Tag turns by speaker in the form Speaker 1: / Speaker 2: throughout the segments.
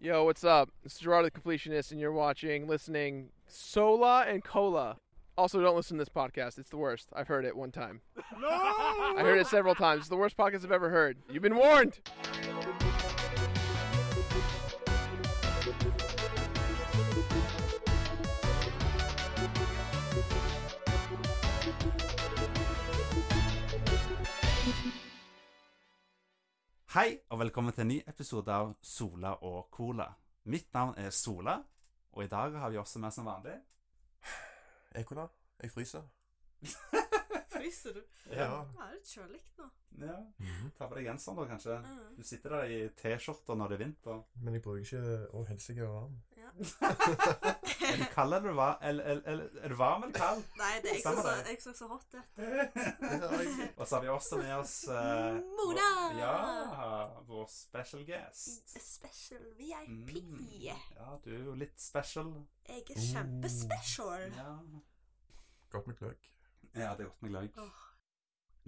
Speaker 1: Yo, what's up? This is Gerard the Completionist, and you're watching, listening, Sola and Cola. Also, don't listen to this podcast. It's the worst. I've heard it one time.
Speaker 2: No!
Speaker 1: I heard it several times. It's the worst podcast I've ever heard. You've been warned.
Speaker 3: Hei, og velkommen til en ny episode av Sola og Cola. Mitt navn er Sola, og i dag har vi også med som vanlig
Speaker 2: Ekona, jeg fryser.
Speaker 4: Fryser du?
Speaker 2: Ja.
Speaker 4: Ja, det er kjølig nå.
Speaker 3: ja. Ta på deg genseren, da, kanskje.
Speaker 4: Mm.
Speaker 3: Du sitter der i T-skjorta når det er vinter.
Speaker 2: Men jeg bruker ikke Å, helsike, jeg er varm.
Speaker 4: Ja.
Speaker 3: Er du kald eller varm? Eller, eller, eller, er du varm eller kald?
Speaker 4: Nei, det er ikke
Speaker 3: Samme
Speaker 4: så,
Speaker 3: det.
Speaker 4: jeg er ikke så hot, det.
Speaker 3: og så har vi også med oss eh,
Speaker 4: Mona!
Speaker 3: Vår, ja, vår special guest.
Speaker 4: Special VIP.
Speaker 3: Mm. Ja, du er jo litt special.
Speaker 4: Jeg er kjempespecial.
Speaker 3: Ja,
Speaker 2: Godt med gløgg.
Speaker 3: ja det er godt med gløgg.
Speaker 4: Åh.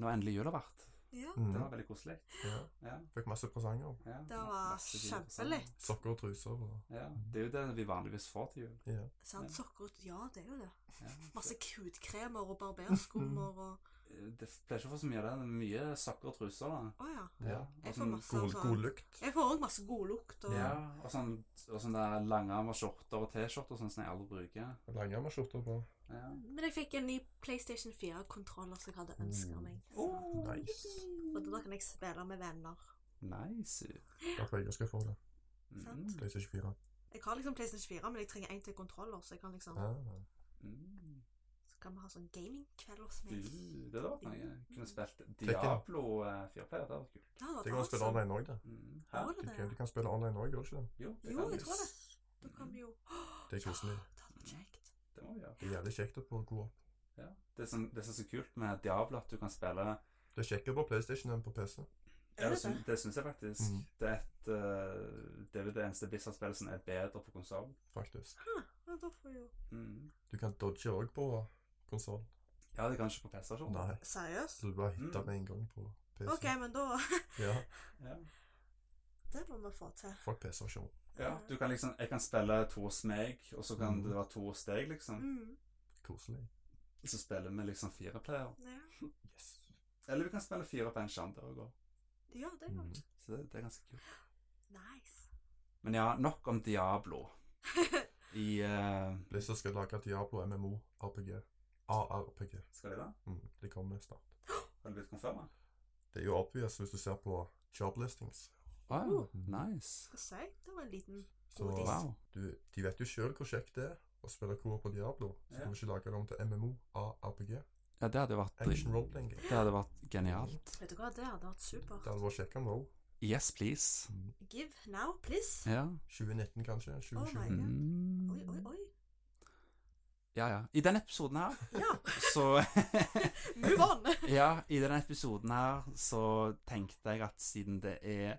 Speaker 3: Nå er endelig jula vært.
Speaker 4: Ja,
Speaker 2: Mm.
Speaker 3: Det var veldig koselig.
Speaker 2: Ja.
Speaker 3: Ja,
Speaker 2: Fikk masse presanger.
Speaker 3: ja.
Speaker 4: Det var
Speaker 3: Masse sånn. fine
Speaker 4: kjempelett.
Speaker 3: personer.
Speaker 2: Sokker og truser. Og...
Speaker 3: Ja, det er jo det vi vanligvis får til jul.
Speaker 2: Ja.
Speaker 4: sant? Sokker ut. Ja, det er jo det.
Speaker 3: Ja.
Speaker 4: Masse hudkremer og barberskummer og
Speaker 3: Det pleier ikke å få så mye av det. det. er Mye sokker og truser, da.
Speaker 4: Å ja.
Speaker 2: Ja.
Speaker 4: Jeg
Speaker 3: Og
Speaker 4: får
Speaker 3: sånn-
Speaker 4: masse
Speaker 2: God,
Speaker 4: av
Speaker 2: god
Speaker 4: sånn.
Speaker 2: lukt.
Speaker 4: Jeg får òg masse godlukt og
Speaker 3: Ja, og sånn, og sånn der langarma skjorter og T-skjorter og sånn som jeg aldri bruker.
Speaker 2: Langarmerskjorter på.
Speaker 3: Ja.
Speaker 4: Men jeg fikk en ny PlayStation 4-kontroller som jeg hadde ønska meg.
Speaker 3: Mm. Oh.
Speaker 2: Nice.
Speaker 4: Og da kan jeg spille med venner.
Speaker 3: Nice.
Speaker 2: Derfor jeg skal få det.
Speaker 3: Mm.
Speaker 4: Sant.
Speaker 2: PlayStation 4.
Speaker 4: Jeg har liksom PlayStation 4, men jeg trenger en til kontroller, så jeg kan liksom
Speaker 2: Ja.
Speaker 3: Mm.
Speaker 4: Så kan vi ha sånn gamingkveld hos
Speaker 3: Du,
Speaker 4: meg.
Speaker 3: det hadde vært noe. Kunne spilt
Speaker 2: Tekken.
Speaker 3: Diablo 4-player. Det hadde vært kult.
Speaker 4: Ja,
Speaker 2: Det
Speaker 4: Mm. det var
Speaker 2: kan du spille
Speaker 4: awesome.
Speaker 2: online òg, det.
Speaker 3: Mm.
Speaker 4: Ja,
Speaker 3: Hæ?
Speaker 4: var det
Speaker 2: Du
Speaker 4: det?
Speaker 2: kan, du kan spille online òg, gjør du ikke det?
Speaker 3: Jo, det
Speaker 4: Jo,
Speaker 3: kan
Speaker 4: jeg
Speaker 3: vi.
Speaker 4: tror det. Da kan vi jo
Speaker 2: Det er koselig.
Speaker 4: Ja, Det hadde
Speaker 3: Mm.
Speaker 4: vært kjekt.
Speaker 3: Det må vi gjøre.
Speaker 2: Det er jævlig kjekt å få god opp.
Speaker 3: Ja. Det som det som er så kult med Diablo, at du kan spille
Speaker 2: Det er kjekkere på PlayStation enn på PC.
Speaker 3: Ja,
Speaker 4: Er
Speaker 3: det,
Speaker 4: det
Speaker 3: syns,
Speaker 4: det?
Speaker 3: det syns jeg faktisk.
Speaker 2: Mm.
Speaker 3: Det er et eh, Det er vel det eneste Blizzard-spillet som er bedre på konsoll.
Speaker 2: faktisk.
Speaker 4: Ja, da får vi jo
Speaker 3: Mm.
Speaker 2: Du kan dodge òg på konsoll.
Speaker 3: Ja, det kan ikke på PC. Sånn.
Speaker 2: Nei,
Speaker 4: Seriøst?
Speaker 2: så du bare hitter
Speaker 3: Mm.
Speaker 2: med en gang på PC.
Speaker 4: OK, men da
Speaker 2: Ja,
Speaker 3: Ja.
Speaker 4: Det må vi få til.
Speaker 2: fuck PC-versjon.
Speaker 3: ja, du kan liksom Jeg kan spille to hos meg, og så kan
Speaker 2: Mm.
Speaker 3: det være to hos deg, liksom.
Speaker 4: Mm,
Speaker 2: Koselig.
Speaker 3: Så spiller vi liksom fire player.
Speaker 4: ja.
Speaker 2: Yes.
Speaker 3: Eller vi kan spille fire på en sjander òg.
Speaker 4: ja, det er jo
Speaker 2: Mm.
Speaker 3: Så det, det er ganske kult.
Speaker 4: nice.
Speaker 3: Men ja, nok om Diablo. I eh,
Speaker 2: Blizzard skal lage Diablo MMO RPG. ARPG.
Speaker 3: Skal de det?
Speaker 2: Mm, det kommer snart.
Speaker 3: Har det blitt konfirma?
Speaker 2: Det er jo obvious hvis du ser på job listings.
Speaker 3: Wow,
Speaker 4: Oh.
Speaker 3: nice.
Speaker 4: Hva sier jeg? Det var en liten
Speaker 2: Så
Speaker 4: Godis.
Speaker 3: Wow.
Speaker 2: du, de vet jo sjøl hvor kjekt det er å spille co på Diablo. Så
Speaker 3: Ja.
Speaker 2: kan vi ikke lage det om til MMO, ARPG,
Speaker 3: Ja, det hadde vært
Speaker 2: action role-playing.
Speaker 3: Det hadde vært genialt.
Speaker 4: Vet du hva, det hadde vært
Speaker 2: Det
Speaker 4: supert.
Speaker 2: hadde vært kjekkere nå.
Speaker 3: Yes, please.
Speaker 4: Give now, please.
Speaker 3: Ja.
Speaker 2: 2019, kanskje?
Speaker 4: Oh
Speaker 2: 2020.
Speaker 4: my god.
Speaker 3: Mm.
Speaker 4: Oi, oi, oi.
Speaker 3: Ja, ja. I denne episoden her,
Speaker 4: Ja.
Speaker 3: så
Speaker 4: Move on!
Speaker 3: Ja, i denne episoden her så tenkte jeg at siden det er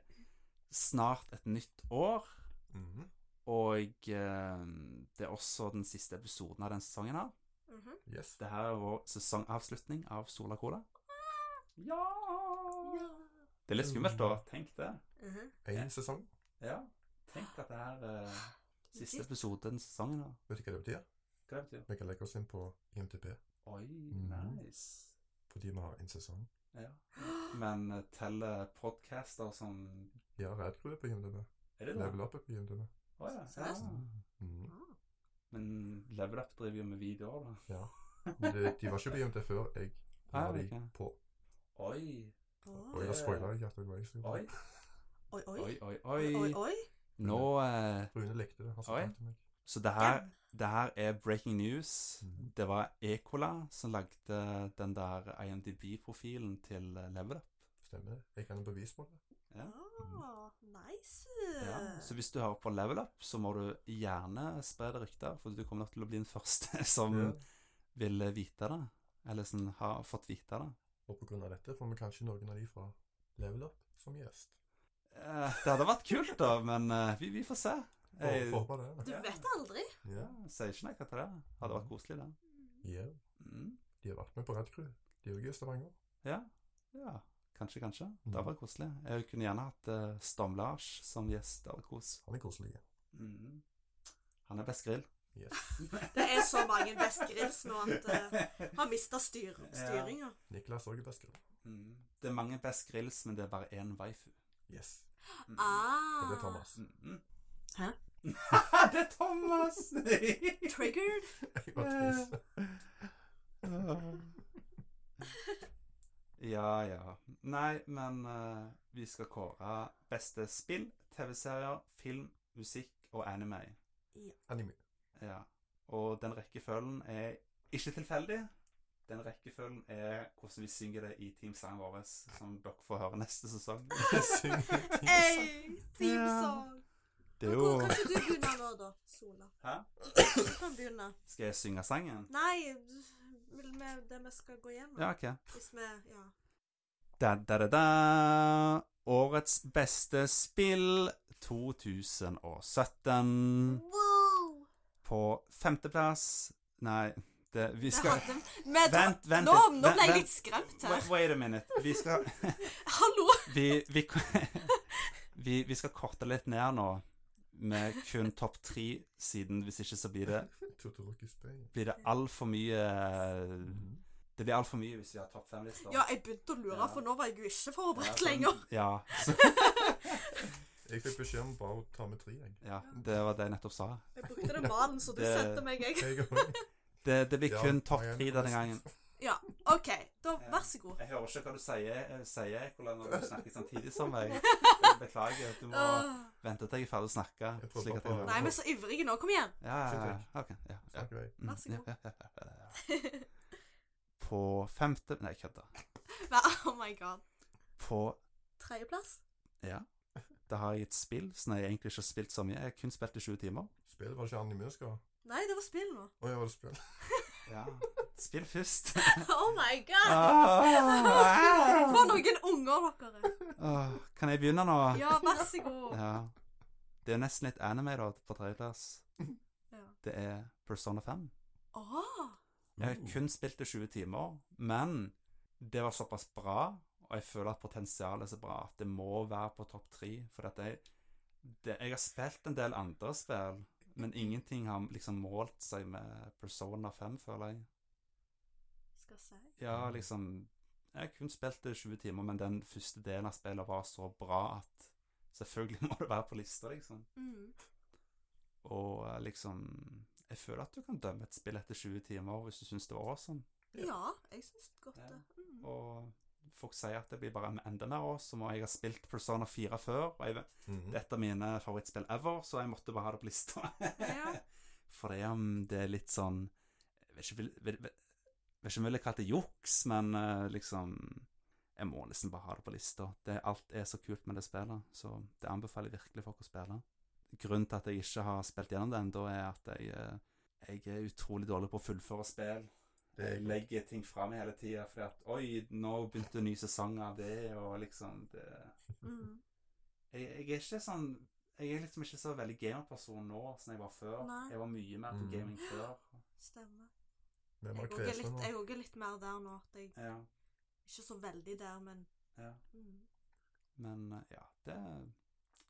Speaker 3: snart et nytt år, Mm.
Speaker 2: Mhm.
Speaker 3: og eh, det er også den siste episoden av denne sesongen her
Speaker 4: Mhm.
Speaker 2: Yes.
Speaker 3: Det her er vår sesongavslutning av Sola Cola. Ja!
Speaker 4: Ja.
Speaker 3: Det er litt skummelt, da. Tenk det.
Speaker 4: Mhm.
Speaker 2: Én
Speaker 3: Ja.
Speaker 2: sesong.
Speaker 3: Ja. Tenk at det her er siste
Speaker 4: Legit.
Speaker 3: episode den sesongen. her.
Speaker 2: Vet du hva det betyr?
Speaker 3: Hva det betyr
Speaker 2: Vi kan legge oss inn på IMTP
Speaker 3: Oi,
Speaker 2: Mhm.
Speaker 3: nice.
Speaker 2: fordi vi har en sesong.
Speaker 3: Ja. Men eh, teller podcaster som
Speaker 2: Ja, Red-gruppe på IMDb.
Speaker 3: Er det
Speaker 2: Level
Speaker 3: det?
Speaker 2: Up er på IMDb.
Speaker 3: Å ja.
Speaker 4: Seriøst?
Speaker 3: ja.
Speaker 2: Mhm.
Speaker 4: Ah,
Speaker 3: Men Level Up driver jo med videoer, da.
Speaker 2: Ja. Men de, de var ikke på IMT før jeg la
Speaker 3: Ah,
Speaker 2: de
Speaker 3: ok.
Speaker 2: på.
Speaker 3: Oi,
Speaker 2: Og
Speaker 4: Oi,
Speaker 2: jeg har spoila ikke at jeg var i Sydney.
Speaker 3: oi,
Speaker 4: oi, oi.
Speaker 3: oi, oi.
Speaker 4: Oi,
Speaker 3: oi.
Speaker 4: oi.
Speaker 3: Nå eh,
Speaker 2: Rune likte det. Han sa
Speaker 3: Oi.
Speaker 2: takk til meg.
Speaker 3: Så det her, det her er breaking news.
Speaker 2: Mhm.
Speaker 3: Det var Ecola som lagde den der IMDb-profilen til eh, Level Up.
Speaker 2: Stemmer det. Jeg kan jo bevise på det.
Speaker 3: Ja.
Speaker 4: Ah, nice.
Speaker 3: Ja. Så hvis du hører på Level Up, så må du gjerne spre det ryktet, for du kommer nok til å bli den første som
Speaker 2: Ja.
Speaker 3: vil vite det. Eller som har fått vite det.
Speaker 2: Og på grunn av dette får vi kanskje noen av de fra Level Up som gjest.
Speaker 3: Eh, det hadde vært kult, da, men eh, vi, vi får se.
Speaker 2: Og
Speaker 3: Jeg
Speaker 2: håper det. da.
Speaker 4: Du vet aldri.
Speaker 2: Ja.
Speaker 3: ja, sier ikke nei til det. Hadde vært koselig, det.
Speaker 2: Ja.
Speaker 3: Mm.
Speaker 2: De har vært med på Red Crew. De er jo i Stavanger.
Speaker 3: Ja. ja. Kanskje, kanskje. Det
Speaker 2: Mm.
Speaker 3: hadde vært koselig. Jeg kunne gjerne hatt eh, Stam-Lars som gjest. Det hadde vært kos.
Speaker 2: Han er koselig.
Speaker 3: Mm. Han er best grill.
Speaker 2: Yes.
Speaker 4: Det er så mange best grills nå at eh, har mista styr, styringa.
Speaker 2: Niklas òg er best girl.
Speaker 3: Mm. Det er mange best grills, men det er bare én waifu.
Speaker 2: Yes.
Speaker 3: Mm.
Speaker 2: Og det er
Speaker 4: Ah,
Speaker 2: Thomas.
Speaker 3: Mm.
Speaker 4: Hæ?
Speaker 3: det er Thomas!
Speaker 4: triggered.
Speaker 2: Jeg bare tøys.
Speaker 3: Eh. ja, ja. Nei, men eh, vi skal kåre beste spill, TV-serier, film, musikk og anime.
Speaker 2: Anime.
Speaker 3: Ja. Og den rekkefølgen er ikke tilfeldig. Den rekkefølgen er hvordan vi synger det i teamsangen vår, som dere får høre neste sesong.
Speaker 2: Syng ting.
Speaker 4: Hey, theme
Speaker 3: Ja.
Speaker 4: song.
Speaker 3: Det er
Speaker 4: Men
Speaker 3: jo
Speaker 4: hvor- Kan ikke du begynne nå, da, Sola?
Speaker 3: Hæ?
Speaker 4: Du kan begynne.
Speaker 3: Skal jeg synge sangen?
Speaker 4: Nei, vil vi det vi skal gå gjennom?
Speaker 3: Ja, OK.
Speaker 4: Hvis vi Ja.
Speaker 3: Da, da, da, da. Årets beste spill 2017.
Speaker 4: Wow!
Speaker 3: På femteplass Nei, det, vi
Speaker 4: Det
Speaker 3: skal
Speaker 4: hadde Men da-
Speaker 3: Vent, vent
Speaker 4: nå,
Speaker 3: litt.
Speaker 4: nå
Speaker 3: Vent,
Speaker 4: ble jeg
Speaker 3: vent.
Speaker 4: litt skremt her.
Speaker 3: Wait, wait a minute. Vi skal
Speaker 4: Hallo!
Speaker 3: vi, vi, vi, vi skal korte litt ned nå, med kun topp tre siden. Hvis ikke så blir det,
Speaker 2: Totoroki Spain.
Speaker 3: blir det altfor mye eh, Det blir altfor mye hvis vi har topp fem-lister.
Speaker 4: Ja, jeg begynte å lure,
Speaker 3: Ja.
Speaker 4: for nå var jeg jo ikke
Speaker 3: Ja,
Speaker 4: forberedt
Speaker 3: sånn-
Speaker 4: lenger.
Speaker 3: Ja, så,
Speaker 2: Jeg fikk beskjed om bare å ta med tre, jeg.
Speaker 3: ja, det var det jeg nettopp sa.
Speaker 4: Jeg brukte den malen som du
Speaker 3: Det-
Speaker 4: sendte meg, jeg.
Speaker 2: Jeg òg.
Speaker 3: Det, det blir
Speaker 2: Ja,
Speaker 3: kun topp
Speaker 2: Marianne
Speaker 3: tre
Speaker 2: kommer
Speaker 3: denne gangen.
Speaker 2: sist.
Speaker 4: Ja, OK. Da vær så god.
Speaker 3: Jeg hører ikke hva du sier, eh, sier hvordan du snakker samtidig som meg. Jeg Beklager. Du må
Speaker 4: Åh.
Speaker 3: vente til jeg er ferdig å snakke.
Speaker 2: Jeg prøver
Speaker 3: Slik at jeg
Speaker 2: bare-
Speaker 3: hører.
Speaker 4: Nei, men så ivrige nå. Kom igjen.
Speaker 3: Ja, ja, ja. ok, ja, ja.
Speaker 2: Snakker jeg.
Speaker 3: Mm,
Speaker 4: Vær så
Speaker 3: ja,
Speaker 4: god.
Speaker 3: ja, ja, ja, ja, ja. På femte Nei, kødda.
Speaker 4: Vær- Oh my god.
Speaker 3: På
Speaker 4: Tredjeplass?
Speaker 3: Ja. Da har jeg et spill som jeg egentlig ikke har spilt så mye. Jeg har kun spilt i 20 timer.
Speaker 2: Spill var det ikke anime, skal ha?
Speaker 4: Nei, det var spill nå.
Speaker 2: Å ja, var det spill?
Speaker 3: Ja. Spill først.
Speaker 4: Oh my god! For
Speaker 3: Ah.
Speaker 4: noen unger dere er.
Speaker 3: Ah, Kan jeg begynne nå?
Speaker 4: Ja, vær så god.
Speaker 3: Ja. Det er nesten litt anime, da, på tredjeplass.
Speaker 4: Ja. Ah,
Speaker 3: Det er Persona 5.
Speaker 4: Åh,
Speaker 3: Jeg har kun spilt det 20 timer, men det var såpass bra, og jeg føler at potensialet er så bra at det må være på topp tre. For at jeg, det, jeg har spilt en del andre spill, men ingenting har liksom målt seg med Persona 5, føler jeg.
Speaker 4: skal jeg si.
Speaker 3: Ja, liksom Jeg har kun spilt det 20 timer, men den første delen av spillet var så bra at selvfølgelig må det være på lista, liksom.
Speaker 4: Mm.
Speaker 3: Og eh, liksom Jeg føler at du kan dømme et spill etter 20 timer hvis du syns det var awesome.
Speaker 4: Ja, jeg syns godt
Speaker 3: Ja.
Speaker 4: det. Mm.
Speaker 3: Og folk sier at det blir bare enda mer år, som om jeg har spilt Persona 4 før. Og jeg, vet-
Speaker 2: Mm.
Speaker 3: det er et av mine favorittspill ever, så jeg måtte bare ha det på lista.
Speaker 4: Ja.
Speaker 3: For det, um, det er litt sånn Jeg vet ikke vil- vil- vil- jeg vet ikke om jeg ville kalt det juks, men eh, liksom Jeg må nesten bare ha det på lista. Det, alt er så kult med det spillet, så det anbefaler jeg virkelig folk å spille. Grunnen til at jeg ikke har spilt gjennom det ennå, er at jeg, eh, jeg er utrolig dårlig på å fullføre spill.
Speaker 2: Det er
Speaker 3: Jeg legger ting fra meg hele tida fordi at Oi, nå begynte en ny sesong av det, og liksom det
Speaker 4: Mm.
Speaker 3: jeg, jeg er ikke sånn Jeg er liksom ikke så veldig gamerperson nå som jeg var før.
Speaker 4: Nei.
Speaker 3: Jeg var mye mer på
Speaker 2: Mm.
Speaker 3: gaming før.
Speaker 4: Stemmer.
Speaker 2: Vi er
Speaker 4: Jeg
Speaker 2: bare
Speaker 4: òg er
Speaker 2: kresne
Speaker 4: litt,
Speaker 2: nå.
Speaker 4: jeg også er litt mer der nå. At jeg
Speaker 3: Ja,
Speaker 4: ikke så veldig der, men
Speaker 3: ja.
Speaker 4: mm.
Speaker 3: Men eh, ja, det er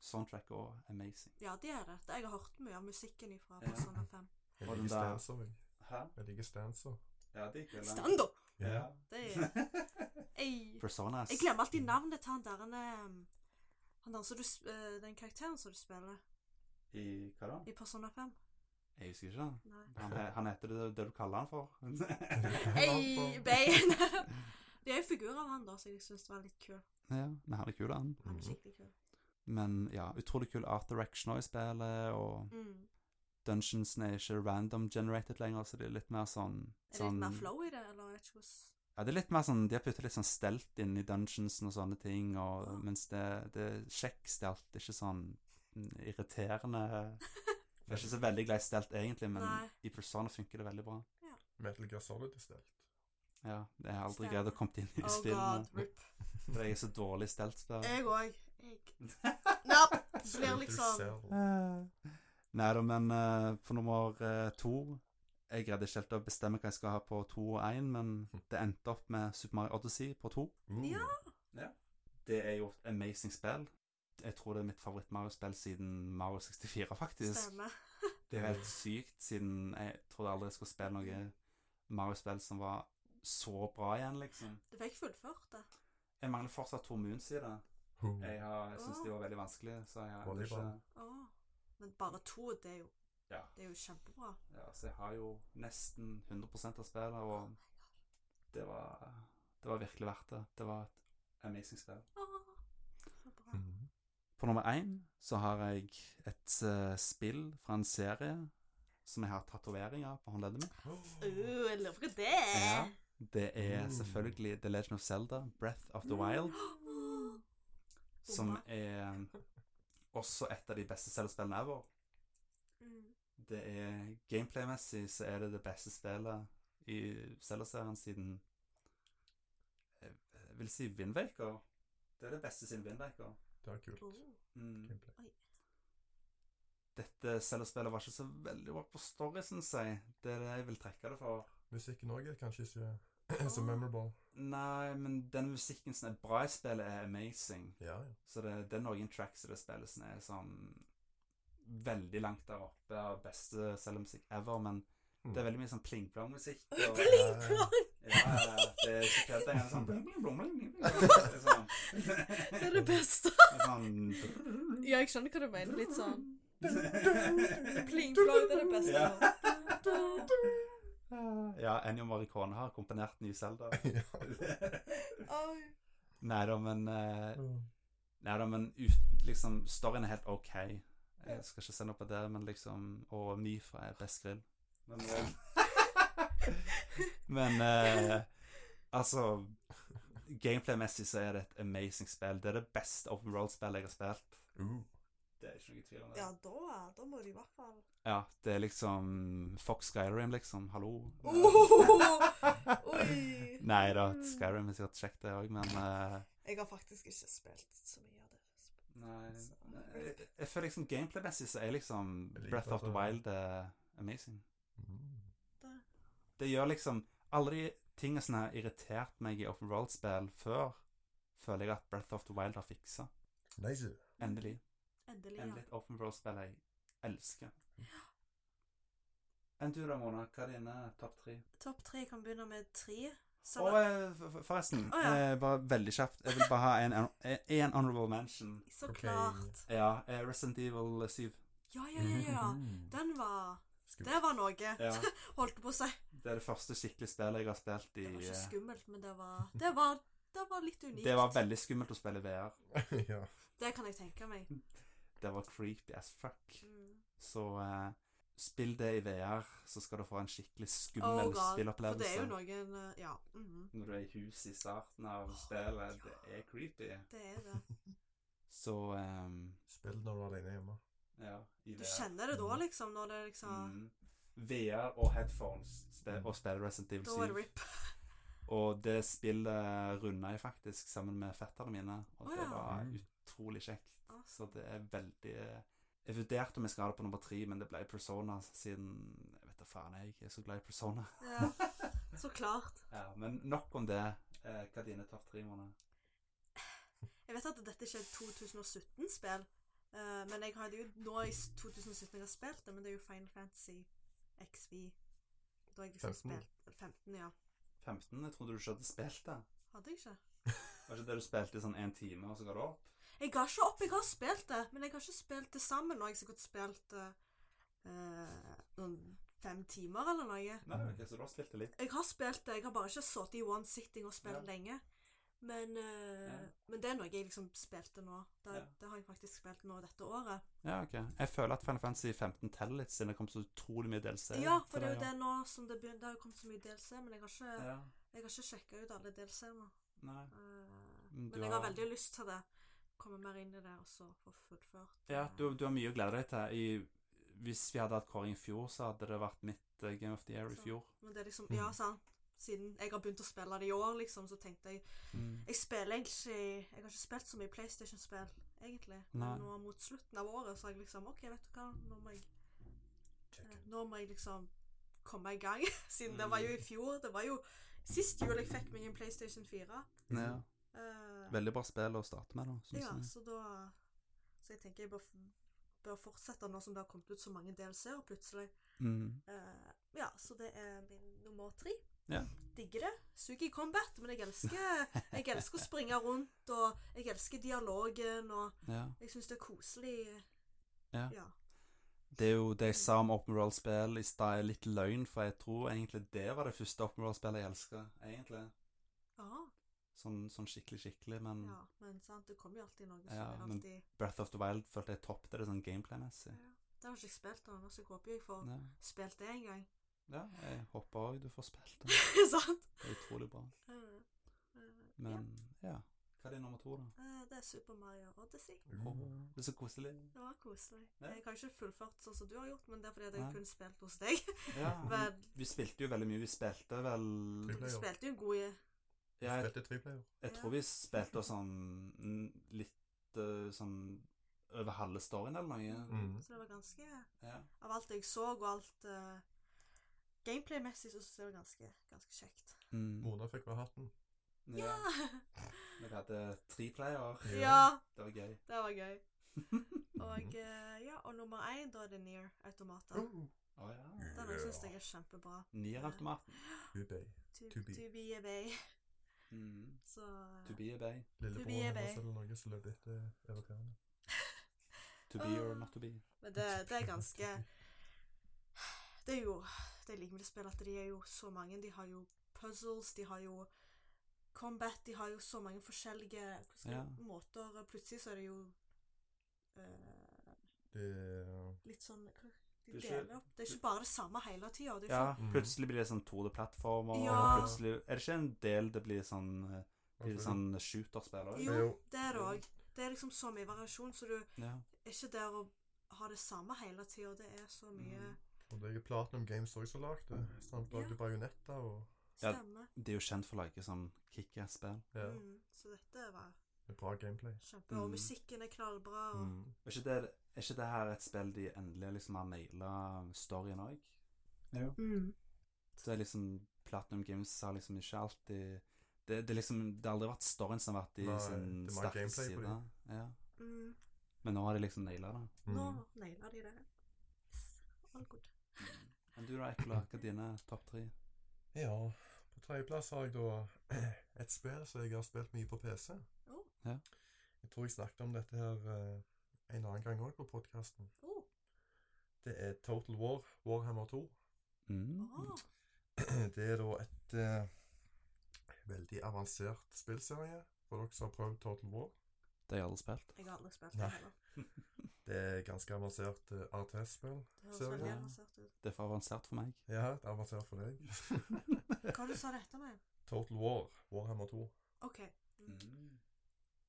Speaker 3: soundtrack og amazing.
Speaker 4: Ja, det er det. Det- Jeg har hørt mye av musikken ifra
Speaker 3: Ja.
Speaker 4: Persona 5.
Speaker 2: Jeg
Speaker 3: Og den
Speaker 2: liker
Speaker 3: der-
Speaker 2: stanser, jeg.
Speaker 3: Hæ?
Speaker 2: Jeg liker stanser.
Speaker 3: Ja, det gikk
Speaker 4: Stando!
Speaker 3: Ja.
Speaker 4: Det er Ei.
Speaker 3: Personas.
Speaker 4: Jeg glemmer alltid navnet til han der han er, um, Han der som du sp- eh, Den karakteren som du spiller
Speaker 3: I hva da?
Speaker 4: i Persona 5.
Speaker 3: Jeg husker ikke. det.
Speaker 4: Nei.
Speaker 3: Han, he- han heter det, det du kaller han for.
Speaker 4: Ei, bein! Det er jo figurer av han da som jeg syns var litt kul.
Speaker 3: ja, men han er kul, han.
Speaker 4: Han
Speaker 2: Mhm.
Speaker 4: er skikkelig kul.
Speaker 3: Men ja, utrolig kul art direction også i spillet, og
Speaker 4: Mm.
Speaker 3: dungeonsene er ikke random generated lenger, så det er litt mer sånn
Speaker 4: Er det litt mer
Speaker 3: sånn-
Speaker 4: flow i det, eller er det ikke hos
Speaker 3: Ja, det er litt mer sånn, De har puttet litt sånn stelt inn i dungeonsen og sånne ting, og,
Speaker 4: Ja.
Speaker 3: mens det, det er kjekk stelt. Det er ikke sånn mm, irriterende Jeg er ikke så veldig glad i stelt egentlig, men
Speaker 4: Nei.
Speaker 3: i Persona funker det veldig bra.
Speaker 2: Metal Gear Solid er stelt.
Speaker 3: Ja, Jeg har aldri
Speaker 4: Stemmer.
Speaker 3: greid å komme inn i
Speaker 4: Oh god, Eh.
Speaker 3: spillene,
Speaker 4: rip.
Speaker 3: for jeg er så dårlig stelt. Der.
Speaker 4: Jeg òg. Jeg Nei, blir
Speaker 2: Splinter
Speaker 4: liksom
Speaker 2: Cell.
Speaker 3: Eh. Nei da, men eh, på nummer eh, to Jeg greide ikke helt å Hm. bestemme hva jeg skal ha på to og én, men det endte opp med Super Mario Odyssey på to.
Speaker 2: Mm.
Speaker 4: Ja.
Speaker 3: Det er jo et amazing spill. Jeg tror det er mitt favoritt-Mario-spill siden Mario 64, faktisk.
Speaker 4: Stemmer.
Speaker 3: Det er jo helt sykt, siden jeg trodde aldri jeg skulle spille noe Mario-spill som var så bra igjen, liksom.
Speaker 4: Du fikk fullført det.
Speaker 3: Jeg mangler fortsatt Tor Moons i det.
Speaker 2: Ho.
Speaker 3: Jeg, har- jeg syns de var veldig vanskelige, så jeg har ennå ikke
Speaker 2: Volleyball.
Speaker 4: Å. Men bare to, det er jo,
Speaker 3: ja,
Speaker 4: det er jo kjempebra.
Speaker 3: ja, så jeg har jo nesten 100 av spillet, og det var, det var virkelig verdt det. Det var et amazing spill.
Speaker 4: Å, så bra.
Speaker 3: Mm.
Speaker 2: Mhm.
Speaker 3: På nummer én så har jeg et eh, spill fra en serie som jeg har tatoveringer på håndleddet mitt.
Speaker 4: Uh, jeg lurer på hva det er.
Speaker 3: Ja. Det er
Speaker 2: Mm.
Speaker 3: selvfølgelig The Legend of Zelda, Breath of
Speaker 4: Mm.
Speaker 3: the Wild, som er også et av de beste Zelda-spillene ever.
Speaker 4: Mm.
Speaker 3: Det er Gameplay-messig så er det det beste spillet i Zelda-serien siden Jeg jeg vil si Wind Waker. Det er det beste siden Wind Waker.
Speaker 2: Det er kult.
Speaker 4: Oh.
Speaker 3: Mm.
Speaker 2: Gameplay.
Speaker 3: Dette Zelda-spillet var ikke så veldig bra på story, syns jeg. Det er det jeg vil trekke det for.
Speaker 2: Musikken òg er kanskje ikke så memorable.
Speaker 3: Nei, men den musikken som er bra i spillet, er amazing.
Speaker 2: Ja, ja.
Speaker 3: Så det, det er noen tracks i det spillet som er sånn veldig langt der oppe av beste cellemusikk ever, men det er veldig mye sånn pling-plong-musikk. og-
Speaker 4: Pling, plong!
Speaker 3: Ja, ja, ja, det er ikke kødd engang. Sånn bling, bling, blong, bling, bling, bling. Det er sånn-
Speaker 4: Det er det beste.
Speaker 3: det er sånn
Speaker 4: Ja, jeg skjønner hva du mener. Litt sånn
Speaker 2: plong,
Speaker 3: sånn-
Speaker 4: pling-plong, det er det beste.
Speaker 3: Ja, Ennio Morricone har komponert ny Zelda.
Speaker 4: Oi.
Speaker 3: Nei da, men eh,
Speaker 2: Ja.
Speaker 3: Nei da, men ut, liksom, storyen er helt OK. Jeg skal ikke se noe på det, men liksom Og Mifa er best grill. Men, eh, men eh, altså Gameplay-messig så er det et amazing spill. Det er det beste open road-spillet jeg har spilt.
Speaker 2: Uh,
Speaker 3: Det er ikke noe tvil om det.
Speaker 4: Ja, da, da må du i hvert fall
Speaker 3: Ja, det er liksom Fox Skyrim, liksom. Hallo.
Speaker 2: Oh!
Speaker 4: Oi.
Speaker 3: Nei da, Skyrim er sikkert kjekt, det òg, men eh,
Speaker 4: Jeg har faktisk ikke spilt så mye av det.
Speaker 3: Nei
Speaker 4: Så-
Speaker 3: nei, jeg, jeg føler liksom gameplay-messig så er liksom
Speaker 2: Jeg liker
Speaker 3: Breath of the
Speaker 2: at det-
Speaker 3: Wild eh, amazing.
Speaker 2: mm.
Speaker 3: Det gjør liksom Alle de tingene som har sånn irritert meg i open world-spill før, føler jeg at Breath of the Wild har fiksa.
Speaker 2: Nice.
Speaker 3: Endelig.
Speaker 4: Endelig, ja.
Speaker 3: Endelig et open world-spill jeg elsker. Enn du da, Mona? Hva er dine topp tre?
Speaker 4: Topp tre kan begynne med tre.
Speaker 3: Og
Speaker 4: Så,
Speaker 3: eh, f- f- forresten,
Speaker 4: Å, ja.
Speaker 3: eh, bare veldig kjapt. Jeg vil bare ha en, en honorable mention.
Speaker 4: så
Speaker 2: Ok.
Speaker 4: klart.
Speaker 3: Ja, eh, Resident Evil 7.
Speaker 4: Ja, ja, ja, ja. Den var Det var noe.
Speaker 3: Ja.
Speaker 4: Holdt på å si.
Speaker 3: Det er det første skikkelig spillet jeg har spilt i
Speaker 4: Det var ikke
Speaker 3: eh,
Speaker 4: skummelt, men det var Det var, det var litt unikt.
Speaker 3: Det var veldig skummelt å spille i VR.
Speaker 2: ja.
Speaker 4: Det kan jeg tenke meg.
Speaker 3: Det var creepy as fuck.
Speaker 4: Mm.
Speaker 3: Så eh, spill det i VR, så skal du få en skikkelig
Speaker 4: Oh
Speaker 3: skummel
Speaker 4: god. For det er
Speaker 3: spillopplevelse.
Speaker 4: jo noen eh, Ja. mhm.
Speaker 3: Når du er i huset i starten av spillet, det er creepy.
Speaker 4: Det er det.
Speaker 3: Så eh,
Speaker 2: Spill når du er alene hjemme.
Speaker 3: ja, i
Speaker 4: Du
Speaker 3: VR.
Speaker 4: kjenner det da, liksom, når det liksom
Speaker 3: Mm. VR og headphones spe og spille Resident
Speaker 4: Da var det
Speaker 3: Evil 7.
Speaker 4: rip.
Speaker 3: Og det spillet runda jeg faktisk sammen med fetterne mine, og
Speaker 4: Å,
Speaker 3: det
Speaker 4: ja.
Speaker 3: var
Speaker 2: Mm.
Speaker 3: utrolig kjekt. Så
Speaker 4: Awesome.
Speaker 3: det er veldig Jeg vurderte om jeg skal ha det på nummer tre, men det ble Persona siden Jeg vet da faen, jeg er så glad i Persona.
Speaker 4: Ja. Så klart.
Speaker 3: Ja, men nok om det. Eh, hva er dine topp tre måneder?
Speaker 4: Jeg vet at dette ikke er et 2017-spill, eh, men jeg hadde jo nå i s- 2017 jeg har spilt det, men det er jo Final Fantasy XV. Da har jeg liksom
Speaker 2: 15.
Speaker 4: spilt 15, ja.
Speaker 3: 15? Jeg trodde du ikke hadde spilt det.
Speaker 4: Hadde jeg ikke?
Speaker 3: Var ikke det du spilte i sånn én time, og så ga du opp?
Speaker 4: Jeg ga ikke opp, jeg har spilt det, men jeg har ikke spilt det sammen. Nå har jeg sikkert spilt eh, eh, noen fem timer eller noe.
Speaker 3: Nei, ok, så du har spilt det litt.
Speaker 4: Jeg har spilt det, jeg har bare ikke sittet i one sitting og spilt
Speaker 3: Ja.
Speaker 4: lenge. Men, eh,
Speaker 3: Ja.
Speaker 4: men det er noe jeg liksom spilte nå. Det,
Speaker 3: Ja.
Speaker 4: det har jeg faktisk spilt nå dette året.
Speaker 3: Ja, ok. Jeg føler at Final Fantasy 15 teller litt, siden det kom så utrolig mye DLC.
Speaker 4: Ja, for det er jo eh,
Speaker 3: til
Speaker 4: det nå som det begynner. Det har jo kommet så mye DLC, men jeg har ikke,
Speaker 3: Ja.
Speaker 4: jeg har ikke sjekka ut alle DLC-ene.
Speaker 3: Nei.
Speaker 4: Eh,
Speaker 3: Men du
Speaker 4: Men jeg har
Speaker 3: har-
Speaker 4: veldig lyst til det. Komme mer inn i det og så få fullført.
Speaker 3: Ja,
Speaker 4: eh,
Speaker 3: du, du har mye å glede deg til. I, hvis vi hadde hatt kåring i fjor, så hadde det vært mitt eh, Game of the Year i
Speaker 4: Så.
Speaker 3: fjor.
Speaker 4: Men det er liksom
Speaker 3: Mm.
Speaker 4: Ja, sant. Siden jeg har begynt å spille det i år, liksom, så tenkte jeg
Speaker 3: Mm.
Speaker 4: Jeg spiller egentlig Jeg har ikke spilt så mye PlayStation-spill, egentlig.
Speaker 3: Nei.
Speaker 4: Men nå mot slutten av året så har jeg liksom OK, vet du hva, nå må jeg eh, Nå må jeg liksom komme i gang. Siden
Speaker 3: Mm. Mm.
Speaker 4: det var jo i fjor. Det var jo sist jul jeg fikk meg en PlayStation 4.
Speaker 3: Ja.
Speaker 4: eh,
Speaker 3: veldig bra spill å starte med, da. Synes
Speaker 4: Ja,
Speaker 3: jeg.
Speaker 4: så da Så jeg tenker jeg bør, f- bør fortsette nå som det har kommet ut så mange DLC-er plutselig.
Speaker 3: Mm.
Speaker 4: Eh, ja, så det er min nummer tre.
Speaker 3: Ja.
Speaker 4: Digger det. Suger i combat, men jeg elsker, jeg elsker å springe rundt, og jeg elsker dialogen, og
Speaker 3: ja.
Speaker 4: jeg syns det er koselig.
Speaker 3: Ja.
Speaker 4: ja.
Speaker 3: Det er jo det jeg sa om open world-spill i stad, er litt løgn, for jeg tror egentlig det var det første open world-spillet jeg elska, egentlig.
Speaker 4: Aha,
Speaker 3: Sånn, sånn skikkelig, skikkelig, men
Speaker 4: ja. Men sant, det kommer jo alltid noe som
Speaker 3: Ja,
Speaker 4: er
Speaker 3: men-
Speaker 4: alltid
Speaker 3: Breath of the Wild følte jeg toppte det sånn gameplay-messig.
Speaker 4: Det har ikke jeg spilt ennå, så jeg håper jeg får
Speaker 3: Ja.
Speaker 4: spilt det en gang.
Speaker 3: ja, jeg håper òg du får spilt det.
Speaker 4: sant?
Speaker 3: Det er utrolig bra.
Speaker 4: Eh, eh, ja.
Speaker 3: Men ja. Hva er din nummer to, da?
Speaker 4: Eh, det er Super Mario Odyssey.
Speaker 3: Åh, det er så koselig.
Speaker 4: Det var koselig.
Speaker 3: Ja.
Speaker 4: Jeg har ikke fullført sånn som du har gjort, men det er fordi at jeg
Speaker 3: Nei.
Speaker 4: kun spilte hos deg.
Speaker 3: Ja,
Speaker 4: Men
Speaker 3: Vi spilte jo veldig mye. Vi spilte vel
Speaker 2: Tre
Speaker 4: du
Speaker 2: player.
Speaker 4: spilte jo en god
Speaker 3: ja, jeg,
Speaker 2: Spilte triplayer.
Speaker 3: jeg tror vi spilte oss sånn mm, litt eh, sånn over halve storyen eller noe.
Speaker 2: Mm.
Speaker 4: Så det var ganske
Speaker 3: Ja.
Speaker 4: Av alt jeg så, og alt eh, gameplay-messig, så synes jeg det var ganske, ganske kjekt.
Speaker 3: Mm.
Speaker 2: Mona fikk være hatten.
Speaker 3: ja. Vi hadde tre player.
Speaker 4: Ja!
Speaker 3: Det var gøy.
Speaker 4: det var gøy. Og eh, ja, og nummer én, da er det Near Automata.
Speaker 2: Oh.
Speaker 3: Å ja.
Speaker 4: Den yeah. syns jeg er kjempebra.
Speaker 3: Nierautomaten.
Speaker 2: Hubei.
Speaker 4: To,
Speaker 2: To be.
Speaker 4: to be a bay.
Speaker 3: Mm.
Speaker 4: Så eh,
Speaker 3: To be a bay.
Speaker 4: be
Speaker 2: Lillebroren
Speaker 4: away.
Speaker 2: hennes eller noe som løp etter irriterende.
Speaker 3: To be or not to be.
Speaker 4: Men det, det er ganske Det er jo Det jeg liker med det spillet, at de er jo så mange. De har jo puzzles, de har jo combat, de har jo så mange forskjellige hva skal jeg- måter. og Plutselig så er det jo eh,
Speaker 2: Det er
Speaker 4: litt sånn hva- De
Speaker 3: Det er ikke-
Speaker 4: deler opp. Det er ikke bare det samme hele tida. Det er
Speaker 3: Ja,
Speaker 4: ikke
Speaker 2: Mm.
Speaker 3: plutselig blir det sånn 2D-plattformer.
Speaker 4: Ja.
Speaker 3: Og plutselig er det ikke en del det blir sånn eh, blir det sånn shooterspill òg?
Speaker 4: Jo,
Speaker 2: Jo.
Speaker 4: det er det òg. Det er liksom så mye variasjon, så du er
Speaker 3: Ja.
Speaker 4: ikke der å ha det samme hele tida. Det er så mye
Speaker 3: Mm.
Speaker 2: Og det er Platinum Games også som lagde det. Sånn Så Han lagde
Speaker 4: Mm. Ja.
Speaker 2: bajonetter og
Speaker 3: Ja.
Speaker 4: stemme.
Speaker 3: De er jo kjent for å lage sånn kickass-spill.
Speaker 2: ja,
Speaker 4: Mm. Så dette var
Speaker 2: det er bra gameplay.
Speaker 4: kjempe...
Speaker 3: Mm.
Speaker 4: Og musikken er knallbra. Og...
Speaker 2: Mm.
Speaker 3: Er ikke, det, er ikke det her et spill de endelig liksom har naila storyen òg? Jo.
Speaker 4: Mm.
Speaker 3: Så det er liksom Platinum Games har liksom ikke alltid det, det, er liksom, det har aldri vært storyen som har vært i
Speaker 2: Nei,
Speaker 3: sin
Speaker 2: det er mer
Speaker 3: sterke
Speaker 2: gameplay på
Speaker 3: side. Ja.
Speaker 4: Mm.
Speaker 3: Men nå har de liksom naila det.
Speaker 4: Nå
Speaker 2: Mm.
Speaker 4: naila de det. All good.
Speaker 3: Men du da, Ekkola, hva er dine topp tre?
Speaker 2: Ja. På tredjeplass har jeg da et spill som jeg har spilt mye på PC.
Speaker 4: Oh.
Speaker 3: Ja.
Speaker 2: Jeg tror jeg snakket om dette her eh, en annen gang òg på podkasten.
Speaker 4: Oh.
Speaker 2: Det er Total War, Warhammer 2.
Speaker 3: Mm.
Speaker 4: Ah.
Speaker 2: Det er da et eh, veldig avansert spillserie for dere som har prøvd Total War.
Speaker 3: Det har jeg aldri spilt.
Speaker 4: Jeg har aldri spilt
Speaker 2: Nei.
Speaker 4: det heller.
Speaker 2: Det er ganske avansert uh, RTS-spill.
Speaker 4: Det høres veldig
Speaker 3: Ja.
Speaker 4: avansert ut.
Speaker 3: Det er for avansert for meg.
Speaker 2: Ja, det er avansert for deg.
Speaker 4: Hva du sa du etter meg?
Speaker 2: Total War, Warhammer 2.
Speaker 4: OK.
Speaker 3: Mm.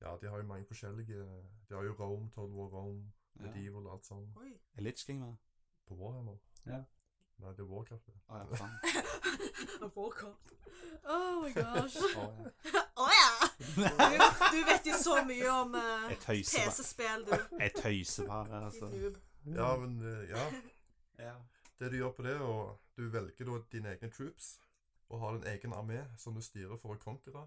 Speaker 2: Ja, de har jo mange forskjellige De har jo Rome, Total War Rome,
Speaker 3: Ja.
Speaker 2: Medieval og alt sånn
Speaker 4: Oi.
Speaker 3: Er Litch King med?
Speaker 2: på Warhammer.
Speaker 3: Ja.
Speaker 2: Nei, det er Warcraft. det.
Speaker 3: Å ja, faen.
Speaker 4: Jeg våker. Oh my gosh.
Speaker 3: Å, ja.
Speaker 4: Å ja! Du, du vet jo så mye om eh,
Speaker 3: Jeg tøyser bare.
Speaker 4: PC-spill, du.
Speaker 3: Jeg tøyser bare, altså.
Speaker 4: Din noob.
Speaker 2: Ja, men eh, ja.
Speaker 3: Ja.
Speaker 2: Det du gjør på det, og du velger da dine egne troops og har din egen armé som du styrer for å conquere.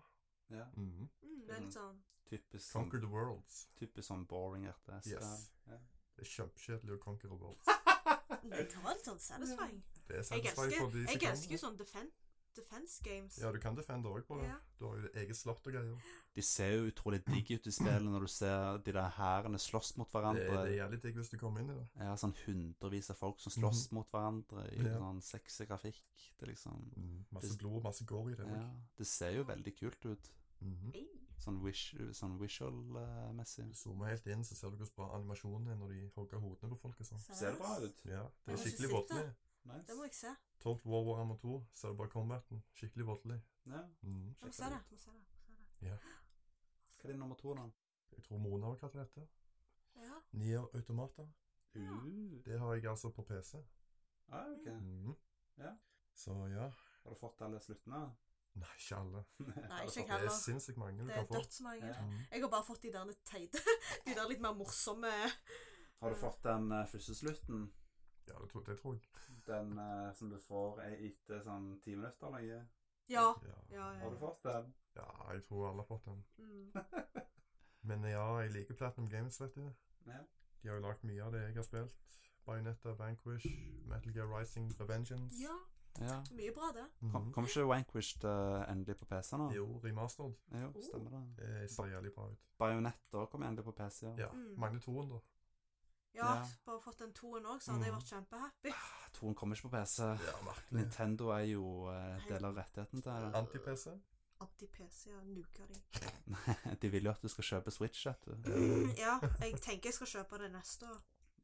Speaker 3: ja.
Speaker 2: Mhm.
Speaker 4: Mm, det er litt sånn
Speaker 3: Typisk sånn,
Speaker 2: Conquer the worlds.
Speaker 3: typisk sånn boring RTS.
Speaker 2: Yes.
Speaker 3: Ja.
Speaker 2: Det er kjempekjedelig å conquer worlds.
Speaker 4: Det var litt sånn satisfying.
Speaker 2: Det er
Speaker 4: Jeg
Speaker 2: satisfying for
Speaker 4: elsker,
Speaker 2: de som
Speaker 4: jeg
Speaker 2: kan
Speaker 4: elsker jo
Speaker 2: det.
Speaker 4: sånn defen- defense games.
Speaker 2: Ja, du kan defende òg på det.
Speaker 4: Ja.
Speaker 2: Du har jo ditt eget slott og greier.
Speaker 3: De ser jo utrolig digge ut i spillet når du ser de der hærene slåss mot
Speaker 2: Det, er-
Speaker 3: hverandre.
Speaker 2: det er jævlig digg hvis du kommer inn i det.
Speaker 3: Ja, sånn hundrevis av folk som slåss mot hverandre i
Speaker 2: Ja.
Speaker 3: sånn sexy grafikk. Det er liksom
Speaker 2: Masse
Speaker 3: Det-
Speaker 2: blod og masse gore i det.
Speaker 3: Ja,
Speaker 2: Ja.
Speaker 3: det ser jo veldig kult ut.
Speaker 2: Mm
Speaker 4: Ei.
Speaker 3: Sånn, wish, sånn visual-messig.
Speaker 2: Du zoomer helt inn, så ser du hvordan bra animasjonen er når de hogger hodene på folk. og sånn.
Speaker 3: Ser det bra ut?
Speaker 2: Ja, Det
Speaker 4: Jeg
Speaker 2: er
Speaker 4: har ikke
Speaker 2: skikkelig
Speaker 4: sett det.
Speaker 2: voldelig.
Speaker 4: Det må jeg se.
Speaker 2: Total War Warhammer 2, så er det bare combaten. Skikkelig voldelig.
Speaker 3: Ja,
Speaker 2: Mhm.
Speaker 4: Jeg må
Speaker 3: sjekker
Speaker 4: se det.
Speaker 3: ut.
Speaker 4: Jeg Må se det. jeg Må se
Speaker 3: Hva er din nummer to, da?
Speaker 2: Jeg tror Mona har kalt det dette.
Speaker 4: det. Ja.
Speaker 2: Nier Automata.
Speaker 4: Ja.
Speaker 3: Uh,
Speaker 2: Det har jeg altså på PC.
Speaker 3: ah, ok.
Speaker 2: Mhm.
Speaker 3: Ja.
Speaker 2: Så ja.
Speaker 3: Har du fått alle sluttene?
Speaker 2: Nei, ikke alle.
Speaker 4: Nei, ikke jeg
Speaker 2: Det er
Speaker 4: heller.
Speaker 2: sinnssykt mange du
Speaker 4: Det
Speaker 2: kan
Speaker 4: er
Speaker 2: få.
Speaker 4: dødsmange.
Speaker 3: Ja.
Speaker 2: Mhm.
Speaker 4: Jeg har bare fått de der litt teite. De der litt mer morsomme
Speaker 3: Har du fått den eh, første slutten?
Speaker 2: Ja, det tror, det tror jeg.
Speaker 3: Den eh, som du får e- etter sånn ti minutter eller noe?
Speaker 4: Ja.
Speaker 2: Ja.
Speaker 4: Ja, ja, ja.
Speaker 3: fått den?
Speaker 2: ja, jeg tror alle har fått den.
Speaker 4: Mm.
Speaker 2: Men ja, jeg liker Platinum Games, vet du.
Speaker 3: Ja.
Speaker 2: De har jo lagd mye av det jeg har spilt. Bayonetta, Vanquish, Metal Gear Rising, Revengeance.
Speaker 4: ja.
Speaker 3: ja.
Speaker 4: Mye bra, det.
Speaker 3: Kom,
Speaker 2: Mhm.
Speaker 3: kom ikke Vanquished eh, endelig på PC nå?
Speaker 2: Jo, remastered.
Speaker 3: Jo, stemmer det.
Speaker 2: Det ser jævlig bra ut.
Speaker 3: Bajonetter kom endelig på PC, ja.
Speaker 2: Ja.
Speaker 4: Mm.
Speaker 2: Mangler 200.
Speaker 4: Ja,
Speaker 3: Ja.
Speaker 4: bare fått den toen òg, så hadde jeg
Speaker 2: Mm.
Speaker 4: vært kjempehappy.
Speaker 3: Toen kommer ikke på PC.
Speaker 2: Ja, merkelig.
Speaker 3: Nintendo er jo eh, del av rettigheten til det.
Speaker 2: Anti-PC?
Speaker 4: Anti-PC, ja. Nuker de.
Speaker 3: De vil jo at du skal kjøpe Switch, vet du.
Speaker 4: Ja, jeg tenker jeg skal kjøpe det neste år.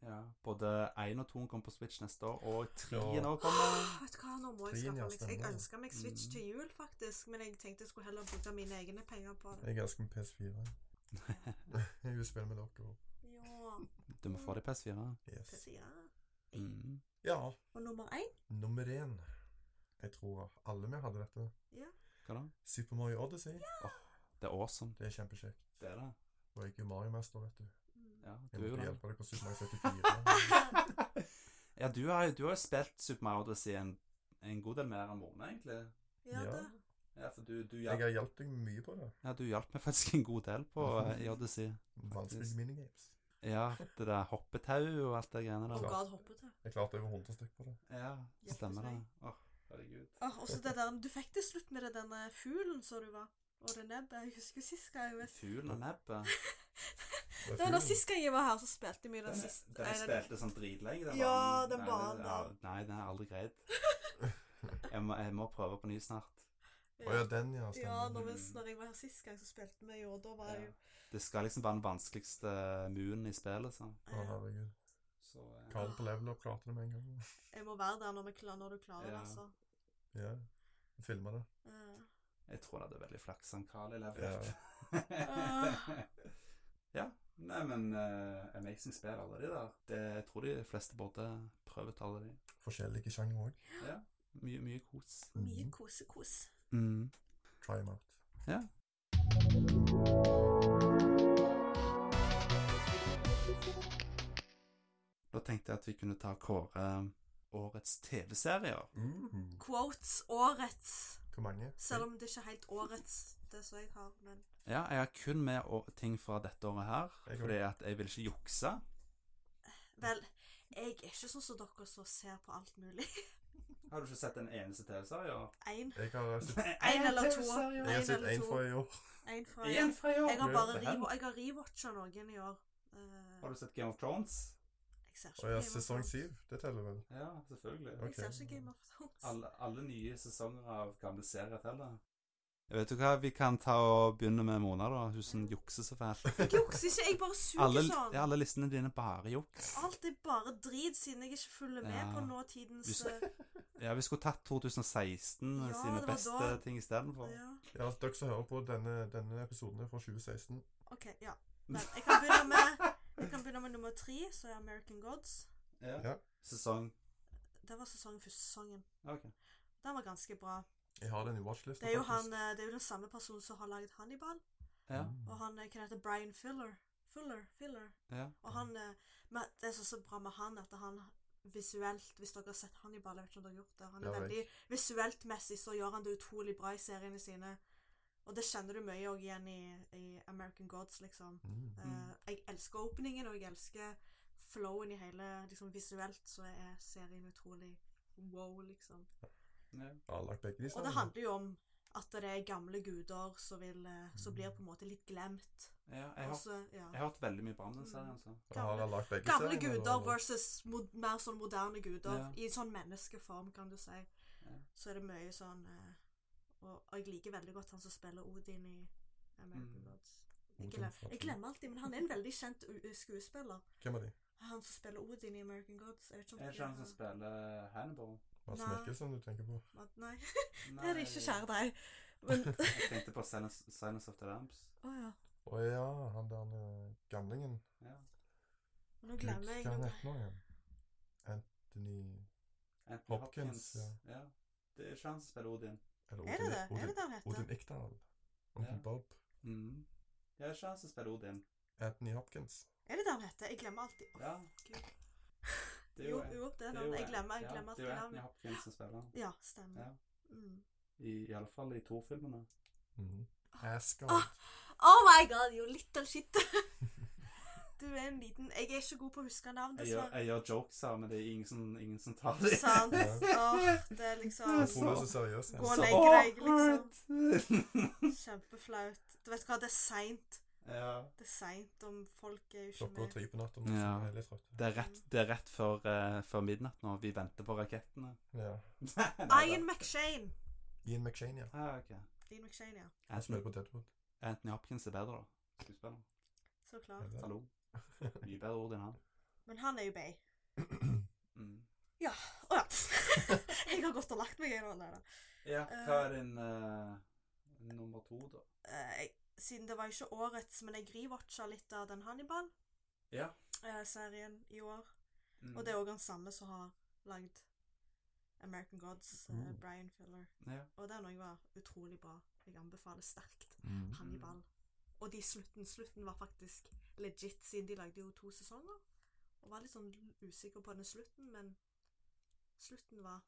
Speaker 3: Ja. Både 1 og 2 kommer på Switch neste år, og 3
Speaker 2: Ja.
Speaker 3: nå kommer.
Speaker 4: Ah, Vet du hva, nå må jeg
Speaker 2: Trine, ja,
Speaker 4: skaffe meg Jeg
Speaker 2: stemmer.
Speaker 4: ønska meg Switch
Speaker 3: Mm.
Speaker 4: til jul, faktisk, men jeg tenkte jeg skulle heller bruke mine egne penger på det.
Speaker 2: Jeg elsker med PS4. Jeg vil spille med dere.
Speaker 4: Ja,
Speaker 3: Du må få deg PS4.
Speaker 2: Yes.
Speaker 4: PC, ja.
Speaker 3: Mm.
Speaker 2: Ja,
Speaker 4: Og nummer én?
Speaker 2: nummer én. Jeg tror alle vi hadde dette.
Speaker 3: Hva da?
Speaker 2: Super Mario Odyssey.
Speaker 3: Det er awesome.
Speaker 2: Det er kjempekjekt.
Speaker 3: Det er det.
Speaker 2: Og jeg er jo Mario-mester, vet du.
Speaker 3: Ja, du
Speaker 2: Jeg
Speaker 3: er jo
Speaker 2: måtte
Speaker 3: det.
Speaker 2: hjelpe deg på Super Mario 74.
Speaker 3: Ja, du har, du har jo spilt Super Mario Odyssey en, en god del mer enn moren, egentlig.
Speaker 4: Ja,
Speaker 2: Ja.
Speaker 4: det.
Speaker 3: Ja, for du, du,
Speaker 2: Jeg
Speaker 3: hjalp,
Speaker 2: har hjulpet deg mye på det.
Speaker 3: ja, du hjalp meg faktisk en god del på eh, i Odyssey.
Speaker 2: Vanskelige
Speaker 3: Faktisk.
Speaker 2: minigames.
Speaker 3: Ja, det der hoppetau og alt det greiene
Speaker 4: Og
Speaker 3: der.
Speaker 2: Klart.
Speaker 4: God hoppet det.
Speaker 2: Jeg klarte over 100 stykk på det.
Speaker 3: Ja,
Speaker 4: Hjelpes
Speaker 3: stemmer det.
Speaker 4: meg.
Speaker 3: Åh, herregud.
Speaker 4: Ah, og så det der Du fikk til slutt med det denne fuglen som du var. Og det nebbet. Jeg husker sist gang jeg var
Speaker 3: Fuglen og nebbet.
Speaker 2: er
Speaker 4: Det var da
Speaker 2: fuglen.
Speaker 4: sist gang jeg var her, så spilte vi den
Speaker 3: Den,
Speaker 4: siste.
Speaker 3: den
Speaker 4: nei,
Speaker 3: jeg spilte sånn dritlenge. den
Speaker 4: Ja,
Speaker 3: banen.
Speaker 4: den
Speaker 3: Nei,
Speaker 4: banen
Speaker 3: det-
Speaker 4: der.
Speaker 3: Nei, den er aldri greid. Jeg må, jeg må prøve på ny snart.
Speaker 2: Å ja, den, ja.
Speaker 4: Ja,
Speaker 2: Stemmer.
Speaker 4: når, vi, når jeg var her sist gang, så spilte vi jo, og da var
Speaker 3: Ja.
Speaker 4: jeg jo
Speaker 3: Det skal liksom være den vanskeligste munen i spillet, sånn.
Speaker 2: Å, herregud.
Speaker 3: Så, eh,
Speaker 2: Karl på level up klarte det med en gang.
Speaker 4: Jeg må være der når, vi klarer, når du klarer det,
Speaker 3: Ja.
Speaker 4: altså.
Speaker 2: Ja. Jeg filma det.
Speaker 4: Eh,
Speaker 3: jeg tror det er veldig flaks han Carl i level
Speaker 2: Ja.
Speaker 3: up. ja. Nei, men eh, Amazing spill, alle de der. Det, jeg tror de fleste burde prøve ut alle de.
Speaker 2: Forskjellige sjangre òg.
Speaker 3: Ja. Mye, mye kos.
Speaker 4: Mye kose-kos.
Speaker 3: Mm.
Speaker 2: Try them out.
Speaker 3: Da tenkte jeg at vi kunne ta og kåre um, årets TV-serier.
Speaker 4: Quotes årets.
Speaker 2: Hvor mange?
Speaker 4: Selv om det ikke er helt årets, det som jeg har, men
Speaker 3: Ja, jeg har kun med å- ting fra dette året her,
Speaker 2: Jeg
Speaker 3: fordi at jeg vil ikke jukse.
Speaker 4: Vel, jeg er ikke sånn som dere som ser på alt mulig.
Speaker 3: Har du ikke sett en eneste TV-serie?
Speaker 4: Én.
Speaker 2: Jeg har sett
Speaker 4: En eller to.
Speaker 2: jeg har
Speaker 4: En
Speaker 2: sett
Speaker 4: eller
Speaker 2: én
Speaker 4: to.
Speaker 2: fra i år.
Speaker 4: Én fra
Speaker 3: En fra i år.
Speaker 4: Jeg har bare
Speaker 3: Det her-
Speaker 4: re- jeg har rewatcha noen i år. Eh,
Speaker 3: Har du sett Game of Thrones?
Speaker 4: jeg ser ikke
Speaker 2: Å ja,
Speaker 4: Game of
Speaker 2: sesong
Speaker 4: Thrones.
Speaker 2: syv. Det teller vel.
Speaker 3: Ja, selvfølgelig.
Speaker 2: Ok.
Speaker 4: Jeg ser ikke Game of Thrones.
Speaker 3: Alle, alle nye sesonger av gamle serier teller. Vet du hva, vi kan ta og begynne med Mona, da. Hun som jukser så fælt.
Speaker 4: Jeg jukser ikke, jeg bare suger
Speaker 3: Alle,
Speaker 4: sånn.
Speaker 3: ja, alle listene dine bare juks.
Speaker 4: Alt er bare drit, siden jeg ikke følger med
Speaker 3: Ja.
Speaker 4: på nåtidens
Speaker 3: Hvis-
Speaker 4: eh,
Speaker 3: Ja, vi skulle tatt 2016
Speaker 4: Ja,
Speaker 3: sine
Speaker 4: det var
Speaker 3: beste
Speaker 4: da.
Speaker 3: ting istedenfor.
Speaker 4: ja.
Speaker 2: Ja, altså, Dere som hører på denne, denne episoden er fra 2016.
Speaker 4: OK, ja. Men jeg kan begynne med, jeg kan begynne med nummer tre, så er American Gods.
Speaker 3: Ja.
Speaker 2: Ja.
Speaker 3: Sesong
Speaker 4: Det var sesongen, første sesongen.
Speaker 3: Ok.
Speaker 4: Den var ganske bra.
Speaker 2: Jeg har den i watchlisten.
Speaker 4: Det er jo, han, eh, det er jo den samme personen som har laget Hannibal.
Speaker 3: Ja.
Speaker 4: Og han eh, kan hete Brian Filler. Fuller, Filler.
Speaker 3: ja.
Speaker 4: Og han eh, men Det er så, så bra med han at han visuelt, hvis dere har sett Hannibal, jeg vet ikke om dere har gjort det Han er
Speaker 2: Ja, jeg
Speaker 4: veldig visuelt messig, så gjør han det utrolig bra i seriene sine. Og det kjenner du mye også igjen i, i American Gods, liksom.
Speaker 2: Mm.
Speaker 3: Mm.
Speaker 4: Eh, jeg elsker openingen, og jeg elsker flowen i hele liksom Visuelt så er serien utrolig wow, liksom.
Speaker 3: ja.
Speaker 2: Jeg har lagt begge de
Speaker 4: Og det
Speaker 2: sammen.
Speaker 4: handler jo om at det er gamle guder som, vil, eh, som blir på en måte litt glemt.
Speaker 3: ja jeg, har,
Speaker 4: Også, ja.
Speaker 3: jeg har hørt veldig mye bra
Speaker 4: Mm.
Speaker 3: om den serien. Så.
Speaker 2: Og har han lagt begge
Speaker 4: Gamle
Speaker 2: seriene,
Speaker 4: guder
Speaker 2: eller?
Speaker 4: versus mod, mer sånn moderne guder.
Speaker 3: Ja.
Speaker 4: I sånn menneskeform, kan du si.
Speaker 3: Ja.
Speaker 4: Så er det mye sånn eh, og, og jeg liker veldig godt han som spiller Odin i American
Speaker 3: Mm.
Speaker 4: Gods. Jeg,
Speaker 2: Odin
Speaker 4: glem,
Speaker 2: fra
Speaker 4: jeg
Speaker 2: Thor.
Speaker 4: glemmer alltid, men han er en veldig kjent u- skuespiller.
Speaker 2: Hvem er de?
Speaker 4: Han som spiller Odin i American Gods. Jeg vet ikke om
Speaker 3: Er det
Speaker 4: dere-
Speaker 3: ikke han som spiller Hannibal?
Speaker 2: Mads
Speaker 4: Nei.
Speaker 2: Mikkelsen du tenker på?
Speaker 4: At- Nei, det er det ikke, kjære deg. Men
Speaker 3: Jeg tenkte på Silence, Silence of the Lambs.
Speaker 4: Å ja.
Speaker 2: Å ja, han der eh, gamlingen.
Speaker 3: Ja.
Speaker 4: Nå
Speaker 2: Gud,
Speaker 4: glemmer jeg
Speaker 2: Hva han
Speaker 4: noe.
Speaker 2: heter nå igjen? Anthony
Speaker 3: Anthony
Speaker 2: Hopkins,
Speaker 3: Ja. Det er ikke han som spiller Odin.
Speaker 2: Eller
Speaker 4: Er det det? Er det
Speaker 2: Odin,
Speaker 4: det han heter?
Speaker 2: Odin Ikdal. Onkel
Speaker 3: Ja.
Speaker 2: Bob.
Speaker 3: Mm. Ja, det er ikke han som spiller Odin.
Speaker 2: Anthony Hopkins.
Speaker 4: Er det det han heter? Jeg glemmer alltid. Å,
Speaker 3: Ja,
Speaker 4: Gud.
Speaker 3: det er
Speaker 4: Jo, jo, det
Speaker 3: det
Speaker 4: er
Speaker 3: er
Speaker 4: han.
Speaker 3: jo
Speaker 4: Jeg glemmer, jeg
Speaker 3: ja,
Speaker 4: glemmer
Speaker 3: Det er
Speaker 4: alltid
Speaker 3: jo Anthony
Speaker 4: navnet.
Speaker 3: Hopkins som spiller han.
Speaker 4: Ja, stemmer.
Speaker 3: Ja.
Speaker 4: Mm.
Speaker 3: Iallfall i Thor-filmene. Mm.
Speaker 2: Mhm. Asgard.
Speaker 4: Ah. Oh my god, you little shit! du er en liten Jeg er ikke god på å huske navn,
Speaker 3: Jeg gjør,
Speaker 4: dessverre.
Speaker 3: jeg gjør jokes her, men det er ingen som, ingen som tar det.
Speaker 4: Sant.
Speaker 2: Ja.
Speaker 4: Åh, det er liksom
Speaker 2: Jeg tror du er så seriøs.
Speaker 4: Gå og
Speaker 3: Så
Speaker 4: legg deg,
Speaker 3: liksom. awkward!
Speaker 4: kjempeflaut. Du vet hva, det er seint.
Speaker 3: ja.
Speaker 4: Det er seint om folk er jo ikke
Speaker 2: Klokka er
Speaker 4: med.
Speaker 2: tre på natta, og
Speaker 3: Ja.
Speaker 2: jeg er litt trøtt.
Speaker 3: Det er rett, det er rett før, eh, før midnatt nå. Vi venter på rakettene.
Speaker 2: Ja.
Speaker 4: Ian McShane.
Speaker 2: Ian McShane, ja.
Speaker 3: Ah, ok.
Speaker 4: Ian McShane, ja.
Speaker 2: Som er
Speaker 3: Anthony,
Speaker 2: på Deadwood.
Speaker 3: Anthony Hopkins er bedre, da. Skuespiller.
Speaker 4: Så klart.
Speaker 2: Ja.
Speaker 3: Hallo. Mye bedre ord enn han.
Speaker 4: Men han er jo bay.
Speaker 3: Mm.
Speaker 4: Å ja. jeg har gått og lagt meg, jeg nå. Nei da.
Speaker 3: Ja, hva er din eh, nummer to, da?
Speaker 4: Eh, jeg- siden det var ikke årets, men jeg rewatcha litt av den Hannibal-serien
Speaker 3: Ja.
Speaker 4: i år.
Speaker 3: Mm.
Speaker 4: Og det er òg han samme som har lagd American Gods, eh,
Speaker 2: Mm.
Speaker 4: Brian Filler.
Speaker 3: ja.
Speaker 4: Og den òg var utrolig bra. Jeg anbefaler sterkt
Speaker 2: Mm.
Speaker 4: Hannibal. Og de slutten, slutten var faktisk legit, siden de lagde jo to sesonger. Og var litt sånn usikker på den slutten, men slutten var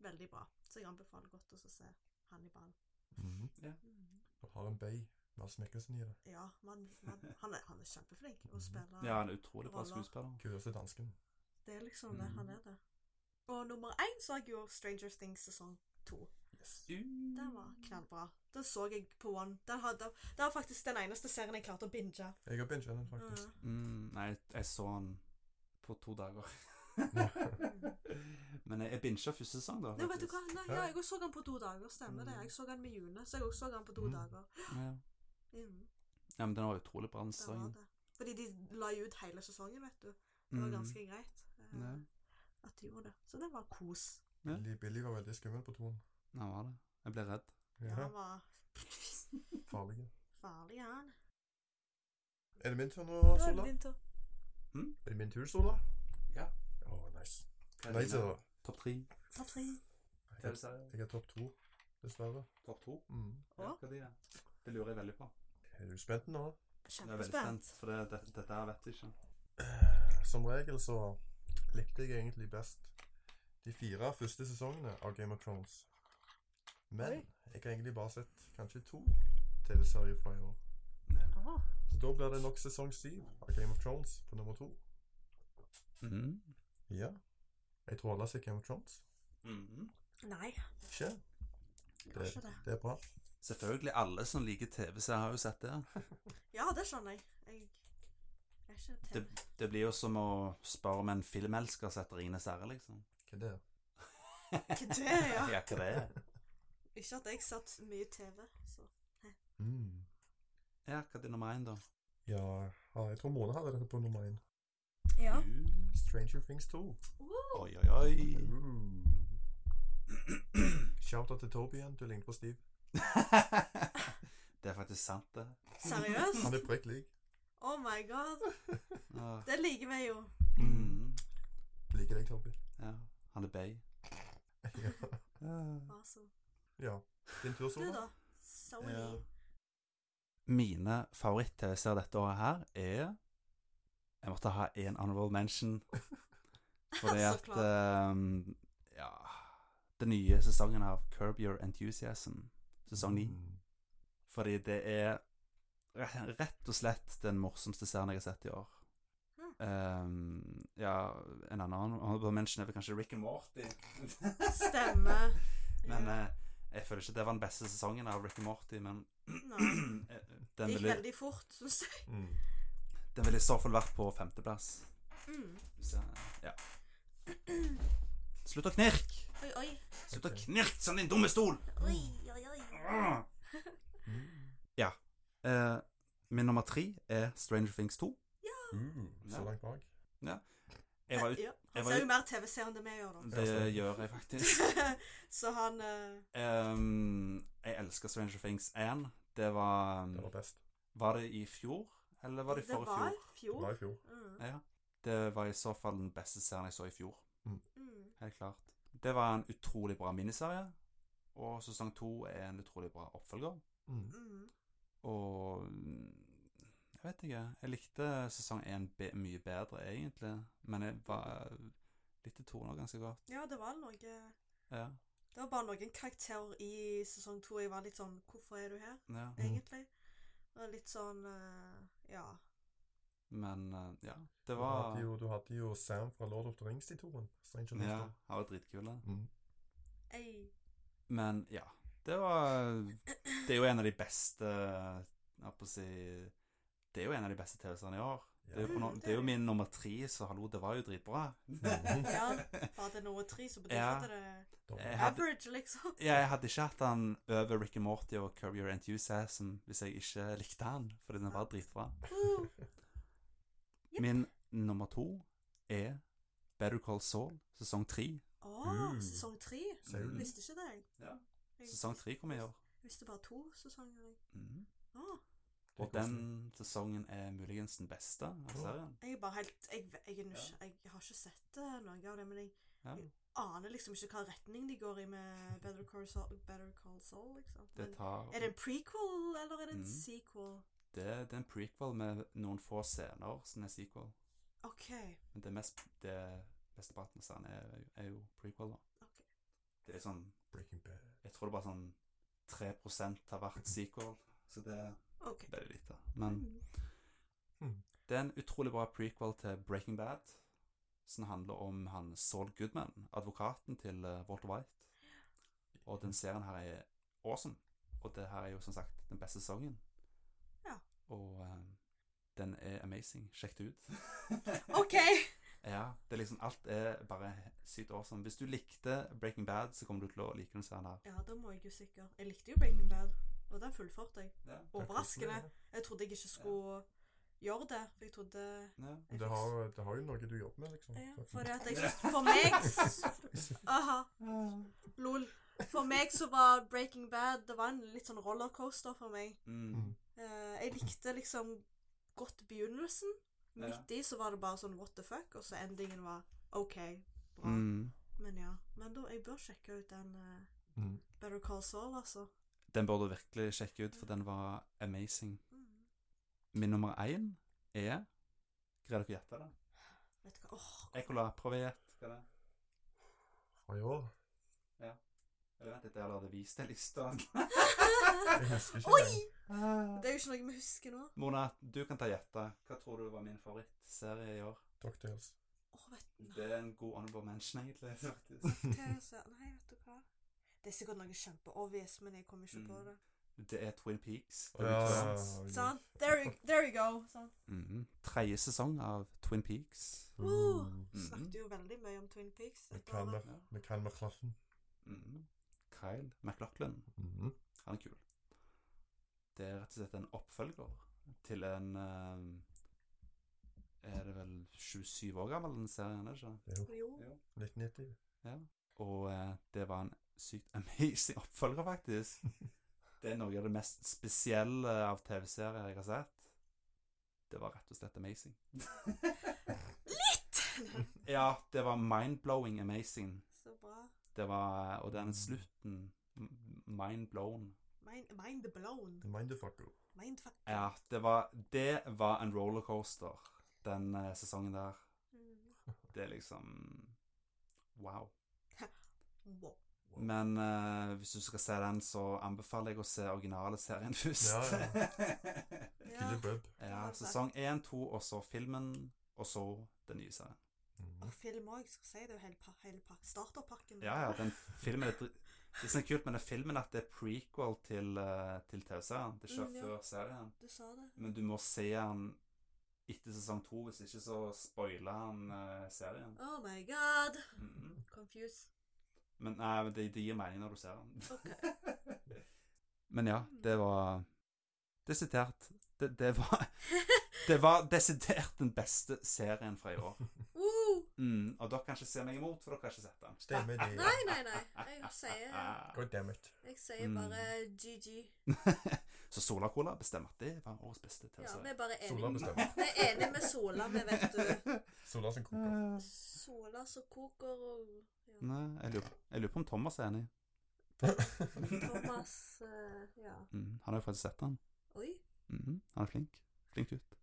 Speaker 4: veldig bra. Så jeg anbefaler godt også å se Hannibal.
Speaker 2: Mhm.
Speaker 4: Mm.
Speaker 2: Og har en bay. Mads Mikkelsen i det.
Speaker 4: Ja, man, man, han, er, han er kjempeflink å spille.
Speaker 3: Mm. ja, han er utrolig bra
Speaker 4: Roller.
Speaker 3: skuespiller.
Speaker 2: Kuleste dansken.
Speaker 4: Det er liksom det. Han
Speaker 3: Mm.
Speaker 4: er det. Og nummer én så jeg jo Stranger Things sesong to.
Speaker 2: Yes.
Speaker 4: Den var knallbra. Den så jeg på One. Den hadde, det var faktisk den eneste serien jeg klarte å binge.
Speaker 2: Jeg har binget den, faktisk.
Speaker 4: Mm.
Speaker 3: Mm, nei, jeg så han på to dager. Men jeg, jeg bincha første sesong, da.
Speaker 4: Nei, vet du
Speaker 3: faktisk.
Speaker 4: hva? Nei, ja, jeg også så den på to dager. Stemmer det.
Speaker 3: Mm.
Speaker 4: Jeg så den med June, så jeg også så den på to
Speaker 2: Mm.
Speaker 4: dager.
Speaker 3: Ja.
Speaker 4: Mm,
Speaker 3: ja, men den var utrolig bra, den
Speaker 4: det var
Speaker 3: sesongen.
Speaker 4: det. Fordi de la jo ut hele sesongen, vet du. Det var
Speaker 3: Mm.
Speaker 4: ganske greit eh,
Speaker 3: Ja.
Speaker 4: at de gjorde det. Så det var kos.
Speaker 3: Ja.
Speaker 2: Billy, Billy var veldig skummel på toen.
Speaker 3: Den var det. Jeg ble redd.
Speaker 4: Ja,
Speaker 2: Ja,
Speaker 4: han var
Speaker 2: farlig.
Speaker 4: farlig, han.
Speaker 2: Er det min tur nå,
Speaker 4: Nå er
Speaker 2: Sola?
Speaker 4: det din tur.
Speaker 3: Hm?
Speaker 2: Er det min tur, Sola?
Speaker 3: Ja.
Speaker 2: Å, nice.
Speaker 3: Hva er
Speaker 2: Nei,
Speaker 3: dine
Speaker 2: så
Speaker 3: Topp tre.
Speaker 4: Ta tre.
Speaker 2: jeg er- jeg er topp to, dessverre.
Speaker 3: Topp to?
Speaker 2: Mm.
Speaker 3: Ja,
Speaker 4: Å?
Speaker 3: hva er det? Det lurer jeg veldig på.
Speaker 2: Er du spent nå?
Speaker 3: Jeg er veldig
Speaker 4: Kjempespent.
Speaker 3: spent, for det, det, dette her vet jeg ikke.
Speaker 2: Som regel så likte jeg egentlig best de fire første sesongene av Game of Thrones. Men
Speaker 1: Oi.
Speaker 2: jeg har egentlig bare sett kanskje to TV-serier fra i år.
Speaker 4: Åh,
Speaker 2: Så da blir det nok sesong syv av Game of Thrones på nummer to.
Speaker 3: Mhm.
Speaker 2: Ja. Jeg tror alle har sett Game of Thrones.
Speaker 3: Mhm.
Speaker 4: Nei,
Speaker 2: Ikke?
Speaker 4: jeg har
Speaker 2: Det,
Speaker 4: ikke det.
Speaker 2: det er bra.
Speaker 3: Selvfølgelig, alle som liker TV-serier, har jo sett det.
Speaker 4: Ja, det skjønner jeg. Jeg jeg er ikke
Speaker 3: Det,
Speaker 4: TV.
Speaker 3: det blir jo som å spørre om en filmelsker setter Ringenes herre, liksom.
Speaker 2: Hva er det?
Speaker 4: Ikke det, ja.
Speaker 3: Ja, hva det er?
Speaker 4: Ikke at jeg satt mye TV, så
Speaker 2: Mm.
Speaker 3: Ja, hva er det nummer én, da?
Speaker 2: Ja, ja, jeg tror Mona hadde dette på nummer én.
Speaker 4: Ja.
Speaker 3: Uh,
Speaker 2: Stranger Things 2.
Speaker 4: Uh,
Speaker 3: Oi, oi, oi.
Speaker 2: Shout-out til Toby igjen. Du ligner på Steve.
Speaker 3: det er faktisk sant, det.
Speaker 4: seriøst?
Speaker 2: Han er prikk lik.
Speaker 4: Oh my god.
Speaker 3: Ah,
Speaker 4: Det liker vi jo.
Speaker 3: mhm.
Speaker 2: Mm. Liker deg, Toby.
Speaker 3: Ja, han er bay.
Speaker 2: Ja.
Speaker 3: Ja.
Speaker 4: Awesome.
Speaker 2: ja. Din tur,
Speaker 4: Du,
Speaker 2: Sola.
Speaker 4: da? Sony. Ja.
Speaker 3: Mine favoritt-TV-serier dette året her er Jeg måtte ha én honorable mention. Fordi
Speaker 4: Så
Speaker 3: at
Speaker 4: klart.
Speaker 3: ehm, Ja Den nye sesongen av Curb Your Enthusiasm, sesong ni.
Speaker 2: Mm.
Speaker 3: Fordi det er re- rett og slett den morsomste serien jeg har sett i år.
Speaker 4: Mm.
Speaker 3: Ehm, ja, en annen honorable mention er vel kanskje Rick and Morty.
Speaker 4: Stemmer.
Speaker 3: Men
Speaker 4: Ja.
Speaker 3: eh, jeg føler ikke det var den beste sesongen av Rick and Morty, men
Speaker 4: Nei.
Speaker 3: eh,
Speaker 4: Det
Speaker 3: den
Speaker 4: Mm, gikk
Speaker 3: ville,
Speaker 4: veldig fort, syns jeg.
Speaker 2: Mm.
Speaker 3: den ville i så fall vært på femteplass.
Speaker 4: Mm.
Speaker 3: Så, ja. Slutt å knirke!
Speaker 4: Oi, oi.
Speaker 3: Slutt å
Speaker 2: Ok.
Speaker 3: knirke som din dumme stol!
Speaker 4: Oi, oi, oi.
Speaker 3: Ah!
Speaker 2: Mm.
Speaker 3: Ja. Eh, min nummer tre er Stranger Things 2.
Speaker 2: Mm. Så
Speaker 3: Ja.
Speaker 2: langt bak.
Speaker 3: Jeg var ut,
Speaker 4: Ja,
Speaker 3: jeg
Speaker 4: han
Speaker 3: var
Speaker 4: ser
Speaker 3: ut-
Speaker 4: jo mer TV-seere enn det vi gjør, da.
Speaker 3: det gjør jeg faktisk.
Speaker 4: Så han eh,
Speaker 3: Ehm, jeg elsker Stranger Things 1. Det var um,
Speaker 2: Det var best.
Speaker 3: Var det i fjor, eller var det i
Speaker 4: Det
Speaker 3: forrige
Speaker 4: var
Speaker 3: fjor?
Speaker 4: i
Speaker 2: Det var
Speaker 4: fjor.
Speaker 2: i fjor.
Speaker 4: Mm.
Speaker 3: Ja. Det var i så fall den beste serien jeg så i fjor.
Speaker 4: Mm.
Speaker 3: Helt klart. Det var en utrolig bra miniserie, og sesong to er en utrolig bra oppfølger.
Speaker 2: Mm.
Speaker 4: Mm.
Speaker 3: Og mm, jeg vet ikke. Jeg likte sesong én be mye bedre, egentlig. Men jeg var, likte tonen ganske godt.
Speaker 4: Ja, det var noe
Speaker 3: Ja.
Speaker 4: Det var bare noen karakterer i sesong to jeg var litt sånn Hvorfor er du her,
Speaker 3: Ja.
Speaker 4: egentlig? Og litt sånn eh, Ja.
Speaker 3: Men eh, ja, det
Speaker 2: Du
Speaker 3: var
Speaker 2: hadde, jo, du hadde jo Sam fra Lord of the Rings i toren. Stranger Things.
Speaker 3: Ja,
Speaker 2: da.
Speaker 3: han var dritkul. da.
Speaker 2: Mm.
Speaker 4: Ei.
Speaker 3: Men ja, det var Det er jo en av de beste Jeg holdt på å si Det er jo en av de beste TV-seriene i år. Det er, jo på no,
Speaker 4: Mm, det
Speaker 3: det er jo
Speaker 4: er det.
Speaker 3: min nummer tre, så hallo, det var jo dritbra.
Speaker 2: Mm.
Speaker 4: Ja, var det noe tre, så betyr
Speaker 3: Ja.
Speaker 4: at det er
Speaker 2: Da-
Speaker 3: Jeg hadde,
Speaker 4: average, liksom.
Speaker 3: ja, jeg hadde ikke hatt han over Rick and Morty og Curb Your Enthusiasm hvis jeg ikke likte han, fordi den var dritbra.
Speaker 4: Uh, Jepp.
Speaker 3: Min nummer to er Better Call Saul sesong tre.
Speaker 4: Å,
Speaker 2: Mm.
Speaker 4: sesong tre?
Speaker 2: Ser du det?
Speaker 4: Visste ikke det, jeg.
Speaker 3: Ja.
Speaker 4: Jeg
Speaker 3: Mm. Sesong tre kommer i år.
Speaker 4: visste bare to sesonger. jeg.
Speaker 3: Mhm.
Speaker 4: Å,
Speaker 2: Mm. Det er
Speaker 3: Og den sesongen er muligens den beste av serien.
Speaker 4: jeg er bare helt jeg, jeg, er nysg- jeg har ikke sett eh, noe av det, men jeg
Speaker 3: Ja.
Speaker 4: aner liksom ikke hva retning de går i med Better Call Saul, Better Call Saul liksom.
Speaker 3: Det
Speaker 4: Men,
Speaker 3: tar
Speaker 4: er det en prequel, eller er det en
Speaker 3: Mm.
Speaker 4: sequel?
Speaker 3: Det, det er en prequel med noen få scener som er sequel.
Speaker 4: OK.
Speaker 3: Men det, mest, det beste parten av serien er, er jo prequel, da.
Speaker 4: Ok.
Speaker 3: Det er sånn
Speaker 2: Breaking Bad.
Speaker 3: Jeg tror det bare sånn 3 har vært sequel, så det er
Speaker 4: ok.
Speaker 3: veldig lite. Men
Speaker 4: Mm.
Speaker 2: Mm.
Speaker 3: det er en utrolig bra prequel til Breaking Bad, som handler om han Saul Goodman, advokaten til eh, Walter White. Og den serien her er awesome. Og det her er jo som sagt den beste sesongen.
Speaker 4: Ja.
Speaker 3: Og eh, den er amazing. Sjekk det ut.
Speaker 4: OK!
Speaker 3: Ja, det er liksom Alt er bare sykt awesome. Hvis du likte Breaking Bad, så kommer du til å like den serien her.
Speaker 4: Ja, da må jeg jo sikkert Jeg likte jo Breaking Bad, og den fullførte jeg.
Speaker 3: Ja.
Speaker 4: Overraskende. Jeg trodde jeg ikke skulle gjøre det, for jeg trodde
Speaker 3: Ja.
Speaker 4: jeg
Speaker 2: Det
Speaker 4: fikk-
Speaker 2: har, det har jo noe du jobber med, liksom.
Speaker 4: Ja, for det at jeg synes For meg s- Aha. Lol. For meg så var Breaking Bad Det var en litt sånn rollercoaster for meg.
Speaker 3: Mm.
Speaker 4: Eh, jeg likte liksom godt begynnelsen.
Speaker 3: Ja.
Speaker 4: Midt i så var det bare sånn what the fuck, og så endingen var OK, bra.
Speaker 3: Mm.
Speaker 4: Men ja. Men da, jeg bør sjekke ut den eh,
Speaker 2: Mm.
Speaker 4: Better Call Saul, altså.
Speaker 3: Den bør du virkelig sjekke ut, for den var amazing.
Speaker 4: Mm.
Speaker 3: Min nummer én er Greier dere å gjette det?
Speaker 4: Vet du hva Åh,
Speaker 3: Ekkola, prøv å gjette. Hva er det?
Speaker 2: Fra i år.
Speaker 3: Eller vent litt, jeg har allerede vist deg lista.
Speaker 2: Jeg husker ikke det.
Speaker 4: det er jo ikke noe vi husker nå.
Speaker 3: Mona, du kan ta gjette. Hva tror du var min favorittserie i år?
Speaker 2: Doctors.
Speaker 4: Åh, vet
Speaker 3: Det er en god honorable mention, egentlig. faktisk.
Speaker 4: du hva jeg ser? Nei, vet du hva. Det er sikkert noe kjempeobvious, men jeg kommer ikke på
Speaker 3: Mm.
Speaker 4: det.
Speaker 3: Det er Twin Peaks. The
Speaker 2: Ja,
Speaker 3: Returns.
Speaker 2: ja, ja.
Speaker 4: Sånn. There you, there you go. Sånn.
Speaker 3: Mhm. Tredje sesong av Twin Peaks.
Speaker 4: Woo!
Speaker 2: Mm.
Speaker 3: Mm-hmm.
Speaker 4: Snakket jo veldig mye om Twin Peaks.
Speaker 2: Vi
Speaker 4: etter
Speaker 2: kan
Speaker 4: året.
Speaker 2: med, vi kan med klassen.
Speaker 3: Mhm. Kyle MacLachlan,
Speaker 2: Mm.
Speaker 3: han er kul. Det er rett og slett en oppfølger til en eh, Er det vel 27 år gammel, den serien, er det ikke?
Speaker 2: Det er jo
Speaker 4: Jo.
Speaker 2: 1990.
Speaker 3: Og eh, det var en sykt amazing oppfølger, faktisk. Det er noe av det mest spesielle av TV-serier jeg har sett. Det var rett og slett amazing. Ja, det var mind-blowing amazing.
Speaker 4: Så bra.
Speaker 3: Det var, eh, og den slutten m- Mind-blown.
Speaker 4: Mind, mind blown.
Speaker 2: The Mindfucker.
Speaker 4: Mindfuck.
Speaker 3: Ja, det var, det var en rollercoaster, den eh, sesongen der.
Speaker 4: Mm.
Speaker 3: Det er liksom Wow.
Speaker 4: Wow.
Speaker 3: Men eh, hvis du skal se den, så anbefaler jeg å se originale serien først. Ja, ja.
Speaker 2: Killer Bub.
Speaker 3: sesong 1, 2, og så filmen, og så den nye serien.
Speaker 2: Mm.
Speaker 4: Og film òg, skal jeg si. Det er jo hele, pa hele pa starterpakken.
Speaker 3: Ja, ja, den filmen er dri- Det som er kult med den filmen, er at det er prequel til, eh, til TV-serien. Det skjer
Speaker 4: Mm, ja.
Speaker 3: før serien.
Speaker 4: Du sa det.
Speaker 3: Men du må se den etter sesong 2, hvis ikke så spoiler han eh, serien.
Speaker 4: Oh my god.
Speaker 3: Mhm.
Speaker 4: Confused.
Speaker 3: Men nei, men det, det gir mening når du ser den.
Speaker 4: Ok.
Speaker 3: Men ja, det var Desidert det, det var Det var desidert den beste serien fra i år.
Speaker 4: Woo!
Speaker 3: Mm, og dere kan ikke se meg imot, for dere har ikke sett den. Ah.
Speaker 2: Stemmer det.
Speaker 4: Nei, nei, nei. Jeg sier,
Speaker 2: God damn it.
Speaker 4: jeg sier
Speaker 3: Mm.
Speaker 4: bare GG.
Speaker 3: Så Sola Cola bestemmer at det var årets beste
Speaker 4: Ja, vi
Speaker 3: TV-serie.
Speaker 4: er bare
Speaker 2: Sola
Speaker 4: enige.
Speaker 2: bestemmer.
Speaker 4: Vi er enige med Sola, vi vet du.
Speaker 2: Sola som koker.
Speaker 4: Sola som koker og ja.
Speaker 3: Nei, jeg lurer, jeg lurer på om Thomas er enig.
Speaker 4: Thomas eh, Ja.
Speaker 3: Mm, han har jo faktisk sett den.
Speaker 4: Oi.
Speaker 3: Mhm, han er flink. Flink gutt.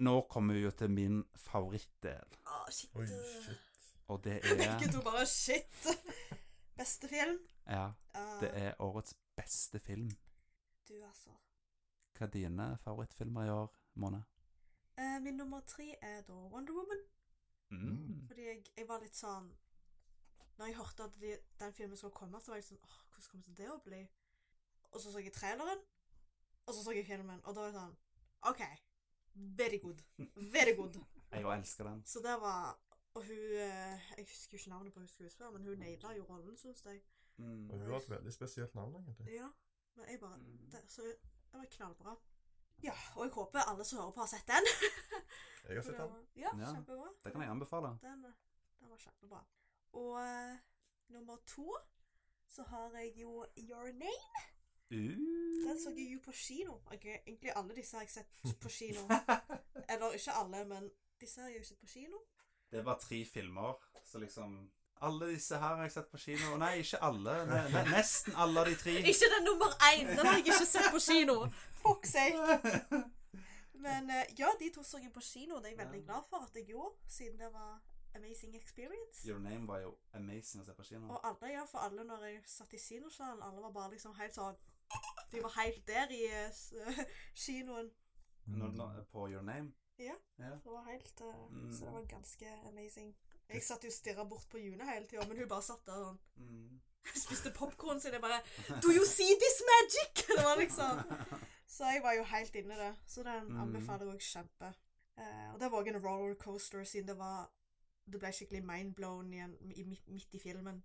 Speaker 3: Nå kommer vi jo til min favorittdel,
Speaker 4: Ah, shit.
Speaker 2: Oi, shit.
Speaker 3: og det
Speaker 4: Begge
Speaker 3: er
Speaker 4: to bare shit. Beste film.
Speaker 3: Ja,
Speaker 4: Ah,
Speaker 3: det er årets beste film.
Speaker 4: Du, altså.
Speaker 3: Hva er dine favorittfilmer i år, Mona?
Speaker 4: Eh, min nummer tre er da Wonder Woman.
Speaker 2: Mm.
Speaker 4: Fordi jeg, jeg var litt sånn Når jeg hørte at de, den filmen skulle komme, så var jeg sånn Åh, hvordan kommer det til å bli? Og så så jeg traileren, og så så jeg filmen, og da var det sånn OK. Very good. Very good.
Speaker 3: Jeg jo elsker den.
Speaker 4: Så det var Og hun eh, Jeg husker jo ikke navnet på hun skuespilleren, men hun naila jo rollen, syns jeg.
Speaker 3: Mm.
Speaker 2: Og hun har et veldig spesielt navn, egentlig.
Speaker 4: Ja. Men jeg bare det, Så det var knallbra. Ja, og jeg håper alle som hører på, har sett den.
Speaker 2: Jeg har
Speaker 4: For
Speaker 2: sett
Speaker 4: det
Speaker 2: den.
Speaker 4: var- Ja,
Speaker 3: Ja.
Speaker 4: kjempebra.
Speaker 3: Det kan jeg anbefale.
Speaker 4: Den, eh, den var kjempebra. Og eh, nummer to så har jeg jo Your Name.
Speaker 3: Uh.
Speaker 4: Den så jeg jo på kino. Ok, egentlig alle disse har jeg sett på kino. Eller ikke alle, men disse har jeg jo sett på kino.
Speaker 3: Det var tre filmer, så liksom Alle disse her har jeg sett på kino. Nei, ikke alle. Ne ne nesten alle av de tre.
Speaker 4: Ikke den nummer én! Den har jeg ikke sett på kino. Fuck sake. Men eh, ja, de to så jeg på kino. Det er jeg veldig glad for at jeg gjorde, siden det var amazing experience.
Speaker 3: Your Name var jo amazing å se på kino.
Speaker 4: Og alle, ja, for alle når jeg satt i kinosalen, alle var bare liksom helt sånn De var helt der i eh, s- kinoen.
Speaker 3: Når du la på Your Name.
Speaker 4: Det var helt eh,
Speaker 3: Mm.
Speaker 4: Så det var ganske amazing. Jeg satt jo og stirra bort på June hele tida, men hun bare satt der sånn
Speaker 3: Mm.
Speaker 4: Spiste popkorn sin. Jeg bare Do you see this magic?! Det var liksom Så jeg var jo helt inni det. Så den
Speaker 3: Mm.
Speaker 4: anbefaler jeg kjempe. Eh, og det var òg en rollercoaster, siden det var Det ble skikkelig mindblown igjen i, midt, midt i filmen.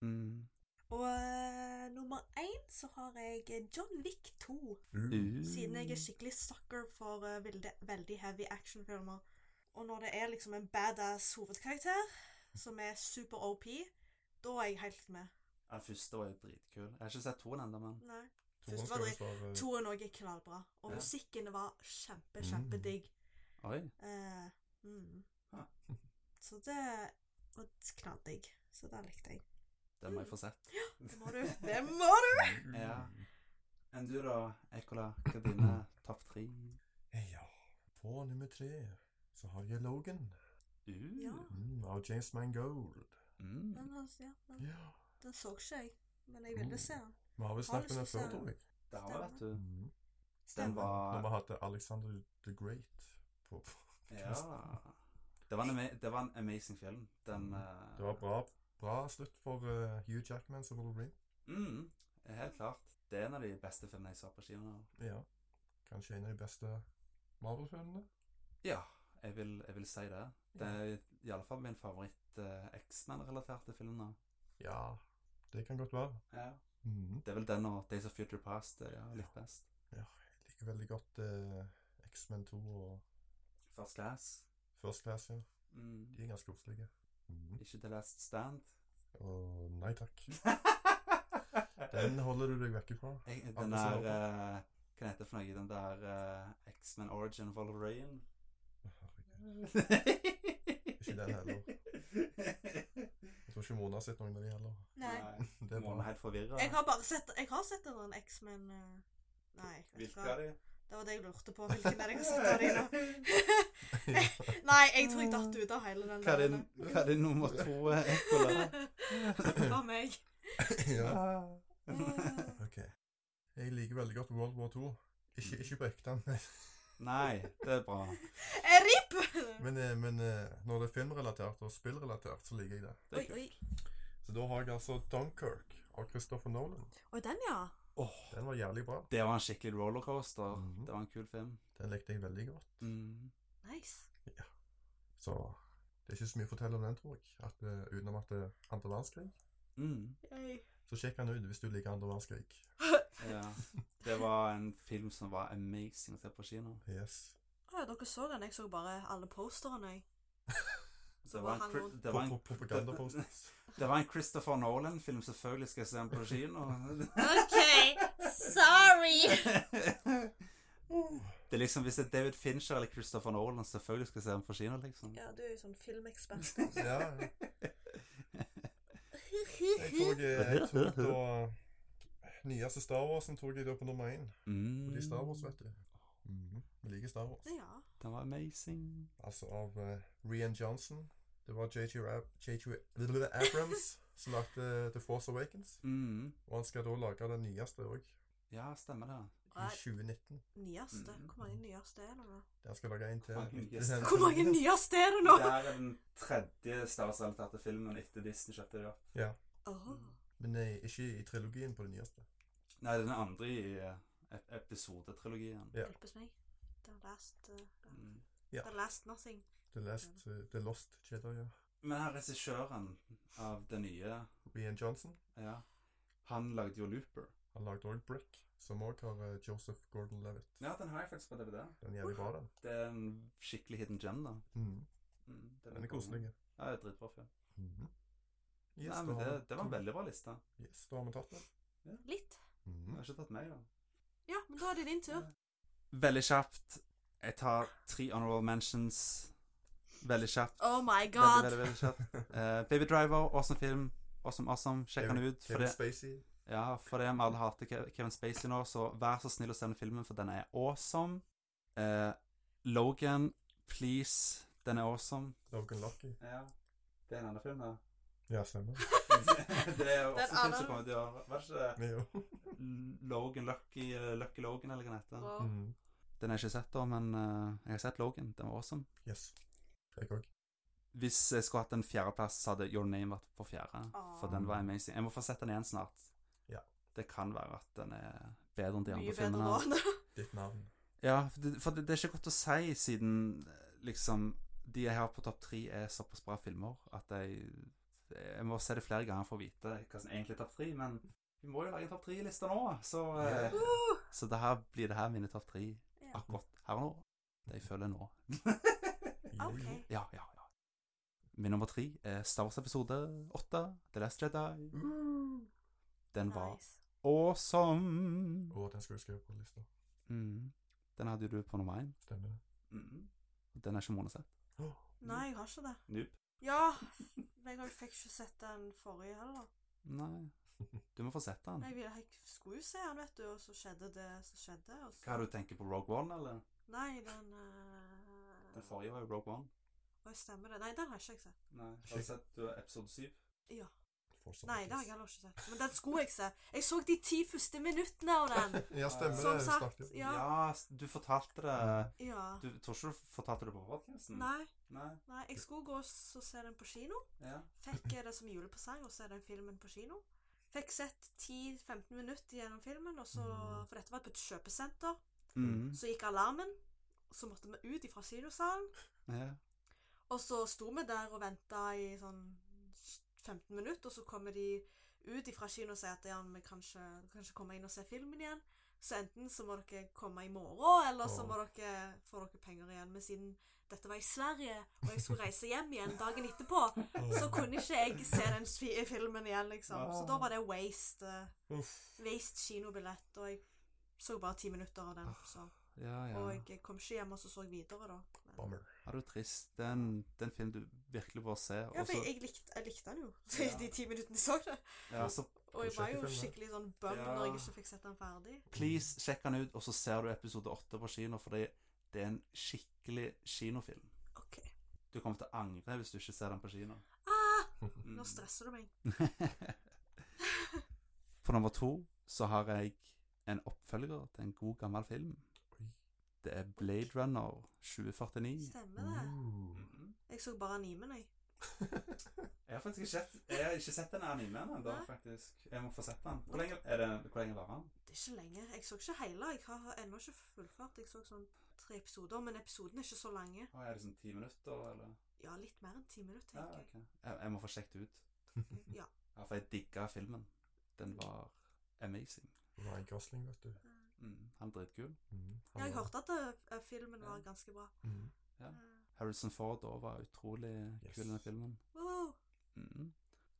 Speaker 3: Mm.
Speaker 4: Og eh, nummer én så har jeg eh, John Wick 2.
Speaker 2: Uh.
Speaker 4: Siden jeg
Speaker 3: Mm.
Speaker 4: er skikkelig sucker for eh, veldig, veldig heavy actionfilmer. Og når det er liksom en badass hovedkarakter som er super OP, da er jeg helt med.
Speaker 3: Den første var jo dritkul. Jeg har ikke sett to ennå, men
Speaker 4: Nei.
Speaker 2: Toren
Speaker 4: Først
Speaker 2: skal jo
Speaker 4: var det
Speaker 2: svare-
Speaker 4: toen òg er knallbra. Og
Speaker 3: Ja.
Speaker 4: musikken var kjempe,
Speaker 2: Mm.
Speaker 4: kjempedigg.
Speaker 3: Oi.
Speaker 4: Eh, mm.
Speaker 3: Ah.
Speaker 4: Så det var knalldigg. Så det likte jeg.
Speaker 3: Den må jeg få sett.
Speaker 4: Det må du. Det må du!
Speaker 3: Ja. Enn du da, Ekola? Hva er dine topp tre?
Speaker 2: Ja. På nummer tre så har jeg Logan
Speaker 3: Uh.
Speaker 4: Ja.
Speaker 2: mm, av James Mangold.
Speaker 3: Mm.
Speaker 4: Den, altså, ja, den,
Speaker 2: Ja.
Speaker 4: den så ikke jeg, men jeg ville se den.
Speaker 2: Vi har vel snakket om den før, tror jeg.
Speaker 3: Det har eh, vet du.
Speaker 2: Mm.
Speaker 3: Den
Speaker 2: Når vi
Speaker 3: var
Speaker 2: hadde Alexander the Great på
Speaker 3: Ja. Det var en, ama det var en amazing film. Den eh,
Speaker 2: Det var bra, bra slutt for eh, Hugh Jackman som Wolverine.
Speaker 3: Mm, helt klart. Det er en av de beste filmene jeg så på kino.
Speaker 2: Ja. Kanskje en av de beste Marvel-filmene.
Speaker 3: Ja, jeg vil, jeg vil si det. Det er iallfall min favoritt eh, X-Men-relaterte film nå.
Speaker 2: Ja, det kan godt være.
Speaker 3: Ja.
Speaker 2: Mm.
Speaker 3: Det er vel den og Days of Future Past jeg har likt best.
Speaker 2: Ja, jeg liker veldig godt eh, X-Men 2 og
Speaker 3: First Class.
Speaker 2: First Class, ja.
Speaker 3: Mm.
Speaker 2: De er ganske koselige. Mm.
Speaker 3: Ikke The Last Stand.
Speaker 2: Og nei takk.
Speaker 3: den,
Speaker 2: Den holder du deg vekk ifra.
Speaker 3: jeg,
Speaker 2: Alle
Speaker 3: den der
Speaker 2: ser opp.
Speaker 3: eh, Hva heter det for noe? Den der eh, X-Men Origin Wolverine?
Speaker 2: Herregud.
Speaker 3: Ikke
Speaker 2: den heller. Jeg tror ikke Mona har sett noen av de heller.
Speaker 4: Nei.
Speaker 2: Det er
Speaker 3: Mona er
Speaker 2: bra.
Speaker 3: helt forvirra.
Speaker 4: Jeg har bare sett Jeg har sett en X-Men eh, Nei, vet du hva.
Speaker 3: Virka de?
Speaker 4: Det var det jeg lurte på. Hvilken er det jeg har sett av de nå? Nei, jeg tror jeg datt ut av hele den
Speaker 3: Hva er din, hva er din nummer to eh, ekkola?
Speaker 4: Det var meg.
Speaker 2: ja.
Speaker 4: Eh,
Speaker 2: Ok. Jeg liker veldig godt World War 2. Ikke, ikke på ekte, men,
Speaker 3: Nei, det er bra.
Speaker 4: Eh, RIP!
Speaker 2: men, eh, men eh, når det er filmrelatert og spillrelatert, så liker jeg det.
Speaker 3: Det
Speaker 4: Oi,
Speaker 3: er kult.
Speaker 4: oi.
Speaker 2: Så da har jeg altså Dunkirk av Christopher Nolan.
Speaker 4: Oi, den, ja.
Speaker 3: Åh,
Speaker 2: Den var jævlig bra.
Speaker 3: det var en skikkelig rollercoaster.
Speaker 2: Mhm.
Speaker 3: Det var en kul film.
Speaker 2: Den likte jeg veldig godt.
Speaker 3: Mm.
Speaker 4: Nice.
Speaker 2: Så det er ikke så mye å fortelle om den, tror jeg. At, eh, utenom at det er andre verdenskrig.
Speaker 3: Mm.
Speaker 4: Yay.
Speaker 2: Så sjekk den ut hvis du liker andre verdenskrig.
Speaker 3: Ja. Det var en film som var amazing å se på kino.
Speaker 2: Yes.
Speaker 4: Å ja, dere så den. Jeg så bare alle posterne, jeg.
Speaker 3: Det
Speaker 4: Så
Speaker 3: var
Speaker 4: var
Speaker 3: en,
Speaker 4: han
Speaker 3: Chri-
Speaker 4: rundt.
Speaker 3: det var en,
Speaker 2: Pro- pro- Propagandaposters.
Speaker 3: det var en Christopher Nolan-film, selvfølgelig skal jeg se den på kino.
Speaker 4: OK, sorry!
Speaker 3: Det er liksom, Hvis det er David Fincher eller Christopher Nolan, selvfølgelig skal jeg se den på kino, liksom.
Speaker 4: Ja, du er jo sånn filmekspert.
Speaker 2: ja, ja. Jeg tok, eh, jeg tok da Nyeste Star Wars tok jeg da på nummer én.
Speaker 3: Mm.
Speaker 2: Fordi Star Wars, vet du. Mhm. Jeg liker Star Wars.
Speaker 4: Ja.
Speaker 3: Den var amazing.
Speaker 2: Altså av eh, Rian Johnson. Det var JJ Ab- JJ Abrams som lagde The Force Awakens.
Speaker 3: Mm.
Speaker 2: Og han skal da lage den nyeste òg,
Speaker 3: Ja, stemmer det.
Speaker 4: Og
Speaker 2: i
Speaker 4: er
Speaker 2: 2019.
Speaker 4: nyeste.
Speaker 3: Mm.
Speaker 4: Hvor mange nyeste er det nå?
Speaker 2: Der skal lage en til.
Speaker 3: Hvor mange
Speaker 2: etter
Speaker 3: nyeste-
Speaker 2: den.
Speaker 4: Hvor mange nyeste er det nå?
Speaker 3: Det er den tredje Star Wars-relaterte filmen etter Disney kjøpte det opp.
Speaker 4: Åh.
Speaker 2: Men nei, ikke i trilogien på det nyeste.
Speaker 3: Nei, den andre i eh, ep- episodetrilogien.
Speaker 2: Ja.
Speaker 4: Hjelpes meg. The last, uh,
Speaker 3: Mm.
Speaker 2: Ja.
Speaker 4: the last nothing.
Speaker 2: The, Last, eh, The Lost Jedi, ja.
Speaker 3: Men her regissøren av det nye,
Speaker 2: Rian Johnson.
Speaker 3: ja, han lagde jo Looper.
Speaker 2: Han lagde òg Brick, som òg har eh, Joseph Gordon-Levitt.
Speaker 3: Ja, den har jeg faktisk på DVD.
Speaker 2: Den er jævlig bra, den.
Speaker 3: Det er en skikkelig hidden gem, da.
Speaker 2: Mm.
Speaker 3: Mm, det
Speaker 2: Den er koselig. ja.
Speaker 3: Ja, det er dritbra film.
Speaker 2: Mhm. Yes,
Speaker 3: Nei,
Speaker 2: da
Speaker 3: men det,
Speaker 2: har vi-
Speaker 3: det var en veldig bra
Speaker 2: Mm.
Speaker 3: liste.
Speaker 2: Yes, da har vi tatt den.
Speaker 4: Litt.
Speaker 3: Jeg
Speaker 2: Mhm.
Speaker 3: har ikke tatt meg, da.
Speaker 4: Ja, men da er det din tur.
Speaker 3: Veldig kjapt. Jeg tar tre honorable mentions. Veldig kjapt.
Speaker 4: Oh my
Speaker 3: Veldig,
Speaker 4: god.
Speaker 3: veldig, veldig kjapt. Eh, Baby Driver, awesome film. Awesome, awesome. Sjekk den ut. For
Speaker 2: Kevin
Speaker 3: det,
Speaker 2: Spacey.
Speaker 3: ja, for det vi alle hater Ke- Kevin Spacey nå, så vær så snill å sende filmen, for den er awesome. Eh, Logan, please. Den er awesome.
Speaker 2: Logan Lucky.
Speaker 3: Ja. Det er en annen film, da.
Speaker 2: Ja, stemmer.
Speaker 3: det er jo
Speaker 4: Den
Speaker 3: også en film
Speaker 4: andre-
Speaker 3: som kommer til å Var ikke det
Speaker 2: Vi jo.
Speaker 3: Logan Lucky, eh, Lucky Logan, eller hva den heter?
Speaker 4: Wow.
Speaker 2: Mm.
Speaker 3: Den har jeg ikke sett, da, men eh, jeg har sett Logan. Den var awesome.
Speaker 2: Yes. Jeg òg.
Speaker 3: Hvis jeg skulle hatt en fjerdeplass, så hadde Your Name vært på fjerde. For
Speaker 4: Åh.
Speaker 3: den var amazing. Jeg må få sett den igjen snart.
Speaker 2: Ja.
Speaker 3: Det kan være at den er bedre enn de
Speaker 4: Mye
Speaker 3: andre
Speaker 4: bedre
Speaker 3: filmene.
Speaker 4: nå.
Speaker 2: Ditt navn.
Speaker 3: Ja, for, det, for det, det er ikke godt å si, siden eh, liksom de jeg har på topp tre, er såpass bra filmer at jeg, jeg må se det flere ganger for å vite hva som egentlig er topp tre. Men vi må jo lage en topp tre-liste nå, så, eh,
Speaker 4: Uh.
Speaker 3: så det her blir det her mine topp tre
Speaker 4: Ja.
Speaker 3: akkurat her og nå. Det jeg føler nå.
Speaker 2: Jo,
Speaker 4: Ah, OK.
Speaker 2: jo.
Speaker 3: Ja, ja, ja. Min nummer tre er Star Wars episode 8, The Last Jedi. Den var
Speaker 4: Nice.
Speaker 3: awesome!
Speaker 2: Og den skal du skrive på lista.
Speaker 3: Mm. Den hadde jo du på nummer én.
Speaker 2: Stemmer det?
Speaker 3: Mm. Den er ikke Mona sett.
Speaker 4: Nei, jeg har ikke det.
Speaker 3: Nope.
Speaker 4: Ja. Men jeg har- fikk ikke sett den forrige heller.
Speaker 3: Nei. Du må få sett den.
Speaker 4: Jeg, ville- jeg skulle jo se den, vet du, og så skjedde det som skjedde. Og
Speaker 3: Hva
Speaker 4: så...
Speaker 3: har du tenker på Rogue One, eller?
Speaker 4: Nei, den eh,
Speaker 3: Den forrige var jo Rogue One.
Speaker 4: Oi, stemmer det. Nei, den har ikke jeg sett.
Speaker 3: Nei. Har du sett du, episode 7?
Speaker 4: Ja.
Speaker 2: Fortsatt
Speaker 4: Nei, det har jeg
Speaker 2: ikke.
Speaker 4: heller ikke sett. Men den skulle jeg se. Jeg så de ti første minuttene av den.
Speaker 2: Ja, stemmer
Speaker 4: Som
Speaker 2: det. Vi
Speaker 4: sagt.
Speaker 2: snakket jo.
Speaker 4: Ja.
Speaker 3: s- du fortalte det
Speaker 4: Ja.
Speaker 3: Du tror ikke du fortalte det på podcasten?
Speaker 4: Nei,
Speaker 3: Nei.
Speaker 4: nei, jeg skulle gå og s- og se den på kino.
Speaker 3: Ja.
Speaker 4: Fikk jeg det som julepresang å se den filmen på kino. Fikk sett 10-15 minutter gjennom filmen, og så,
Speaker 2: Mm.
Speaker 4: for dette var på et kjøpesenter.
Speaker 3: Mm.
Speaker 4: Så gikk alarmen, så måtte vi ut ifra kinosalen.
Speaker 3: Ja.
Speaker 4: Og så sto vi der og venta i sånn 15 minutter, og så kommer de ut ifra kino og sier at ja, vi kan ikke, du kan ikke komme inn og se filmen igjen. Så enten så må dere komme i morgen, eller så
Speaker 2: Åh.
Speaker 4: må dere få dere penger igjen. Men siden dette var i Sverige, og jeg skulle reise hjem igjen dagen etterpå, så kunne ikke jeg se den fi- filmen igjen, liksom. Så da var det waste. eh,
Speaker 2: Uff.
Speaker 4: Waste kinobillett. Og jeg så bare ti minutter av den. Så.
Speaker 3: ja, ja.
Speaker 4: Og jeg kom ikke hjem og så så jeg videre, da. Men,
Speaker 2: Bummer.
Speaker 3: Ja, det er trist. Det er en, det er en film du virkelig bør se.
Speaker 4: ja,
Speaker 3: Og
Speaker 4: for
Speaker 3: så
Speaker 4: jeg, jeg, likte, jeg likte den jo.
Speaker 3: Ja.
Speaker 4: De ti minuttene jeg så det.
Speaker 3: ja, så
Speaker 4: Og jeg
Speaker 2: Prosjekt
Speaker 4: var
Speaker 2: i
Speaker 4: jo
Speaker 2: filmen.
Speaker 4: skikkelig sånn bum
Speaker 3: Ja.
Speaker 4: når jeg ikke fikk sett den ferdig.
Speaker 3: please, sjekk den ut, og så ser du episode 8 på kino, fordi det er en skikkelig kinofilm.
Speaker 4: OK.
Speaker 3: Du kommer til å angre hvis du ikke ser den på kino.
Speaker 4: Ah,
Speaker 3: Mm.
Speaker 4: nå stresser du meg.
Speaker 3: på nummer to så har jeg en oppfølger til en god gammel film.
Speaker 2: Oi.
Speaker 3: Det er Blade Runner 2049.
Speaker 4: Stemmer det.
Speaker 2: Uh.
Speaker 3: Mhm.
Speaker 4: Jeg så bare animen, jeg.
Speaker 3: Jeg har faktisk ikke sett, jeg har ikke sett den animen ennå,
Speaker 4: Nei.
Speaker 3: faktisk. Jeg må få sett den. Hvor lenge, er det, hvor lenge var den?
Speaker 4: Det er ikke lenge. Jeg så ikke hele. Jeg har ennå ikke fullført. Jeg så sånn tre episoder, men episodene er ikke så lange.
Speaker 3: Å, er det sånn ti minutter, eller?
Speaker 4: Ja, litt mer enn ti minutter,
Speaker 3: Ja,
Speaker 4: tenker jeg.
Speaker 3: ok. Jeg, jeg må få sjekket det ut.
Speaker 4: Ja.
Speaker 3: Ja, for jeg digga filmen. Den var amazing.
Speaker 2: Uh, Ryan Gosling, vet du.
Speaker 3: Mm, han er dritkul.
Speaker 2: Mm.
Speaker 4: Ja, jeg hørte at eh, filmen var
Speaker 3: Ja.
Speaker 4: ganske bra.
Speaker 2: Mm.
Speaker 3: Ja.
Speaker 4: Eh,
Speaker 3: Harrison Ford også var utrolig
Speaker 2: Yes.
Speaker 3: kul i den filmen.
Speaker 4: wow.
Speaker 3: Mm.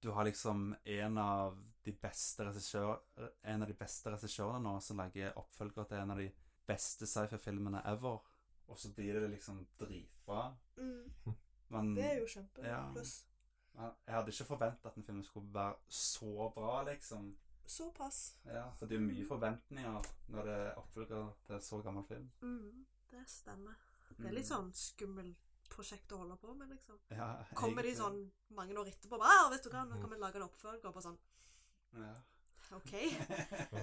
Speaker 3: Du har liksom en av de beste regissør- En av de beste regissørene nå som lager oppfølger til en av de beste sci-fi-filmene ever. Og så blir det liksom dritbra.
Speaker 4: Mm,
Speaker 3: Men
Speaker 4: det er jo kjempe
Speaker 3: Ja.
Speaker 4: pluss.
Speaker 3: jeg hadde ikke forventa at den filmen skulle være så bra, liksom.
Speaker 4: Såpass.
Speaker 3: Ja, for det er jo mye forventninger når det er oppfølger til en så gammel film.
Speaker 4: Mm. Det stemmer. Det er
Speaker 3: Mm.
Speaker 4: litt sånn skummel prosjekt å holde på med, liksom.
Speaker 3: ja,
Speaker 4: Kommer de
Speaker 3: egentlig.
Speaker 4: sånn mange år etterpå bare, «Ah, vet du hva, nå kan vi lage en oppfølger, bare sånn
Speaker 3: ja.
Speaker 4: OK.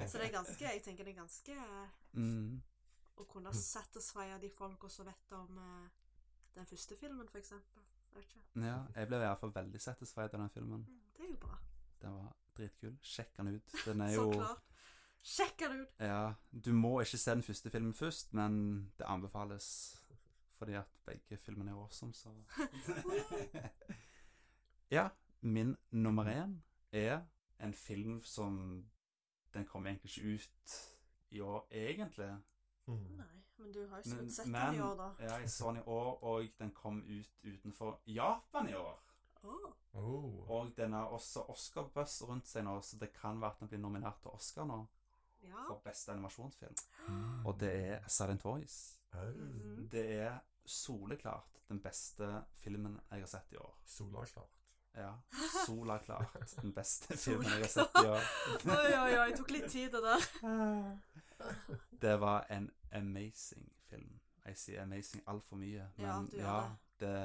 Speaker 4: Så det er ganske Jeg tenker det er ganske eh,
Speaker 3: mm.
Speaker 4: Å kunne satisfye de folka som vet om eh, den første filmen, for eksempel. Jeg vet ikke.
Speaker 3: ja, jeg ble i hvert fall veldig satisfied av den filmen.
Speaker 4: Mm, Det er jo bra.
Speaker 3: Den var dritkul. Sjekk den ut. Den er
Speaker 4: Så
Speaker 3: jo
Speaker 4: klart. Sjekk den ut!
Speaker 3: Ja, du må ikke se den første filmen først, men det anbefales fordi at begge filmene er awesome, så Ja, min nummer én er en film som Den kommer egentlig ikke ut i år, egentlig.
Speaker 2: Mm.
Speaker 4: Nei, men du har jo
Speaker 3: Men,
Speaker 4: sikkert sett den
Speaker 3: men
Speaker 4: i år, da.
Speaker 3: ja, jeg så den i år, og den kom ut utenfor Japan i år.
Speaker 4: Åh,
Speaker 2: Oh.
Speaker 3: Og den har også Oscar-buss rundt seg nå, så det kan være at den blir nominert til Oscar nå
Speaker 4: ja.
Speaker 3: for beste animasjonsfilm.
Speaker 2: Mm.
Speaker 3: Og det er Silent Voice.
Speaker 2: Au.
Speaker 4: Mhm.
Speaker 3: Det er soleklart den beste filmen jeg har sett i år.
Speaker 2: Sola er klart.
Speaker 3: Ja, soleklart den beste filmen jeg har sett i år.
Speaker 4: Oi, oi, oi, tok litt tid, det der.
Speaker 3: Det var en amazing film. Jeg sier amazing altfor mye,
Speaker 4: Ja,
Speaker 3: men
Speaker 4: du gjør
Speaker 3: ja, det,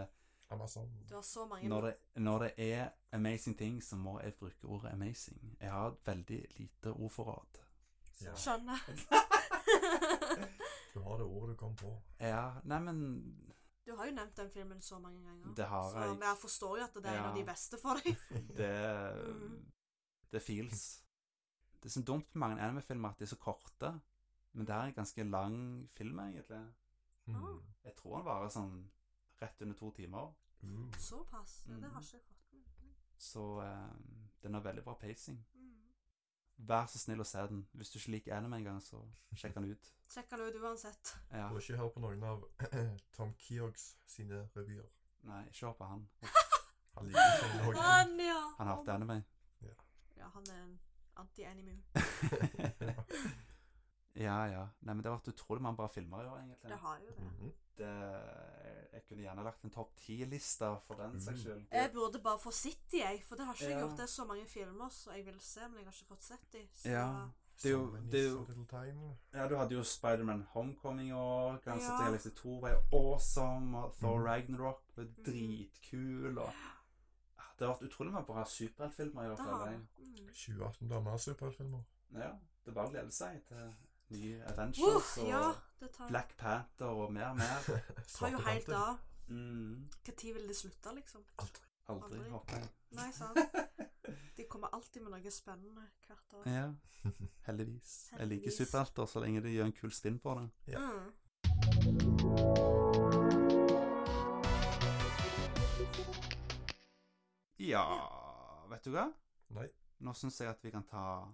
Speaker 2: Amazon.
Speaker 4: Du har så mange
Speaker 3: når, det, når det er amazing ting, så må jeg bruke ordet amazing. Jeg har veldig lite ordforråd.
Speaker 2: Ja.
Speaker 4: Skjønner.
Speaker 2: Du har det ordet du kom på.
Speaker 3: Ja, nei, men
Speaker 4: Du har jo nevnt den filmen så mange ganger.
Speaker 3: det har
Speaker 4: så jeg
Speaker 3: jeg.
Speaker 4: forstår jo at det er en av
Speaker 3: Ja.
Speaker 4: de beste for deg.
Speaker 3: Det,
Speaker 4: Mhm.
Speaker 3: det feels. Det som er dumt med mange anime-filmer, at de er så korte. Men det her er en ganske lang film, egentlig.
Speaker 2: Mm.
Speaker 3: Jeg tror han varer sånn rett under to timer.
Speaker 2: Uh.
Speaker 4: Såpass. Ja, Det har
Speaker 3: Mm.
Speaker 4: ikke jeg fått med meg.
Speaker 3: Så eh, den har veldig bra pacing.
Speaker 4: Mm.
Speaker 3: Vær så snill å se den. Hvis du ikke liker anime engang, så sjekk den ut.
Speaker 4: Sjekk den ut uansett.
Speaker 3: Ja.
Speaker 2: Og ikke hør på noen av Tom Keogs sine revyer.
Speaker 3: Nei, ikke hør på han.
Speaker 2: Han liker ikke den også.
Speaker 4: Han, ja!
Speaker 3: Han hater anime.
Speaker 4: Ja, han er en anti-anime.
Speaker 3: ja, ja. Nei, men det har vært utrolig mange bra filmer i år,
Speaker 4: Det
Speaker 3: egentlig.
Speaker 4: har jo det.
Speaker 2: Mhm.
Speaker 3: Det, jeg kunne gjerne lagt en topp ti-liste for den saks skyld.
Speaker 4: Mm. Jeg burde bare få sett de, jeg. For det har ikke jeg
Speaker 3: Ja.
Speaker 4: gjort. Det er så mange filmer som jeg vil se, men jeg har ikke fått sett de. Så
Speaker 3: Ja. Det er jo-
Speaker 2: Someone
Speaker 3: det er
Speaker 2: is
Speaker 3: jo-
Speaker 2: a little time.
Speaker 3: Ja, du hadde jo Spiderman Homecoming i år. Guns
Speaker 4: Ja. Mm.
Speaker 3: N' Galaxy 2 var jo awesome. Og Thor
Speaker 2: Mhm.
Speaker 3: Ragnarok var
Speaker 4: Mhm.
Speaker 3: dritkul. Og Ah, det har vært utrolig mange bra superheltfilmer i år,
Speaker 4: det har
Speaker 3: føler jeg.
Speaker 4: jeg. Mm.
Speaker 2: 2018 blir mer superheltfilmer.
Speaker 3: Ja, det er bare å glede seg til nye Avengers
Speaker 4: Uff,
Speaker 3: og
Speaker 4: ja, det tar,
Speaker 3: Black Panther og mer og mer.
Speaker 4: tar jo
Speaker 2: Svarte
Speaker 4: helt
Speaker 2: Panther.
Speaker 4: av.
Speaker 3: Mm,
Speaker 4: Når vil det slutte, liksom?
Speaker 3: aldri,
Speaker 4: Aldri.
Speaker 3: håper jeg.
Speaker 4: Nei, sant. De kommer alltid med noe spennende hvert år.
Speaker 3: Ja, heldigvis. Jeg liker
Speaker 4: Heldigvis.
Speaker 3: superhelter så lenge de gjør en kul spinn på det.
Speaker 2: Ja.
Speaker 4: Mm.
Speaker 3: Ja, vet du hva?
Speaker 2: Nei.
Speaker 3: Nå syns jeg at vi kan ta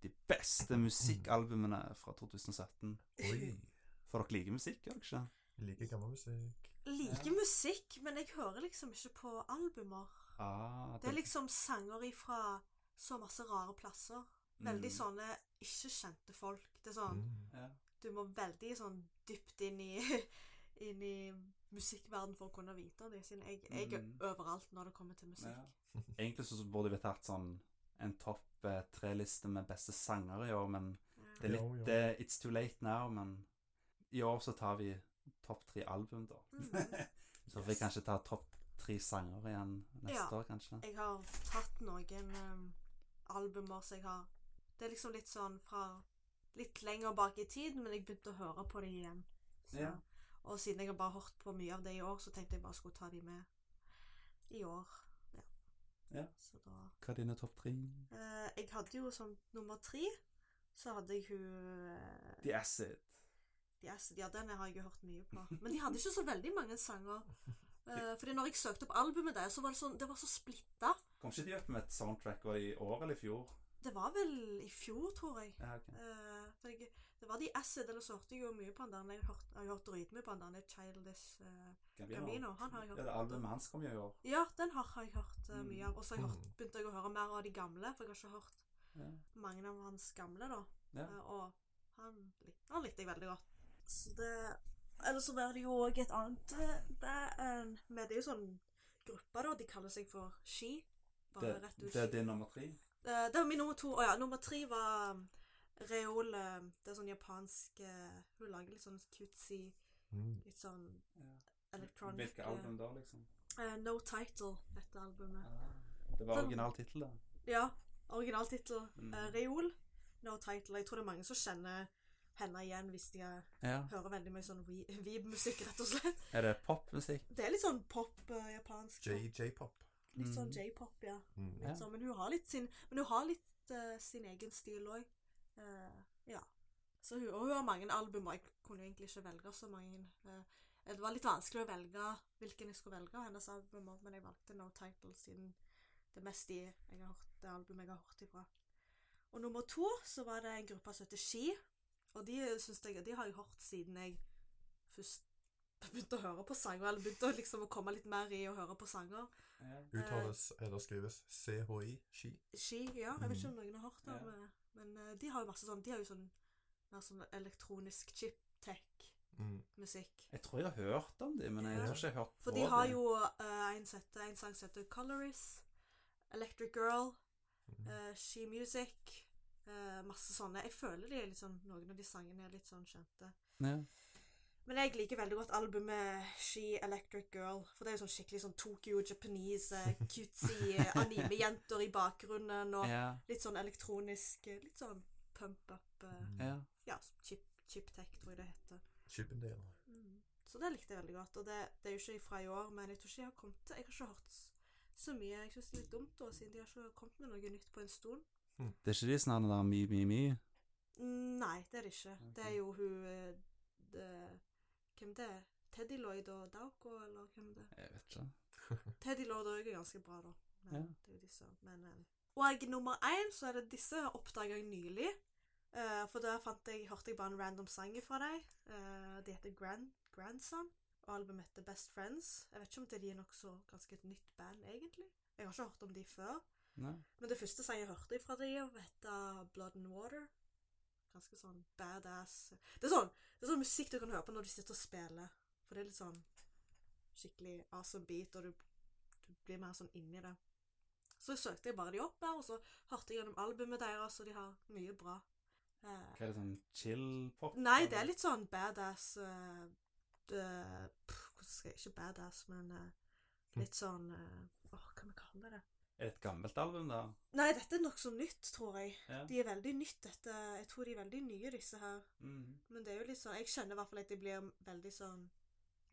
Speaker 3: de
Speaker 4: Mm.
Speaker 3: beste musikkalbumene fra 2017.
Speaker 2: Oi.
Speaker 3: For dere liker musikk, gjør dere ikke?
Speaker 2: Jeg Liker gammel musikk.
Speaker 4: Liker musikk, men jeg hører liksom ikke på albumer.
Speaker 3: Ah,
Speaker 4: Det er liksom sanger ifra så masse rare plasser. Veldig
Speaker 3: Mm.
Speaker 4: sånne ikke-kjente folk. Det
Speaker 3: Ah.
Speaker 4: er sånn
Speaker 2: Mm.
Speaker 3: Ja.
Speaker 4: Du må veldig sånn dypt inn i, inn i musikkverden for å kunne vite det. Siden jeg, jeg er
Speaker 3: Mm.
Speaker 4: overalt når det kommer til musikk.
Speaker 3: Ja. Egentlig så burde vi tatt sånn en topp eh, tre-liste med beste sangere i år, men det er
Speaker 2: Jo,
Speaker 3: litt
Speaker 2: jo.
Speaker 3: eh, It's too late now, men i år så tar vi topp tre album, da.
Speaker 4: Mhm.
Speaker 3: så får vi kanskje ta topp tre sangere igjen neste
Speaker 4: Ja.
Speaker 3: år, kanskje.
Speaker 4: Jeg har tatt noen um, albumer som jeg har Det er liksom litt sånn fra litt lenger bak i tid, men jeg begynte å høre på det igjen. Så,
Speaker 3: Ja.
Speaker 4: Og siden jeg har bare hørt på mye av det i år, så tenkte jeg bare skulle ta de med i år. Ja.
Speaker 3: Ja.
Speaker 4: Så da
Speaker 3: Hva er dine topp tre?
Speaker 4: eh, Jeg hadde jo som nummer tre så hadde jeg hun eh,
Speaker 3: The Acid.
Speaker 4: The Acid, ja, den har jeg jo hørt mye på. Men de hadde ikke så veldig mange sanger. Uh, fordi når jeg søkte opp albumet der, så var det sånn Det var så splitta.
Speaker 3: Kom ikke de opp med et soundtrack i år eller i fjor?
Speaker 4: Det var vel i fjor, tror jeg.
Speaker 3: Ja, ok.
Speaker 4: Eh, for jeg det var de Acid, eller så hørte jeg jo mye på han der. Jeg har hørt- jeg har hørt dritmye på han der. det er Childish eh, Gambino. Han har jeg
Speaker 3: Ja,
Speaker 4: hørt.
Speaker 3: det albumet hans kom jo i år.
Speaker 4: Ja, den har jeg hørt eh, mye av. Og så har jeg hørt-
Speaker 2: Mm.
Speaker 4: begynte jeg å høre mer av de gamle, for jeg har ikke hørt
Speaker 3: Ja.
Speaker 4: mange av hans gamle, da.
Speaker 3: Ja.
Speaker 4: Eh, og han, lik- han likte jeg veldig godt. Så det Eller så var det jo òg et annet eh, Det er en Men det er jo sånn gruppe, da. De kaller seg for Ski.
Speaker 3: Det,
Speaker 4: Bare rett ut
Speaker 3: det er
Speaker 4: Ski.
Speaker 3: din nummer tre?
Speaker 4: Eh, Det var min nummer to. Å ja, nummer tre um, var um, Reol. eh, Det er sånn japansk eh, Hun lager litt sånn cutesy
Speaker 2: Mm.
Speaker 4: Litt sånn
Speaker 3: Ja.
Speaker 4: electronic
Speaker 3: Hvilket
Speaker 4: eh,
Speaker 3: album da, liksom?
Speaker 4: eh, No Title, dette albumet.
Speaker 3: Det var
Speaker 4: Sånn-
Speaker 3: original tittel, da.
Speaker 4: Ja, originaltittel.
Speaker 3: Mm.
Speaker 4: eh, Reol, No Title. Jeg tror det er mange som kjenner henne igjen hvis de eh,
Speaker 3: Ja.
Speaker 4: hører veldig mye sånn we- weeb-musikk, rett og slett.
Speaker 3: Er det popmusikk?
Speaker 4: Det er litt sånn pop, eh, japansk. pop.
Speaker 2: J-pop.
Speaker 4: Litt sånn
Speaker 3: Mm.
Speaker 4: j-pop, ja.
Speaker 2: Mm.
Speaker 3: Ja.
Speaker 4: Så, liksom. men hun har litt sin, men hun har litt eh, sin egen stil òg. ja. Så hun, og hun har mange album, og jeg kunne jo egentlig ikke velge så mange. eh, det var litt vanskelig å velge hvilken jeg skulle velge av hennes album, men jeg valgte No Title siden det meste jeg har hørt, det albumet jeg har hørt ifra. Og nummer to så var det en gruppe som heter Ski, og de, synes jeg, de har jeg hørt siden jeg først begynte å høre på sanger, eller begynte å liksom å komme litt mer i å høre på sanger.
Speaker 3: Ja.
Speaker 2: Uttales eller skrives CHI, ski.
Speaker 4: Ski, ja. Jeg vet ikke om noen har hørt om
Speaker 3: Ja.
Speaker 4: det. Men eh, de har jo masse sånn De har jo sånn mer sånn elektronisk chip-tech-musikk.
Speaker 2: Mm.
Speaker 3: Jeg tror jeg har hørt om dem, men jeg
Speaker 4: Ja.
Speaker 3: tror ikke jeg har hørt på
Speaker 4: For de har
Speaker 3: dem.
Speaker 4: jo eh, en, sette, en sang som heter Colorist, Electric Girl,
Speaker 2: Mm.
Speaker 4: eh, She Music eh, Masse sånne. Jeg føler de er litt sånn noen av de sangene er litt sånn kjente.
Speaker 3: ja.
Speaker 4: Men jeg liker veldig godt albumet She Electric Girl. For det er jo sånn skikkelig sånn Tokyo Japanese, eh, cutesy eh, anime-jenter i bakgrunnen. Og
Speaker 3: Ja.
Speaker 4: Litt sånn elektronisk, eh, litt sånn pump up eh,
Speaker 2: Mm.
Speaker 3: Ja.
Speaker 4: Ja, chip, chip tech, tror jeg det heter.
Speaker 2: Chippendale.
Speaker 4: Så det likte jeg veldig godt. Og det, det er jo ikke fra i år, men jeg tror ikke jeg har kommet til Jeg har ikke hørt s- så mye. Jeg synes det er litt dumt, da, siden de har ikke kommet med noe nytt på en stund.
Speaker 3: Det er ikke de sånne der mi, mi, mi?
Speaker 4: Mm, Nei, det er det ikke.
Speaker 3: Ok.
Speaker 4: Det er jo hun eh, det, Hvem det er? Teddy Lloyd og Dauko, eller hvem det er?
Speaker 3: Jeg vet ikke.
Speaker 4: Teddy Lord òg er ganske bra, da. Men,
Speaker 3: Ja.
Speaker 4: det er jo disse. Men, eh, og nummer én, så er det disse oppdaga jeg nylig. Eh, for da fant jeg, hørte jeg bare en random sang fra dem. Eh, de heter Grand, Grandson, og albumet heter Best Friends. Jeg vet ikke om det de er nokså ganske et nytt band, egentlig. Jeg har ikke hørt om de før.
Speaker 3: Nei.
Speaker 4: Men det første sangen jeg hørte fra dem, heter Blood and Water. Ganske sånn badass. Det er sånn, det er sånn musikk du kan høre på når du sitter og spiller. For det er litt sånn skikkelig awesome beat, og du, du blir mer sånn inni det. Så søkte jeg bare de opp her, og så hørte jeg gjennom albumet deres, og de har mye bra. Eh,
Speaker 3: Hva er det sånn chill-pop?
Speaker 4: nei, det er litt sånn badass eh, eh, pff, Hvordan skal jeg Ikke badass, men eh, litt sånn eh, Åh, hva kan vi kalle det?
Speaker 3: Er det et gammelt album, da?
Speaker 4: Nei, dette er nokså nytt, tror jeg.
Speaker 3: Ja.
Speaker 4: De er veldig nytt, dette. Jeg tror de er veldig nye, disse her.
Speaker 3: Mm.
Speaker 4: Men det er jo litt sånn Jeg kjenner i hvert fall at jeg blir veldig sånn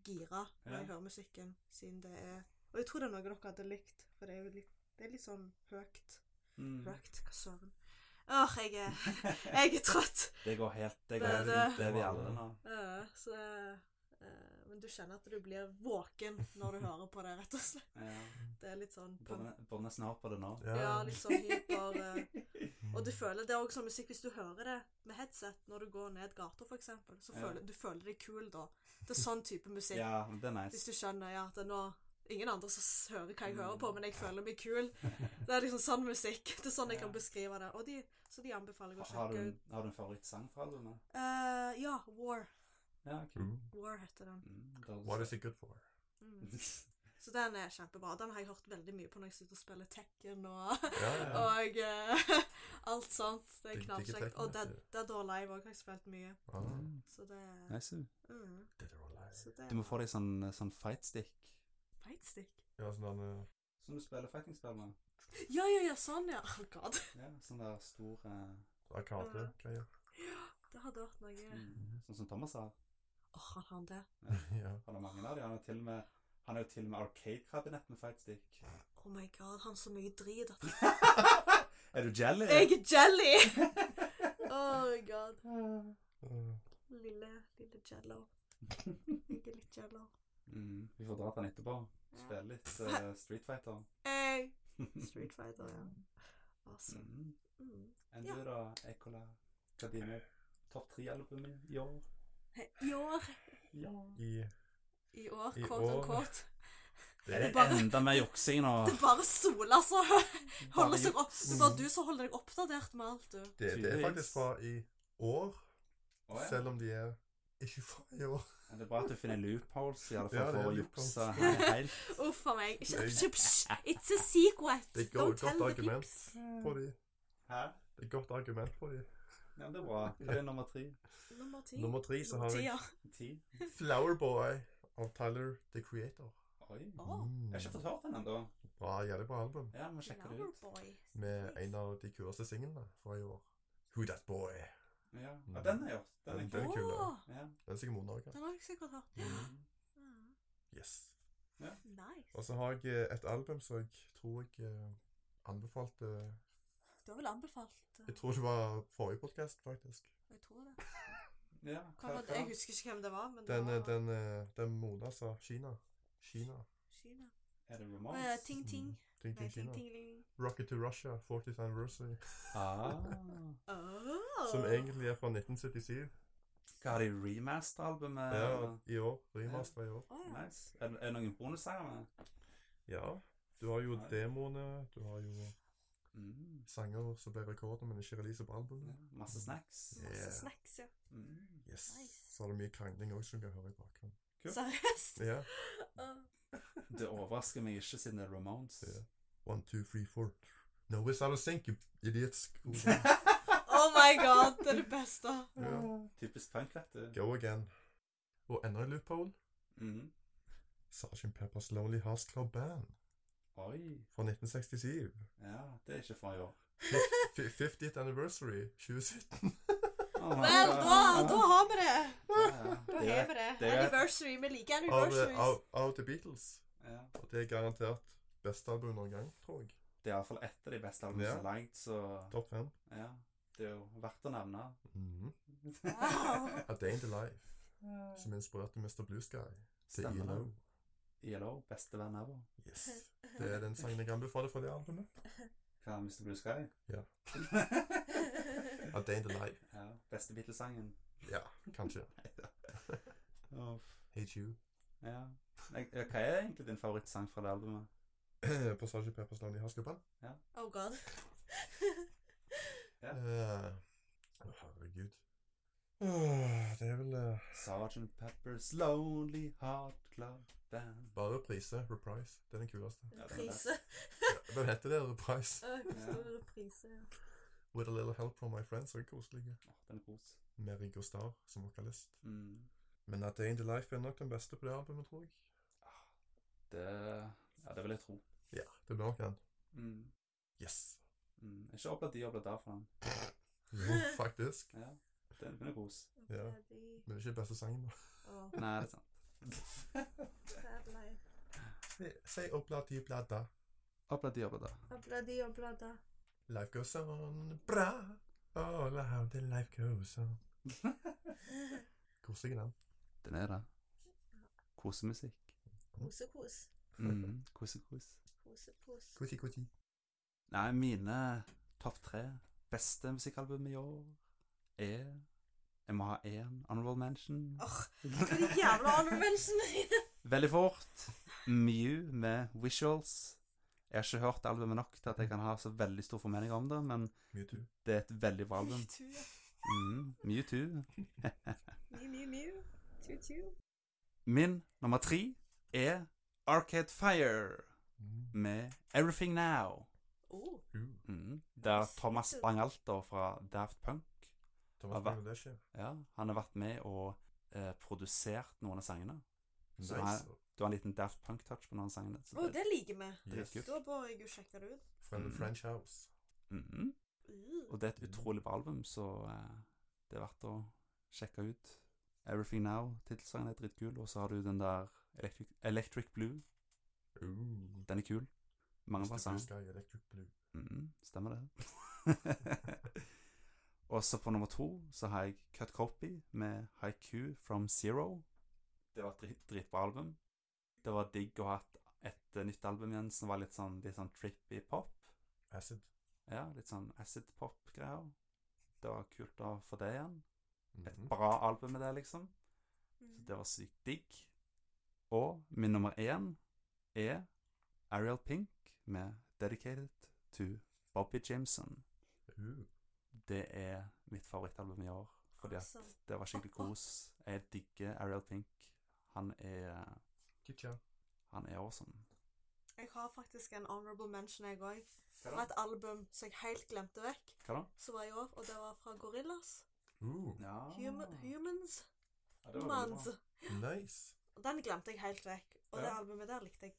Speaker 4: gira når
Speaker 3: Ja.
Speaker 4: jeg hører musikken, siden det er Og jeg tror det er noe dere hadde likt, for det er jo litt det er litt sånn høyt.
Speaker 3: Mm.
Speaker 4: Høyt, hva søren. Åh, jeg er, jeg er trøtt.
Speaker 3: Det går helt Det går
Speaker 4: Det-
Speaker 3: helt
Speaker 4: det-
Speaker 3: fint, det er vi alle nå.
Speaker 4: Øh, så øh, Men du kjenner at du blir våken når du hører på det, rett og slett.
Speaker 3: Ja.
Speaker 4: Det er litt sånn pump.
Speaker 3: Bør- Bør nesten høre på det nå.
Speaker 4: Ja, litt sånn hyper øh,
Speaker 2: Mm.
Speaker 4: Og du føler det er også sånn musikk hvis du hører det med headset når du går ned gata, f.eks. Så
Speaker 3: Ja.
Speaker 4: føler du føler deg kul da. Det er sånn type musikk.
Speaker 3: Ja, men det er
Speaker 4: Hvis
Speaker 3: nice.
Speaker 4: du skjønner ja, at det er nå Ingen andre som s- hører hva jeg
Speaker 3: Mm.
Speaker 4: hører på, men jeg føler meg kul. Det er liksom sånn musikk. Det er sånn jeg
Speaker 3: Ja.
Speaker 4: kan beskrive det. Og de, så de anbefaler jeg å
Speaker 3: Har du,
Speaker 4: sjekke
Speaker 3: en-
Speaker 4: ut.
Speaker 3: har du en favorittsang fra albumet?
Speaker 4: Eh, ja, War.
Speaker 3: Ja, ok.
Speaker 2: Mm.
Speaker 4: War heter den.
Speaker 3: Mm, det høres-
Speaker 2: What is it good for?
Speaker 4: Mm. Så den er kjempebra. Den har jeg hørt veldig mye på når jeg sitter og spiller Tekken og
Speaker 2: Ja, ja.
Speaker 4: Og eh, alt sånt. Det er
Speaker 2: Digg- digge
Speaker 4: knallkjekt.
Speaker 2: Tekken,
Speaker 4: Og
Speaker 2: vet
Speaker 4: Dead,
Speaker 2: du.
Speaker 4: Dead or Alive òg har jeg spilt mye.
Speaker 2: Ah.
Speaker 3: Mm.
Speaker 4: Så det er
Speaker 3: Nice. du.
Speaker 4: mm,
Speaker 2: Dead or
Speaker 4: så
Speaker 2: Alive.
Speaker 4: det
Speaker 3: Du må få deg sånn, sånn fightstick.
Speaker 4: Feitstick.
Speaker 2: Ja, sånn den eh,
Speaker 3: Som du spiller fightingspill med.
Speaker 4: Ja, ja, ja, sånn, ja. Oh god.
Speaker 3: Ja, sånn der stor eh,
Speaker 2: sånn arkade-greia.
Speaker 4: Det hadde vært noe Åh,
Speaker 3: mm, Sånn som Thomas har.
Speaker 4: han har det.
Speaker 2: ja.
Speaker 3: Han har mange av de. Han er til og med han er jo til og med arcade-kabinett med fightstick.
Speaker 4: Oh my god, han har så mye drit at
Speaker 3: er du jelly?
Speaker 4: Jeg er jelly! Oh my god.
Speaker 2: Mm.
Speaker 4: Lille, lille jello. Jeg er litt jello.
Speaker 3: Mm, vi får dra til han etterpå. Spille litt eh, Street Fighter.
Speaker 4: Hey! Street Fighter, ja. Awesome.
Speaker 3: Mm.
Speaker 4: Mm.
Speaker 3: Enn
Speaker 4: Ja.
Speaker 3: du da, Ekola? Hva er dine topp tre-album i år?
Speaker 4: Hei, I år,
Speaker 3: Ja.
Speaker 2: I
Speaker 4: i år,
Speaker 2: I
Speaker 4: quote
Speaker 2: år.
Speaker 4: on quote,
Speaker 2: det
Speaker 4: det
Speaker 2: er
Speaker 4: bare-
Speaker 3: Enda mer juksing nå.
Speaker 4: det bare soler så holder seg opp. Det er bare
Speaker 2: Mm.
Speaker 4: du som holder deg oppdatert med alt, du.
Speaker 2: Det, det er
Speaker 3: Tydeligvis.
Speaker 2: faktisk fra i år,
Speaker 3: Å, ja.
Speaker 2: selv om de er ikke fra i år.
Speaker 3: Men Det er bra at du finner loopholes i alle fall
Speaker 2: Ja, det er
Speaker 3: for å
Speaker 2: loopholes.
Speaker 3: jukse helt.
Speaker 4: Uff a meg. Ikke,
Speaker 2: Nei.
Speaker 4: ikke, psh, it's a secret.
Speaker 2: Det er et godt
Speaker 4: Don't tell the
Speaker 3: Mm.
Speaker 2: argument
Speaker 4: peeps.
Speaker 2: på de.
Speaker 3: Hæ?
Speaker 2: Det er et godt argument på de.
Speaker 3: Ja, det er bra. Hva er nummer tre?
Speaker 4: Nummer ti.
Speaker 2: Nummer tre så
Speaker 4: Nummer
Speaker 2: har
Speaker 4: ti,
Speaker 2: jeg
Speaker 4: ja.
Speaker 3: Ti?
Speaker 2: Flower Boy av Tyler The Creator.
Speaker 3: Oi. Jeg
Speaker 4: Å,
Speaker 2: Mm.
Speaker 3: har ikke fått hørt den ennå.
Speaker 2: Bra, jævlig bra album.
Speaker 3: Ja, vi må sjekke det ut.
Speaker 4: Flowerboy.
Speaker 2: Med en av de kuleste singlene fra i år. Who That Boy.
Speaker 3: Ja, ja den har jeg hørt. Den er
Speaker 2: Den-
Speaker 3: kul.
Speaker 2: er kul, da.
Speaker 4: Åh,
Speaker 3: Ja.
Speaker 2: Den er sikkert Monorge.
Speaker 4: Den har jeg sikkert hørt.
Speaker 3: Mm.
Speaker 4: Mm.
Speaker 2: Yes.
Speaker 4: Nice.
Speaker 2: Og så har jeg eh, et album som jeg tror jeg eh, anbefalte
Speaker 4: Du har vel anbefalt eh,
Speaker 2: Jeg tror det var forrige podkast, faktisk.
Speaker 4: Jeg tror det.
Speaker 3: Ja,
Speaker 4: Hva var det? Jeg husker ikke hvem det var, men det
Speaker 2: Den, eh,
Speaker 4: var
Speaker 2: den, eh, den Mona sa Kina. Kina.
Speaker 4: Kina.
Speaker 3: Er det
Speaker 4: Å ja,
Speaker 3: romance?
Speaker 4: Ting Ting.
Speaker 2: Mm. Ting
Speaker 4: Nei,
Speaker 2: Ting Kina.
Speaker 4: Ting Ting Ling.
Speaker 2: Rocket to Russia, 40th Anniversary.
Speaker 3: Ah.
Speaker 4: Åh.
Speaker 2: Som egentlig er fra 1977.
Speaker 3: Hva har de remaster-albumet?
Speaker 2: Ja, i år. Remaster i år.
Speaker 4: Å ja.
Speaker 3: Nice. Er, er det noen bonussanger med?
Speaker 2: Ja. Du har jo
Speaker 3: Nei.
Speaker 2: demoene, du har jo
Speaker 3: Mm.
Speaker 2: sanger som ble rekorder, men ikke releaser på album.
Speaker 3: Ja, masse snacks.
Speaker 2: Yeah.
Speaker 4: Masse snacks, ja.
Speaker 3: Mm.
Speaker 2: Yes.
Speaker 4: Nice.
Speaker 2: Så er det mye krangling òg som du kan høre i bakgrunnen.
Speaker 3: Ja.
Speaker 4: Seriøst?
Speaker 2: Ja.
Speaker 4: Åh.
Speaker 3: Det overrasker meg ikke siden det er Ramones.
Speaker 2: Ja. One, two, three, four. No, it's out of sync, you idiots.
Speaker 4: Oh my god, det er det beste.
Speaker 2: Ja.
Speaker 3: Typisk punk, vet du.
Speaker 2: Go again. Og enda en loophole.
Speaker 3: Mm.
Speaker 2: Sgt. Pepper's Lonely Hearts Club Band
Speaker 3: Oi.
Speaker 2: fra 1967.
Speaker 3: Ja, det er ikke fra i år.
Speaker 2: F 50th Anniversary 2017.
Speaker 3: Oh,
Speaker 4: Vel, da, da har vi det.
Speaker 3: ja,
Speaker 4: Da
Speaker 3: det
Speaker 4: har
Speaker 3: er,
Speaker 4: vi det.
Speaker 3: det er-
Speaker 4: Anniversary. Vi liker
Speaker 2: Av,
Speaker 4: anniversaries.
Speaker 2: eh, av, av The Beatles.
Speaker 3: ja.
Speaker 2: Og det er garantert beste album noen gang, tror jeg.
Speaker 3: det er iallfall ett av de beste albumene
Speaker 2: Ja.
Speaker 3: som er lagd, så
Speaker 2: Topp fem.
Speaker 3: ja. Det er jo verdt å nevne.
Speaker 2: Mhm.
Speaker 4: Wow.
Speaker 2: A Day in the Life, som inspirerte Mr. Blue Sky til
Speaker 3: Stemmer det.
Speaker 2: ELO.
Speaker 3: ELO, beste venn ever.
Speaker 2: Yes. Det er den sangen jeg anbefaler fra det albumet.
Speaker 3: Hva er Mr. Blue Sky?
Speaker 2: Ja.
Speaker 3: ja.
Speaker 2: A Day in the Life.
Speaker 3: Beste Beatles-sangen.
Speaker 2: Ja, kanskje.
Speaker 3: Uff.
Speaker 2: Hate You.
Speaker 3: Ja. Nei, ja, Hva er egentlig din favorittsang fra det albumet?
Speaker 2: På Sgt. Peppers Lonely Hearts Club Band.
Speaker 4: Oh god.
Speaker 3: Ja.
Speaker 2: Eh, Å, herregud. Åh, det er vel eh,
Speaker 3: Sergeant Pepper's Lonely Heart Club Band.
Speaker 2: bare reprise. Reprise. Det er den kuleste.
Speaker 3: Ja, den er
Speaker 4: Reprise.
Speaker 2: Hva heter det? Reprise.
Speaker 4: Åh, hvor stor
Speaker 3: Ja.
Speaker 4: reprise. ja.
Speaker 2: With a little help from my friends. Så er koselige.
Speaker 3: Åh, den er kos.
Speaker 2: Med Riggo Starr som vokalist.
Speaker 3: Mm.
Speaker 2: Men At Day in the Life er nok den beste på det albumet, tror jeg.
Speaker 3: Det, ja, det vil jeg tro.
Speaker 2: Ja, det blir nok den.
Speaker 3: Mm.
Speaker 2: Yes.
Speaker 3: Mm. Ikke opp at de opp at der for den.
Speaker 2: Jo, faktisk.
Speaker 3: Ja, den den er kos.
Speaker 2: Ja.
Speaker 4: Daddy.
Speaker 2: Men det er ikke beste sangen, da.
Speaker 4: Åh,
Speaker 3: Nei, det er sant.
Speaker 4: sad life.
Speaker 2: Si- Si oplati plata.
Speaker 3: Opp at de opp at der.
Speaker 4: Abladi, ablada.
Speaker 2: Life goes on. Bra. All how the life goes on. Koselig, den.
Speaker 3: Den er det. Kosemusikk.
Speaker 4: Kosekos.
Speaker 3: Mm. Kosekos.
Speaker 4: Kosepos.
Speaker 2: Kuti, kuti.
Speaker 3: Nei, mine topp tre beste musikkalbum i år er Jeg må ha én honorable mention.
Speaker 4: Åh, hva er de jævla honormensene dine?
Speaker 3: Veldig fort. Mew med Visuals. Jeg har ikke hørt albumet nok til at jeg kan ha så veldig stor formening om det, men
Speaker 2: Mye tur.
Speaker 3: det er et veldig bra album.
Speaker 4: Tu, ja.
Speaker 3: Mm, Mewtwo.
Speaker 4: Miu, miu, miu. Tu, tu.
Speaker 3: Min nummer tre er Arcade Fire
Speaker 2: Mm.
Speaker 3: med Everything Now.
Speaker 4: Åh,
Speaker 2: Uh.
Speaker 3: Mm, der Thomas Bangalter fra Daft Punk
Speaker 2: Thomas er
Speaker 3: Hva-
Speaker 2: Bangladesh, ja.
Speaker 3: ja, Han har vært med og eh, produsert noen av sangene. Så
Speaker 2: Nice.
Speaker 3: Du har en liten Daft Punk-touch på noen av sangene. så
Speaker 4: Åh,
Speaker 3: det-
Speaker 4: det liker vi.
Speaker 2: Yes.
Speaker 3: Dritkult.
Speaker 4: Da bør jeg jo sjekke det ut.
Speaker 2: Fra The
Speaker 3: Mm.
Speaker 2: French House.
Speaker 3: Mhm.
Speaker 4: Uh.
Speaker 3: Og det er et utrolig bra album, så eh, det er verdt å sjekke ut. Everything Now, tittelsangen er dritkul, og så har du den der Electric, Electric Blue.
Speaker 2: Ooh.
Speaker 3: Den er kul. Mange bra
Speaker 2: Mr. Blue
Speaker 3: sanger.
Speaker 2: Uh. Sky, Electric Blue.
Speaker 3: Mhm, stemmer det. og så på nummer to så har jeg Cut Copy med Haiku From Zero. Det var et drit, dritbra album. Det var digg å ha et, et eh, nytt album igjen som var litt sånn, litt sånn trippy pop.
Speaker 2: Acid.
Speaker 3: Ja, litt sånn acid pop-greier. Det var kult å få det igjen. Et
Speaker 2: Mhm.
Speaker 3: bra album med det, liksom. Så
Speaker 4: Mm.
Speaker 3: det var sykt digg. Og min nummer én er Ariel Pink med 'Dedicated to Bobby Jameson'.
Speaker 2: Ooh.
Speaker 3: Det er mitt favorittalbum i år, fordi at
Speaker 4: Awesome.
Speaker 3: det var skikkelig kos. Jeg digger Ariel Pink. Han er
Speaker 2: Kitcha.
Speaker 3: Han er awesome.
Speaker 4: Jeg har faktisk en honorable mention, jeg òg.
Speaker 2: Hva
Speaker 4: Fra et album som jeg helt glemte vekk,
Speaker 3: Hva da?
Speaker 4: som var i år, og det var fra Gorillas.
Speaker 2: Uh,
Speaker 3: Ja.
Speaker 4: Hum humans.
Speaker 3: Ah. Ja, det var veldig
Speaker 4: Humans.
Speaker 3: bra.
Speaker 2: nice.
Speaker 4: Og Den glemte jeg helt vekk. Og det
Speaker 3: Ja.
Speaker 4: albumet der likte jeg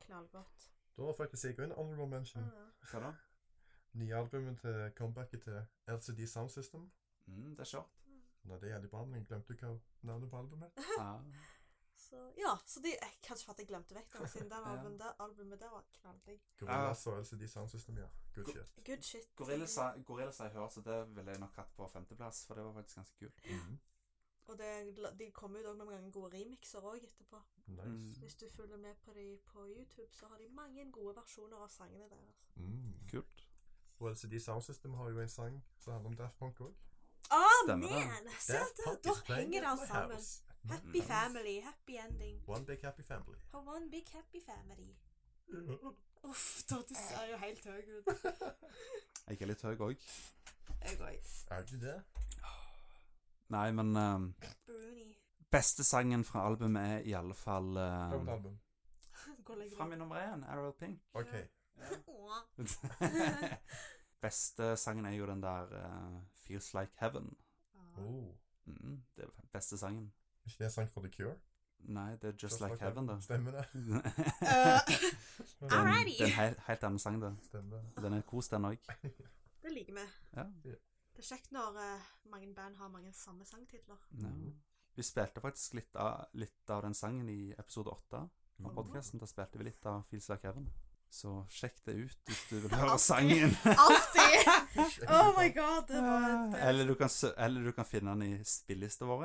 Speaker 4: knallgodt.
Speaker 2: Da har faktisk jeg en honorable mention.
Speaker 4: Ah.
Speaker 3: Hva da?
Speaker 2: Nye albumet til comebacket til LCD Sound System.
Speaker 3: Mm, det er kjørt.
Speaker 2: Nei, det er jævlig bra, men jeg glemte hva navnet på albumet er.
Speaker 3: Ja.
Speaker 4: Så, ja, så de, jeg, kanskje for at jeg glemte vekk den, siden den
Speaker 3: Ja.
Speaker 4: albumet der, albumet der var knalldigg.
Speaker 3: Ah.
Speaker 2: Gorillas og LCD Sound System, ja. Good
Speaker 3: Go-
Speaker 2: shit.
Speaker 4: Good shit.
Speaker 3: Gorillas har Gorillas har jeg hørt, så det ville jeg nok hatt på femteplass, for det var faktisk ganske kult.
Speaker 2: Mhm.
Speaker 4: Og det, de kommer jo da noen ganger gode remixer òg etterpå.
Speaker 2: Nice.
Speaker 3: Mm.
Speaker 4: Hvis du følger med på de på YouTube, så har de mange gode versjoner av sangene altså. deres.
Speaker 2: Mm.
Speaker 3: Kult.
Speaker 2: Og LCD Sound System har jo en sang som handler om Daft Punk òg.
Speaker 4: Å,
Speaker 3: Stemmer det.
Speaker 4: man! Se, da, da henger det alt sammen. Happy
Speaker 3: Mm.
Speaker 4: family, happy ending.
Speaker 2: One big happy family.
Speaker 4: For one big happy family. Uff, da, du ser jo helt høy ut.
Speaker 3: Jeg er litt høy òg.
Speaker 4: Jeg òg.
Speaker 2: Er du det?
Speaker 3: Ah. Nei, men ehm,
Speaker 4: Bruni.
Speaker 3: beste sangen fra albumet er i alle fall ehm,
Speaker 2: Hvilket album?
Speaker 4: Hvor
Speaker 3: Fra
Speaker 4: ligger du?
Speaker 3: min nummer én, Arrow Pink.
Speaker 2: OK.
Speaker 4: Åh.
Speaker 3: beste sangen er jo den der eh, Feels Like Heaven.
Speaker 2: Oh.
Speaker 3: Mm, det er beste sangen.
Speaker 2: Er ikke det en sang for The Cure?
Speaker 3: Nei, det er Just, Like, Heaven, da.
Speaker 2: Stemmer det.
Speaker 4: Eh,
Speaker 3: Det er en-
Speaker 4: Alrighty.
Speaker 3: det er en helt, helt annen sang, det.
Speaker 2: Stemmer det.
Speaker 3: Den er kos, den òg.
Speaker 4: Det liker vi.
Speaker 3: Ja.
Speaker 4: Det er kjekt når eh, mange band har mange samme sangtitler.
Speaker 3: Ja. Vi spilte faktisk litt av, litt av den sangen i episode åtte av
Speaker 2: Mm.
Speaker 3: podkasten. Da spilte vi litt av Feels Like Heaven. Så sjekk det ut hvis du vil høre sangen.
Speaker 4: Alltid! Oh my god, det var
Speaker 3: Eh, eller, du kan, sø- eller du kan finne den i spillista vår.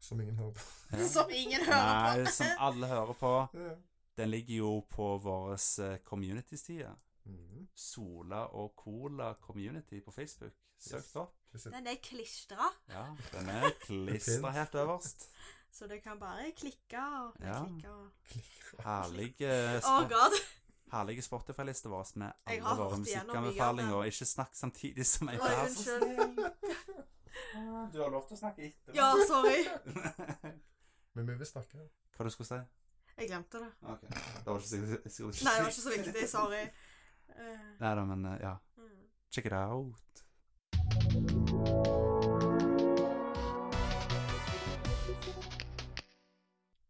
Speaker 2: Som ingen hører på.
Speaker 3: Ja.
Speaker 4: Som ingen hører
Speaker 3: Nei, som alle hører på.
Speaker 2: Ja.
Speaker 3: Den ligger jo på vår eh, community-side.
Speaker 2: Mhm.
Speaker 3: Sola og Cola Community på Facebook. Søk
Speaker 2: Yes.
Speaker 3: det opp.
Speaker 2: Det
Speaker 4: på.
Speaker 2: ser-
Speaker 4: Den er klistra,
Speaker 3: Ja, den er klistra
Speaker 2: Fint.
Speaker 3: helt øverst.
Speaker 4: så du kan bare klikke og
Speaker 3: Ja.
Speaker 4: klikke og
Speaker 3: Herlige,
Speaker 4: Oh
Speaker 3: spo
Speaker 4: god.
Speaker 3: herlige Spotify-liste vår med
Speaker 4: Jeg har
Speaker 3: alle våre
Speaker 4: hørt igjennom mye av
Speaker 3: musikkanbefalinger. Ikke snakk samtidig som jeg
Speaker 4: Oi,
Speaker 3: er så
Speaker 4: unnskyld.
Speaker 3: snill. Du har lov til å snakke etter.
Speaker 4: Ja, sorry.
Speaker 2: Men vi vil snakke.
Speaker 3: Hva du skulle si?
Speaker 4: Jeg glemte det.
Speaker 3: Ok, Det var ikke sikkert jeg skulle
Speaker 4: Nei, det var ikke så viktig. Sorry. Eh,
Speaker 3: Neida, men eh, ja.
Speaker 4: mm.
Speaker 3: Check it out.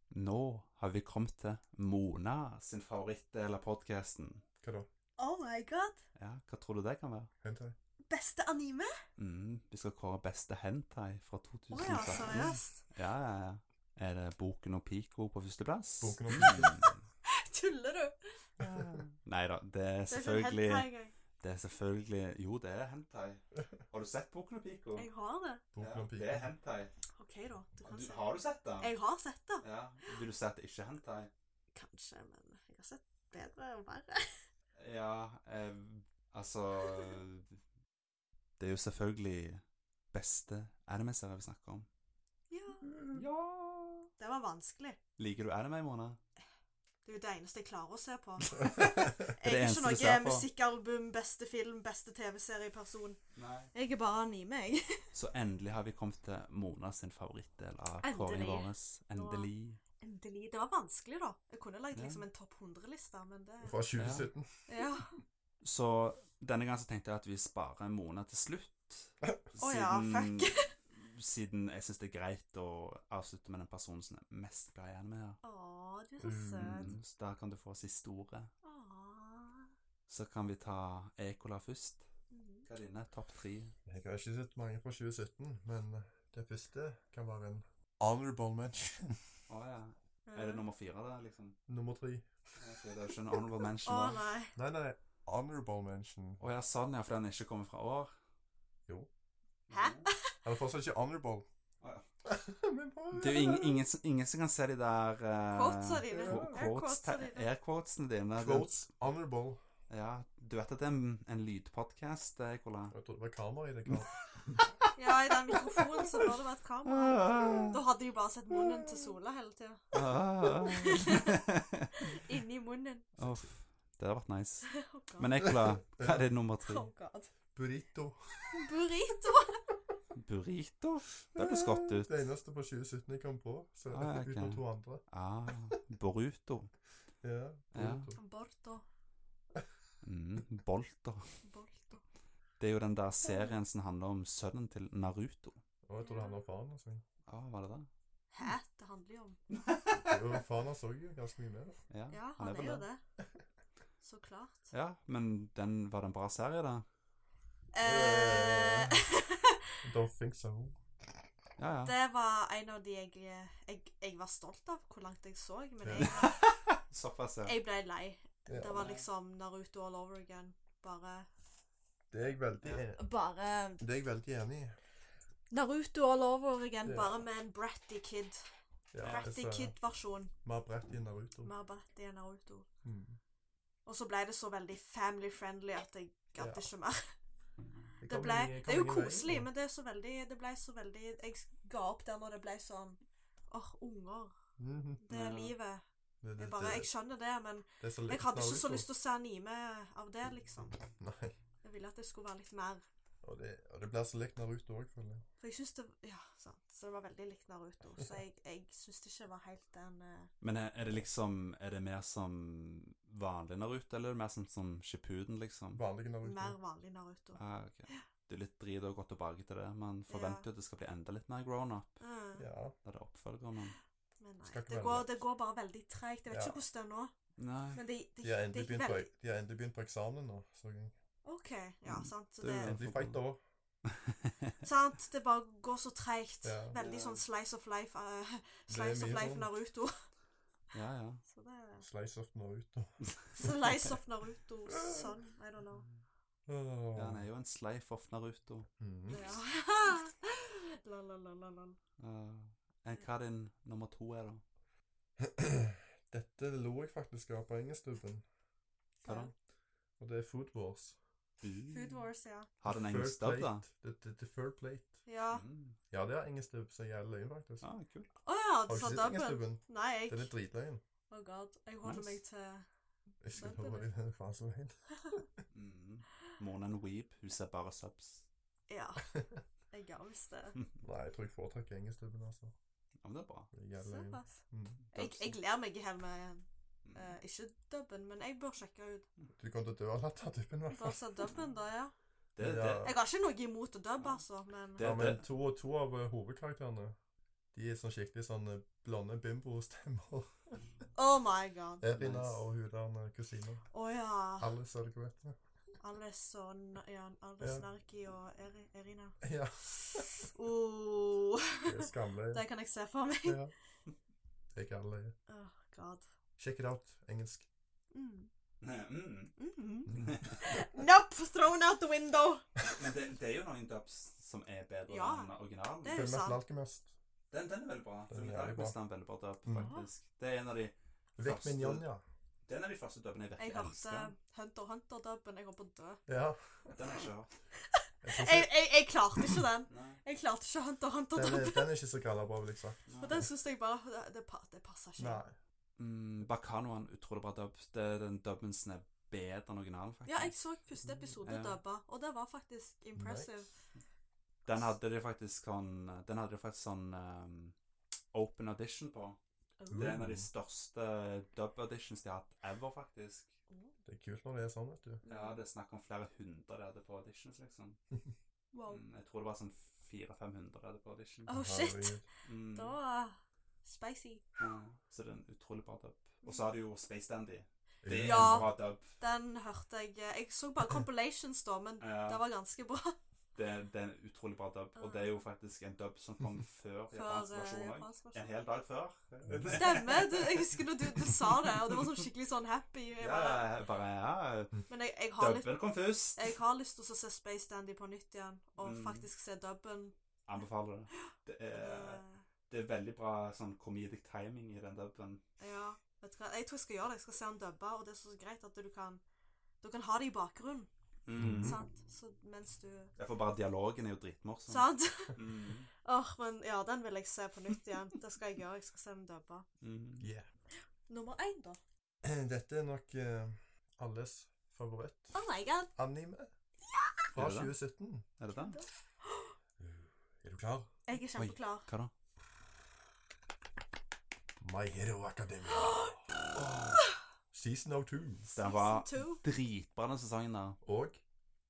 Speaker 3: Nå har vi kommet til Mona sin favorittdel av podkasten.
Speaker 2: Hva da?
Speaker 4: Oh my god.
Speaker 3: Ja, hva tror du det kan være?
Speaker 2: Hent her.
Speaker 4: Beste anime?
Speaker 3: Mm, vi skal kåre beste hentai fra
Speaker 4: Å
Speaker 3: 2017.
Speaker 4: ja, seriøst?
Speaker 3: Ja, ja, ja. Er det Boken og Pico på Mm. førsteplass?
Speaker 2: Boken og
Speaker 4: Tuller du?
Speaker 3: Nei da, det er
Speaker 4: Det er ikke en hentai
Speaker 3: selvfølgelig
Speaker 4: engang.
Speaker 3: Det er selvfølgelig Jo, det er hentai. Har du sett Boken og Pico?
Speaker 4: Jeg har det.
Speaker 2: Boken om
Speaker 3: det er
Speaker 2: piken.
Speaker 3: hentai.
Speaker 4: OK, da. Du kan
Speaker 3: Du,
Speaker 4: se.
Speaker 3: har du sett den?
Speaker 4: Jeg har sett det.
Speaker 3: Ja. Vil du si at det ikke er hentai?
Speaker 4: Kanskje, men jeg har sett bedre og verre.
Speaker 3: Ja, eh, altså Det er jo selvfølgelig beste anime-serie vi snakker om.
Speaker 4: Ja.
Speaker 3: Ja.
Speaker 4: Det var vanskelig.
Speaker 3: Liker du anime, Mona?
Speaker 4: Det er jo det eneste jeg klarer å se på.
Speaker 3: er
Speaker 4: Jeg
Speaker 3: det
Speaker 4: er
Speaker 3: eneste
Speaker 4: ikke
Speaker 3: du
Speaker 4: noe
Speaker 3: ser på.
Speaker 4: musikkalbum, beste film, beste TV-serieperson.
Speaker 3: Nei.
Speaker 4: Jeg er bare anime, jeg.
Speaker 3: Så endelig har vi kommet til Mona sin favorittdel av
Speaker 4: Endelig.
Speaker 3: kåringen vår. Endelig.
Speaker 4: Endelig. Det var vanskelig, da. Jeg kunne lagd
Speaker 3: Ja.
Speaker 4: liksom en topp 100-liste, men det
Speaker 2: Fra 2017.
Speaker 4: Ja.
Speaker 3: Så denne gangen så tenkte jeg at vi sparer Mona til slutt.
Speaker 4: Å ja,
Speaker 3: siden jeg syns det er greit å avslutte med den personen som er mest glad i anime her.
Speaker 4: Å, du er så søt.
Speaker 3: Mm, så da kan du få siste ordet.
Speaker 4: Å.
Speaker 3: Så kan vi ta Ekola først.
Speaker 4: Mm.
Speaker 3: Hva er dine topp tre?
Speaker 2: Jeg har ikke sett mange fra 2017, men eh, det første kan være en honorable mention.
Speaker 3: Å ja. Er det nummer fire, da? liksom?
Speaker 2: Nummer tre.
Speaker 3: Ok, det er jo ikke en honorable
Speaker 4: Å
Speaker 3: mention. da.
Speaker 4: nei.
Speaker 2: Nei, nei, honorable mention.
Speaker 3: Å ja, sånn, ja, fordi den ikke kommer fra år?
Speaker 2: Jo.
Speaker 4: Hæ?
Speaker 2: Eller fortsatt ikke honorable.
Speaker 3: Å ja.
Speaker 2: Men bare-
Speaker 3: Det er jo ingen, ingen, som- ingen som kan se de der eh,
Speaker 4: Quotesa dine.
Speaker 3: qu-
Speaker 2: Air
Speaker 3: quotes-
Speaker 4: quotesa dine.
Speaker 3: Air quotesene dine. Du,
Speaker 2: Quotes honorable.
Speaker 3: ja, du vet at det er en, en eh, lydpodkast, Ekola?
Speaker 2: Jeg trodde det var kamera i det. Karl.
Speaker 4: Ja, i den mikrofonen så bør det være et kamera. Da hadde de bare sett munnen til Sola hele tida. Inni munnen.
Speaker 3: Uff, det hadde vært nice.
Speaker 4: Å, God.
Speaker 3: Men Ekola, hva er det nummer tre?
Speaker 4: Å, God.
Speaker 2: Burrito.
Speaker 4: Burrito.
Speaker 3: Burrito? Det høres godt ut.
Speaker 2: Det eneste på 2017 jeg kom på, så
Speaker 3: Ah, ok.
Speaker 2: utenom to andre.
Speaker 3: Ah, Boruto.
Speaker 2: Ja.
Speaker 3: Ja.
Speaker 2: Boruto.
Speaker 4: Borto.
Speaker 3: Mm, Bolter.
Speaker 4: Borto.
Speaker 3: Det er jo den der serien som handler om sønnen til Naruto.
Speaker 2: Og jeg tror det handler om faren hans. jeg.
Speaker 3: Ja, var det det?
Speaker 4: Hæ? Det handler jo om
Speaker 2: Jo, faren hans så jo ganske mye mer.
Speaker 3: Ja,
Speaker 4: Ja, han er
Speaker 3: vel
Speaker 4: jo det. Så klart.
Speaker 3: Ja, men den, var det en bra serie, da?
Speaker 4: Eh,
Speaker 2: Don't think so.
Speaker 3: Ja, ja.
Speaker 4: det var en av de jeg, jeg, jeg var stolt av, hvor langt jeg så, men
Speaker 2: Ja.
Speaker 4: jeg,
Speaker 3: Såpass, ja.
Speaker 4: jeg ble lei.
Speaker 2: Ja.
Speaker 4: Det var liksom Naruto all over again. Bare
Speaker 2: Det er jeg veldig, en-
Speaker 4: Bare
Speaker 2: det er jeg veldig enig i.
Speaker 4: Naruto all over again,
Speaker 2: Ja.
Speaker 4: bare med en bratty kid.
Speaker 2: Ja, altså,
Speaker 4: Bratty
Speaker 2: dessverre.
Speaker 4: kid-versjon.
Speaker 2: Mer bredt i Naruto.
Speaker 4: Mer bratty enn Naruto.
Speaker 2: Mm.
Speaker 4: Og så ble det så veldig family-friendly at jeg gadd
Speaker 2: Ja.
Speaker 4: ikke mer. Det,
Speaker 2: kom
Speaker 4: ble,
Speaker 2: ingen-
Speaker 4: det
Speaker 2: kom
Speaker 4: er jo
Speaker 2: ingen vei,
Speaker 4: koselig,
Speaker 2: da.
Speaker 4: men det er så veldig Det ble så veldig Jeg ga opp der når det ble sånn Åh, unger.
Speaker 2: Mhm.
Speaker 4: Det er
Speaker 3: Ja.
Speaker 4: livet.
Speaker 2: det,
Speaker 4: Jeg bare Jeg skjønner det, men
Speaker 2: det er så
Speaker 4: jeg hadde ikke så lyst til å se anime av det, liksom.
Speaker 2: Nei.
Speaker 4: Jeg ville at det skulle være litt mer.
Speaker 2: Og det, og det blir så likt Naruto òg, føler jeg.
Speaker 4: For jeg syns det Ja, sant. Så det var veldig likt Naruto. Så jeg, jeg syns det ikke var helt den eh,
Speaker 3: Men er er det liksom Er det mer som vanlig Naruto, eller er det mer som, som Shippuden, liksom?
Speaker 2: Vanlige Naruto.
Speaker 4: mer vanlige Naruto.
Speaker 3: Ah, ok. Det er litt drit å gå tilbake til det. Man forventer jo at det skal bli enda litt mer grown up.
Speaker 4: Mm,
Speaker 2: Ja.
Speaker 3: Da det oppfølger, men
Speaker 4: men nei.
Speaker 2: Skal ikke
Speaker 4: Det
Speaker 2: være
Speaker 4: går,
Speaker 2: lett.
Speaker 4: det går bare veldig treigt. Jeg vet
Speaker 2: Ja.
Speaker 4: ikke hvordan det er nå,
Speaker 3: Nei.
Speaker 4: men det, det,
Speaker 2: De har
Speaker 4: det
Speaker 2: endelig
Speaker 4: gikk
Speaker 2: begynt på,
Speaker 4: veldig
Speaker 2: de har endelig begynt på eksamen nå. Så jeg
Speaker 4: OK. Ja,
Speaker 3: Mm,
Speaker 4: sant. Så
Speaker 3: det er
Speaker 4: det
Speaker 3: jo
Speaker 2: endelig fight da.
Speaker 4: Sant? Det bare går så treigt.
Speaker 2: Ja.
Speaker 4: Veldig
Speaker 3: Ja.
Speaker 4: sånn slice of life eh, Slice of
Speaker 2: mye
Speaker 4: life
Speaker 2: sånn.
Speaker 4: Naruto.
Speaker 3: Ja, ja.
Speaker 4: Så det er
Speaker 2: Slice of Naruto.
Speaker 4: Slice of Naruto sånn. I don't know.
Speaker 2: Åh.
Speaker 3: Ja, han er jo en sleif of Naruto.
Speaker 2: Mm.
Speaker 4: Ja. la, la, la, la, la.
Speaker 3: Eh, eh, hva din nummer to er, da?
Speaker 2: Dette lo jeg faktisk av på engelskklubben,
Speaker 3: Hva da?
Speaker 2: og det er Food Wars.
Speaker 4: Food Wars, ja.
Speaker 3: Har den
Speaker 2: Third
Speaker 3: engelsk dubb, da?
Speaker 2: plate. The, the, the third plate.
Speaker 4: Ja.
Speaker 3: Mm.
Speaker 2: Ja, det er engelsk dubb, så jævlig løgn, faktisk.
Speaker 3: Ah, kult.
Speaker 4: Å ja,
Speaker 2: Har du
Speaker 4: du sa
Speaker 2: ikke sett engelsk
Speaker 4: dubben?
Speaker 2: dubben?
Speaker 4: Nei, jeg
Speaker 2: Den er dritløgn.
Speaker 4: Oh god. Jeg holder
Speaker 3: Nice.
Speaker 4: meg til
Speaker 2: Jeg skulle
Speaker 4: Dubben,
Speaker 2: holde i den faen så løgn.
Speaker 3: Mm. Mornen Weeb, hun ser bare subs.
Speaker 4: Ja. Jeg gjør visst det.
Speaker 2: Nei, jeg tror jeg foretrekker engelsk dubben, altså.
Speaker 3: Ja, men det er bra.
Speaker 2: Det er jævlig løgn.
Speaker 4: Såpass.
Speaker 2: Mm.
Speaker 4: Jeg,
Speaker 3: Dubs.
Speaker 4: jeg ler meg i hjel med
Speaker 3: Mm.
Speaker 4: eh, Ikke dubben, men jeg bør sjekke ut.
Speaker 2: Du kommer til å dø av latter, typen, i hvert fall.
Speaker 4: Bare se dubben, da, ja.
Speaker 3: Det, det,
Speaker 2: Ja.
Speaker 4: Jeg har ikke noe imot å dubbe, altså, men
Speaker 3: Det-
Speaker 2: Ja, men
Speaker 3: det-
Speaker 2: to, to av eh, hovedkarakterene, de er sånn skikkelig sånn eh, blonde bimbo-stemmer.
Speaker 4: Oh my god.
Speaker 2: Erina
Speaker 3: Nice.
Speaker 2: og hun der eh, kusina.
Speaker 4: Å ja.
Speaker 2: Alice, er det ikke vet du?
Speaker 4: Alice og N- ja, Alice
Speaker 2: Ja.
Speaker 4: Narki og Eri, Erina.
Speaker 2: Ja,
Speaker 4: Oh,
Speaker 2: det er skamløy.
Speaker 4: det kan jeg se for meg.
Speaker 2: Ja. Jeg er alle
Speaker 4: Oh god.
Speaker 2: Check it out, engelsk.
Speaker 4: Mm.
Speaker 3: Mm.
Speaker 4: Mm.
Speaker 2: Mm.
Speaker 4: Nope! Thrown out the window!
Speaker 3: Men det, det er jo noen dubs som er bedre
Speaker 4: Ja,
Speaker 3: enn originalen.
Speaker 4: det er jo
Speaker 2: Fullmetal
Speaker 4: sant.
Speaker 2: Alchemist.
Speaker 3: Den, den er veldig bra.
Speaker 2: Den er
Speaker 3: Full
Speaker 2: jævlig
Speaker 3: Metal Alchemist er en veldig bra dub,
Speaker 2: Mm.
Speaker 3: faktisk. Det er en av de
Speaker 2: Vekk med
Speaker 3: Første-
Speaker 2: Njonja.
Speaker 3: Det er Altså- en av de første dubbene jeg
Speaker 4: Jeg
Speaker 3: virkelig
Speaker 4: hørte
Speaker 3: elsker.
Speaker 4: Hunter x Hunter-dubben. Jeg holdt på å dø.
Speaker 2: Ja.
Speaker 3: Den har jeg ikke hørt.
Speaker 2: Jeg tror
Speaker 4: Jeg,
Speaker 2: ikke,
Speaker 4: jeg, jeg klarte ikke den.
Speaker 3: Nei.
Speaker 4: Jeg klarte ikke Hunter
Speaker 2: den, er,
Speaker 4: x Hunter-dubben.
Speaker 2: den er ikke så galla bra, vil jeg si.
Speaker 4: Og den syns jeg bare Det, det, pa- det passer ikke.
Speaker 2: Nei.
Speaker 3: Mm, Bakanoen, utrolig bra dub. Det er den dubben som er bedre enn originalen, faktisk.
Speaker 4: Ja, jeg så første episode
Speaker 3: Ja.
Speaker 4: dubba, og det var faktisk impressive.
Speaker 3: Den hadde de faktisk sånn Den hadde de faktisk sånn um, open audition på. Det er en av de største dub auditions de har hatt ever, faktisk.
Speaker 2: Det er kult når det er sånn, vet
Speaker 4: Oh,
Speaker 2: du.
Speaker 3: Ja, det er snakk om flere hundre de hadde på auditions, liksom.
Speaker 4: Wow.
Speaker 3: Mm, jeg tror det var sånn 400-500 de hadde på audition.
Speaker 4: Oh shit!
Speaker 2: Herregud.
Speaker 3: Mm,
Speaker 4: Da Spicy.
Speaker 3: ja. Så det er en utrolig bra dub. Og så har du jo Space Dandy. Det er
Speaker 4: Ja.
Speaker 3: en bra dub.
Speaker 4: Den hørte jeg eh, Jeg så bare compilations, da, men
Speaker 3: Ja.
Speaker 4: det var ganske bra.
Speaker 3: Det, det er en utrolig bra dub, og det er jo faktisk en dub som kom før
Speaker 4: Før
Speaker 3: japansk
Speaker 4: eh,
Speaker 3: versjon òg.
Speaker 4: japansk
Speaker 3: En
Speaker 4: versjon.
Speaker 3: hel dag før.
Speaker 4: Stemmer! Du, jeg husker da du, du sa det, og det var sånn skikkelig sånn happy. Jeg
Speaker 3: Ja,
Speaker 4: bare,
Speaker 3: jeg bare ja,
Speaker 4: men jeg, jeg har litt
Speaker 3: Dubben kom først.
Speaker 4: jeg har lyst til å se Space Dandy på nytt igjen, og
Speaker 3: Mm.
Speaker 4: faktisk se dubben. eh,
Speaker 3: Anbefaler det. Det er, det er veldig bra sånn comedic timing i den dubben.
Speaker 4: Ja, vet du hva. Jeg tror jeg skal gjøre det. Jeg skal se han dubba, og det er så greit at du kan Du kan ha det i bakgrunnen,
Speaker 2: Mm.
Speaker 4: sant? Så mens du
Speaker 3: Derfor bare dialogen er jo dritmorsom.
Speaker 4: Sant?
Speaker 3: Mm.
Speaker 4: Åh, men ja, den vil jeg se på nytt igjen. Det skal jeg gjøre. Jeg skal se den dubba.
Speaker 3: Mm.
Speaker 2: Yeah.
Speaker 4: Nummer én, da.
Speaker 2: Dette er nok eh, alles favoritt.
Speaker 4: Oh my god.
Speaker 2: Anime fra
Speaker 3: Er det det?
Speaker 2: 2017.
Speaker 3: Er det det?
Speaker 2: Er du klar?
Speaker 4: Jeg er kjempeklar.
Speaker 3: Hva da?
Speaker 2: My Hero Academia. Season of Two
Speaker 3: Den var
Speaker 4: Season two.
Speaker 3: dritbra den sesongen der.
Speaker 2: og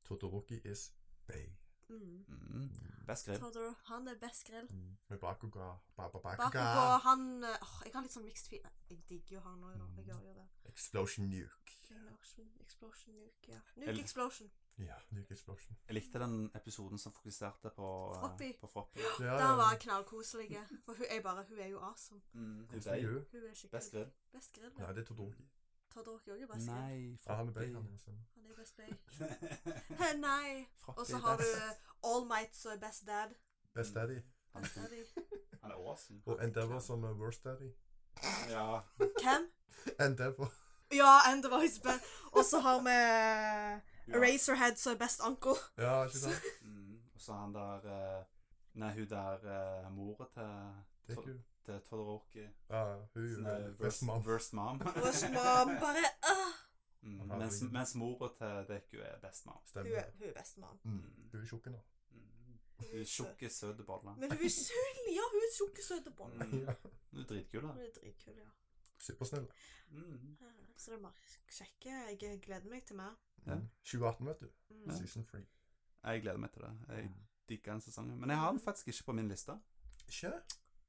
Speaker 2: Todoroki is Bay.
Speaker 4: Mm.
Speaker 3: Mm. Best grep.
Speaker 4: Todor, han er best grill.
Speaker 2: Mm. Med Bakuga. Ba, ba,
Speaker 4: Bakugo,
Speaker 2: Bakuga.
Speaker 4: han eh, åh, Jeg har litt sånn mixed feel Jeg digger jo han òg, da. Jeg gjør jo det.
Speaker 2: Explosion Nuke.
Speaker 4: Explosion, Mm. explosion, nuke, ja.
Speaker 3: Eller-
Speaker 4: Nuke explosion.
Speaker 2: Ja, Nuke Explosion.
Speaker 3: Jeg likte den episoden som fokuserte på eh,
Speaker 4: Froppy.
Speaker 3: På Froppy.
Speaker 2: Ja,
Speaker 4: Der var
Speaker 2: ja.
Speaker 4: knallkoselig. For hun er bare Hun er jo awesome.
Speaker 3: Mm, hun
Speaker 2: Hvordan er
Speaker 3: døde.
Speaker 2: hun?
Speaker 4: Hun er skikkelig
Speaker 3: Best grill.
Speaker 4: Best grill.
Speaker 2: Nei, det er Todoroki.
Speaker 4: Todoroki òg er best grill.
Speaker 3: Nei,
Speaker 2: Ja, han er
Speaker 3: Froppy.
Speaker 2: Bay. Han er sånn.
Speaker 4: Han er best bay. Heh, Nei. Og så har du eh, All Might som er best dad.
Speaker 2: Best Daddy.
Speaker 3: Han
Speaker 4: Best
Speaker 3: er,
Speaker 4: daddy.
Speaker 3: han er awesome.
Speaker 2: Og Endeavor som er Worst Daddy.
Speaker 3: Ja.
Speaker 4: Hvem?
Speaker 2: Endeavor.
Speaker 4: Ja, and the voice band. Og så har vi eh, Eraserhead som er best uncle.
Speaker 2: Ja, ikke sant?
Speaker 3: Mm. Og så han der eh, Nei, hun der uh, mora til,
Speaker 2: Det er kult.
Speaker 3: til Todoroki.
Speaker 2: Ja, hun er jo
Speaker 3: Nei,
Speaker 2: veldig- best
Speaker 3: Worst
Speaker 2: mom.
Speaker 3: worst mom.
Speaker 4: Worst mom. Bare ah.
Speaker 3: Mm, mens, mens mora til Deku er best mom.
Speaker 4: Hun
Speaker 2: Stemmer.
Speaker 4: er, hun er best mom.
Speaker 2: Mm. Hun er tjukk nå.
Speaker 3: Mm. Hun er tjukke, søte boller.
Speaker 4: Men hun er søt. Ja, hun er tjukk og søt og bånd.
Speaker 3: Mm. Hun er dritkul, da.
Speaker 4: Hun er dritkul, ja.
Speaker 2: Supersnill.
Speaker 3: Mm.
Speaker 4: Så det er bare kjekke. Jeg gleder meg til mer.
Speaker 3: Ja.
Speaker 2: Mm. 2018, vet du.
Speaker 4: Mm.
Speaker 2: Season 3.
Speaker 3: Jeg gleder meg til det. Jeg digger den sesongen. Men jeg har den faktisk ikke på min liste.
Speaker 2: Ikke?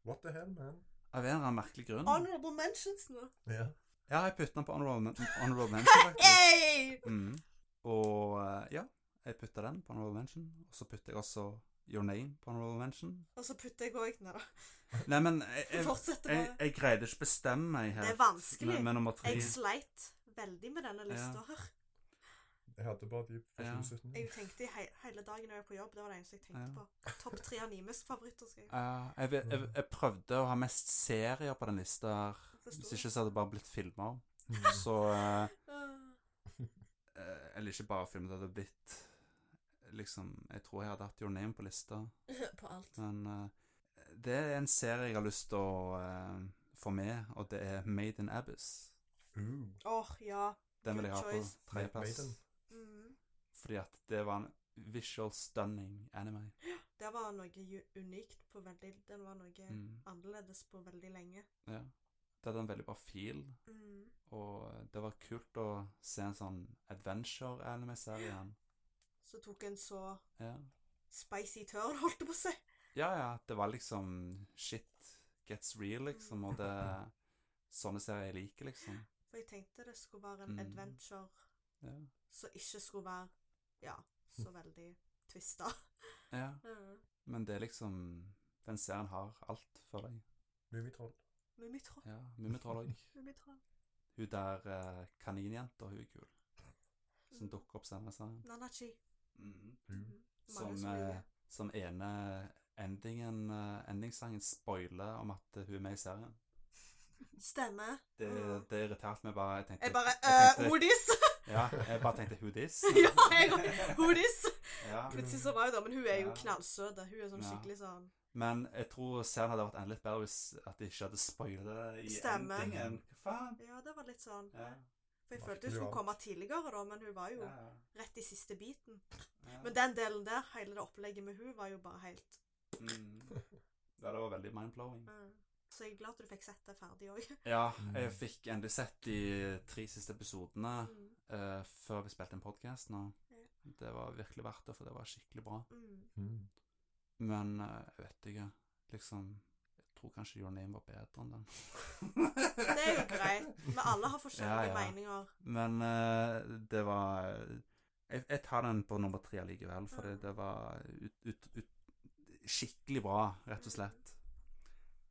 Speaker 2: What the hell, man?
Speaker 3: Av en eller annen merkelig grunn.
Speaker 4: Honorable mentions nå.
Speaker 2: Ja.
Speaker 3: Ja, jeg putter den på honorable, men honorable mention, faktisk.
Speaker 4: Hey!
Speaker 3: Mm. Og eh, ja, jeg putter den på honorable mention. Og så putter jeg også Your Name på honorable mention.
Speaker 4: Og så putter jeg òg Nei da.
Speaker 3: Nei, men jeg, jeg,
Speaker 4: Fortsette
Speaker 3: jeg,
Speaker 4: bare.
Speaker 3: jeg greide ikke å bestemme meg
Speaker 4: Det
Speaker 3: helt
Speaker 4: er vanskelig.
Speaker 3: med, med nummer tre.
Speaker 4: Jeg sleit veldig med denne lista her.
Speaker 2: Jeg hadde bare de fra
Speaker 3: Ja.
Speaker 2: 2017.
Speaker 4: Jeg tenkte i hei, hele dagen når jeg var på jobb, det var det eneste jeg tenkte
Speaker 3: Ja.
Speaker 4: på. Topp tre animes favoritter, skal jeg
Speaker 3: Ja, jeg, vet- jeg, jeg prøvde å ha mest serier på den lista her. Hvis ikke så hadde det bare blitt filmer. Så eh,
Speaker 4: Ah.
Speaker 3: eh, Eller ikke bare filmer, det hadde blitt Liksom Jeg tror jeg hadde hatt Your Name på lista,
Speaker 4: Ah. På alt.
Speaker 3: men eh, det er en serie jeg har lyst til å eh, få med, og det er Made in Abyss.
Speaker 2: Uh.
Speaker 4: Åh, ja.
Speaker 3: Den vil jeg ha
Speaker 4: Good
Speaker 3: på
Speaker 4: choice.
Speaker 3: tredjeplass.
Speaker 2: Maiden.
Speaker 4: Mm.
Speaker 3: Fordi at det var en visual stunning anime.
Speaker 4: Det var noe ju- unikt på veldig Den var noe
Speaker 3: Mm,
Speaker 4: annerledes på veldig lenge.
Speaker 3: ja. Det hadde en veldig bra feel.
Speaker 4: Mm.
Speaker 3: Og det var kult å se en sånn adventure-anime-serie igjen.
Speaker 4: Så tok en så
Speaker 3: Ja.
Speaker 4: spicy turn, holdt jeg på å si.
Speaker 3: ja, ja, det var liksom Shit gets real, liksom. Og det er sånne serier jeg liker, liksom.
Speaker 4: For jeg tenkte det skulle være en
Speaker 3: Mm.
Speaker 4: adventure
Speaker 3: Ja.
Speaker 4: som ikke skulle være Ja, så veldig twista.
Speaker 3: ja.
Speaker 4: Mm.
Speaker 3: Men det er liksom Den serien har alt for deg.
Speaker 2: Mummitroll.
Speaker 4: Mummitroll.
Speaker 3: Ja, Mummitroll òg.
Speaker 4: Mummitroll.
Speaker 3: Hun der eh, kaninjenta, hun er kul. Som
Speaker 4: Mm.
Speaker 3: dukker opp senere i serien.
Speaker 4: Nanachi. Mm.
Speaker 3: Mhm.
Speaker 2: Uh.
Speaker 4: Mange
Speaker 3: Som,
Speaker 4: som liker.
Speaker 3: eh, som ene endingen, eh, endingssangen spoiler om at eh, hun er med i serien.
Speaker 4: Stemmer.
Speaker 3: Det,
Speaker 4: Mm.
Speaker 3: det irriterte meg bare. Jeg tenkte,
Speaker 4: Jeg bare
Speaker 3: jeg
Speaker 4: eh,
Speaker 3: tenkte-
Speaker 4: Odis!
Speaker 3: Ja, jeg bare tenkte who this?
Speaker 4: ja, jeg, Odis!
Speaker 3: Ja.
Speaker 4: Plutselig så var jeg der, men hun er jo
Speaker 3: Mm. Ja.
Speaker 4: knallsøt. da. Hun er sånn
Speaker 3: Ja.
Speaker 4: skikkelig sånn
Speaker 3: Men jeg tror serien hadde vært enda litt bedre hvis at de ikke hadde spoilet det i
Speaker 4: Stemmer.
Speaker 3: endingen. Hva faen?
Speaker 4: Ja, det var litt sånn
Speaker 3: Ja,
Speaker 4: For jeg
Speaker 2: Merkelig
Speaker 4: følte hun skulle
Speaker 2: alt.
Speaker 4: komme tidligere, da, men hun var jo
Speaker 3: ja, ja.
Speaker 4: rett i siste biten.
Speaker 3: ja.
Speaker 4: Men den delen der, hele det opplegget med hun, var jo bare helt
Speaker 3: Mm. Ja, det var veldig mind-blowing.
Speaker 4: mm. Så jeg er glad at du fikk sett det ferdig òg.
Speaker 3: Ja, jeg fikk endelig sett de tre siste episodene
Speaker 4: Mm.
Speaker 3: eh, før vi spilte en podkast nå.
Speaker 4: Ja.
Speaker 3: Det var virkelig verdt det, for det var skikkelig bra.
Speaker 4: Mm.
Speaker 2: Mm.
Speaker 3: Men eh, jeg vet ikke. Liksom Jeg tror kanskje Your Name var bedre enn den.
Speaker 4: Det er jo greit. Men alle har forskjellige
Speaker 3: Ja, ja.
Speaker 4: meninger.
Speaker 3: Men eh, det var jeg, jeg tar den på nummer tre likevel, for det, det var ut, ut, ut, skikkelig bra, rett og slett.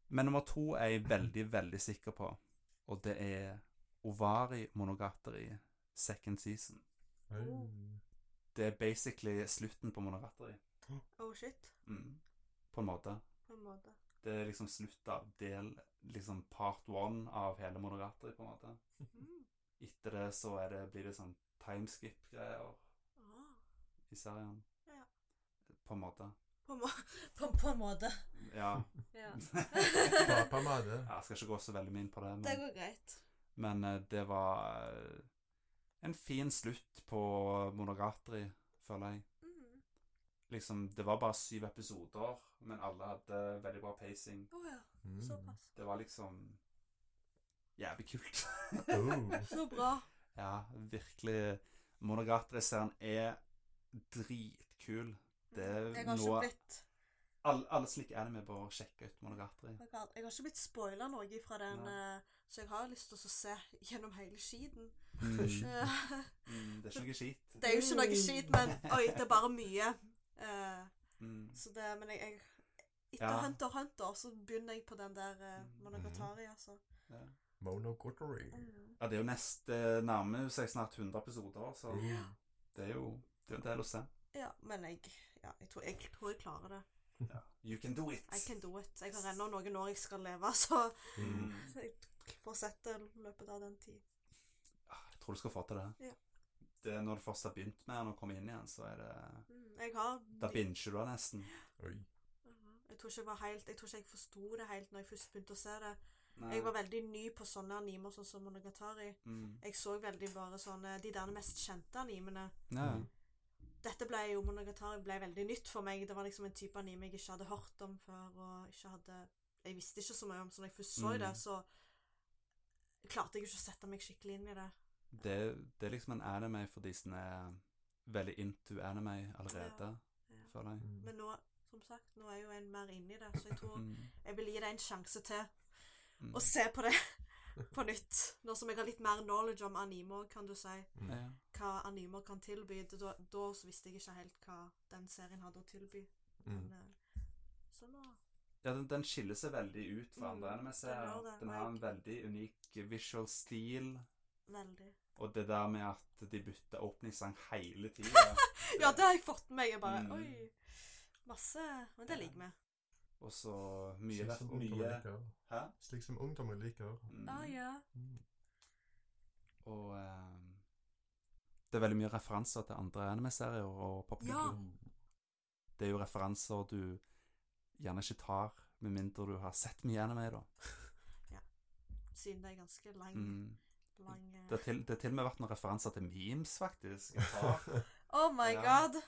Speaker 3: Men nummer to er jeg veldig, veldig sikker på, og det er Ovari Monogatari second season.
Speaker 2: Uh.
Speaker 3: Det er basically slutten på Monogatari,
Speaker 4: Oh shit.
Speaker 3: mm. på en måte.
Speaker 4: På en måte.
Speaker 3: Det er liksom slutt av del Liksom part one av hele Monogatari, på en måte.
Speaker 4: Mm.
Speaker 3: Etter det så er det, blir det sånn timeskip-greier.
Speaker 4: Ah.
Speaker 3: i serien.
Speaker 4: Ja.
Speaker 3: På en måte.
Speaker 4: På, en må på, på en måte.
Speaker 3: Ja.
Speaker 4: Ja.
Speaker 3: Mm.
Speaker 2: Pappa Madde.
Speaker 3: Jeg skal ikke gå så veldig mye inn på det,
Speaker 4: Det
Speaker 3: men,
Speaker 4: går greit.
Speaker 3: men eh, det var eh, en fin slutt på Monogatari, føler jeg.
Speaker 4: Mm.
Speaker 3: Liksom, det var bare syv episoder, men alle hadde veldig bra pacing.
Speaker 4: Å ja.
Speaker 2: Mm.
Speaker 4: Såpass.
Speaker 3: Det var liksom jævlig kult.
Speaker 2: Oh.
Speaker 4: Så bra.
Speaker 3: Ja, virkelig. Monogatari-serien er dritkul. Det er
Speaker 4: Jeg har ikke
Speaker 3: noe
Speaker 4: blitt
Speaker 3: alle, alle slike anime bør sjekke ut Monogatari.
Speaker 4: hva jeg kaller- Jeg har ikke blitt spoila noe fra den,
Speaker 3: Nei.
Speaker 4: eh, så jeg har lyst til å se gjennom hele skiten.
Speaker 3: Mm,
Speaker 4: Eh,
Speaker 3: mm, det er ikke noe skit.
Speaker 4: det er jo ikke noe skit, men oi, det er bare mye. Eh,
Speaker 3: Mm.
Speaker 4: så det, men jeg, jeg Etter
Speaker 3: Ja.
Speaker 4: Hunter x Hunter så begynner jeg på den der eh, Monogatari, altså.
Speaker 3: Ja.
Speaker 2: Monogottery.
Speaker 4: Mm.
Speaker 3: ja, det er jo neste eh, nærmer seg snart 100 episoder, så
Speaker 2: Mm.
Speaker 3: det er jo det er jo en del å se.
Speaker 4: Ja, men jeg, ja, jeg, tror, jeg tror jeg klarer det.
Speaker 3: You can do it!
Speaker 4: I can do it. Jeg har ennå noen år jeg skal leve, så
Speaker 3: Mm.
Speaker 4: jeg får sett det i løpet av den tid.
Speaker 3: Ah, Jeg tror du skal få til det.
Speaker 4: Ja.
Speaker 3: det er når du først har begynt med den og kommer inn igjen, så er det
Speaker 4: Mm. Jeg har
Speaker 3: Da binger du den nesten.
Speaker 2: Oi.
Speaker 4: Mhm. Jeg tror ikke jeg var helt Jeg tror ikke jeg forsto det helt når jeg først begynte å se det.
Speaker 3: Nei.
Speaker 4: Jeg var veldig ny på sånne animer sånn som Monogatari.
Speaker 3: mm.
Speaker 4: Jeg så veldig bare sånne De der mest kjente animene.
Speaker 3: ja.
Speaker 4: Dette ble jo Monogatari ble veldig nytt for meg. Det var liksom en type anime jeg ikke hadde hørt om før, og ikke hadde Jeg visste ikke så mye om, så når jeg først så
Speaker 3: Mm.
Speaker 4: det, så klarte jeg jo ikke å sette meg skikkelig inn i det.
Speaker 3: det, det er liksom en anime for de som er veldig into anime allerede,
Speaker 4: Ja.
Speaker 3: føler jeg.
Speaker 2: Mm.
Speaker 4: Men nå, som sagt, nå er jo en mer inni det, så jeg tror
Speaker 3: Mm.
Speaker 4: jeg vil gi det en sjanse til.
Speaker 3: Mm.
Speaker 4: og se på det på nytt. Nå som jeg har litt mer knowledge om animer, kan du si.
Speaker 2: Mm.
Speaker 3: Ja.
Speaker 4: Hva animer kan tilby. Da, da så visste jeg ikke helt hva den serien hadde å tilby. Men,
Speaker 2: Mm.
Speaker 4: eh, så nå
Speaker 3: Ja, den, den skiller seg veldig ut fra andre
Speaker 4: Mm, den gjør
Speaker 3: anime-serier.
Speaker 4: det.
Speaker 3: Den har en veldig unik visual stil,
Speaker 4: Veldig.
Speaker 3: og det der med at de bytter åpningssang hele tida.
Speaker 4: Ja, det har jeg fått med meg. Jeg bare
Speaker 3: Mm.
Speaker 4: Oi. Masse. Men det
Speaker 3: Ja.
Speaker 4: liker vi.
Speaker 3: Og så mye
Speaker 2: Slik
Speaker 3: ref-
Speaker 2: som ungdommer
Speaker 3: mye,
Speaker 2: liker.
Speaker 3: Hæ?
Speaker 2: Slik som ungdommer liker.
Speaker 3: Mm.
Speaker 4: Ah, ja.
Speaker 2: Mm.
Speaker 3: Og eh, det er veldig mye referanser til andre anime-serier og popkultur.
Speaker 4: Ja.
Speaker 3: Det er jo referanser du gjerne ikke tar, med mindre du har sett mye anime, da.
Speaker 4: Siden det er ganske lang,
Speaker 3: Mm.
Speaker 4: lang eh.
Speaker 3: Det har til, det har til og med vært noen referanser til memes, faktisk. Jeg tar.
Speaker 4: Oh my
Speaker 3: Ja.
Speaker 4: god!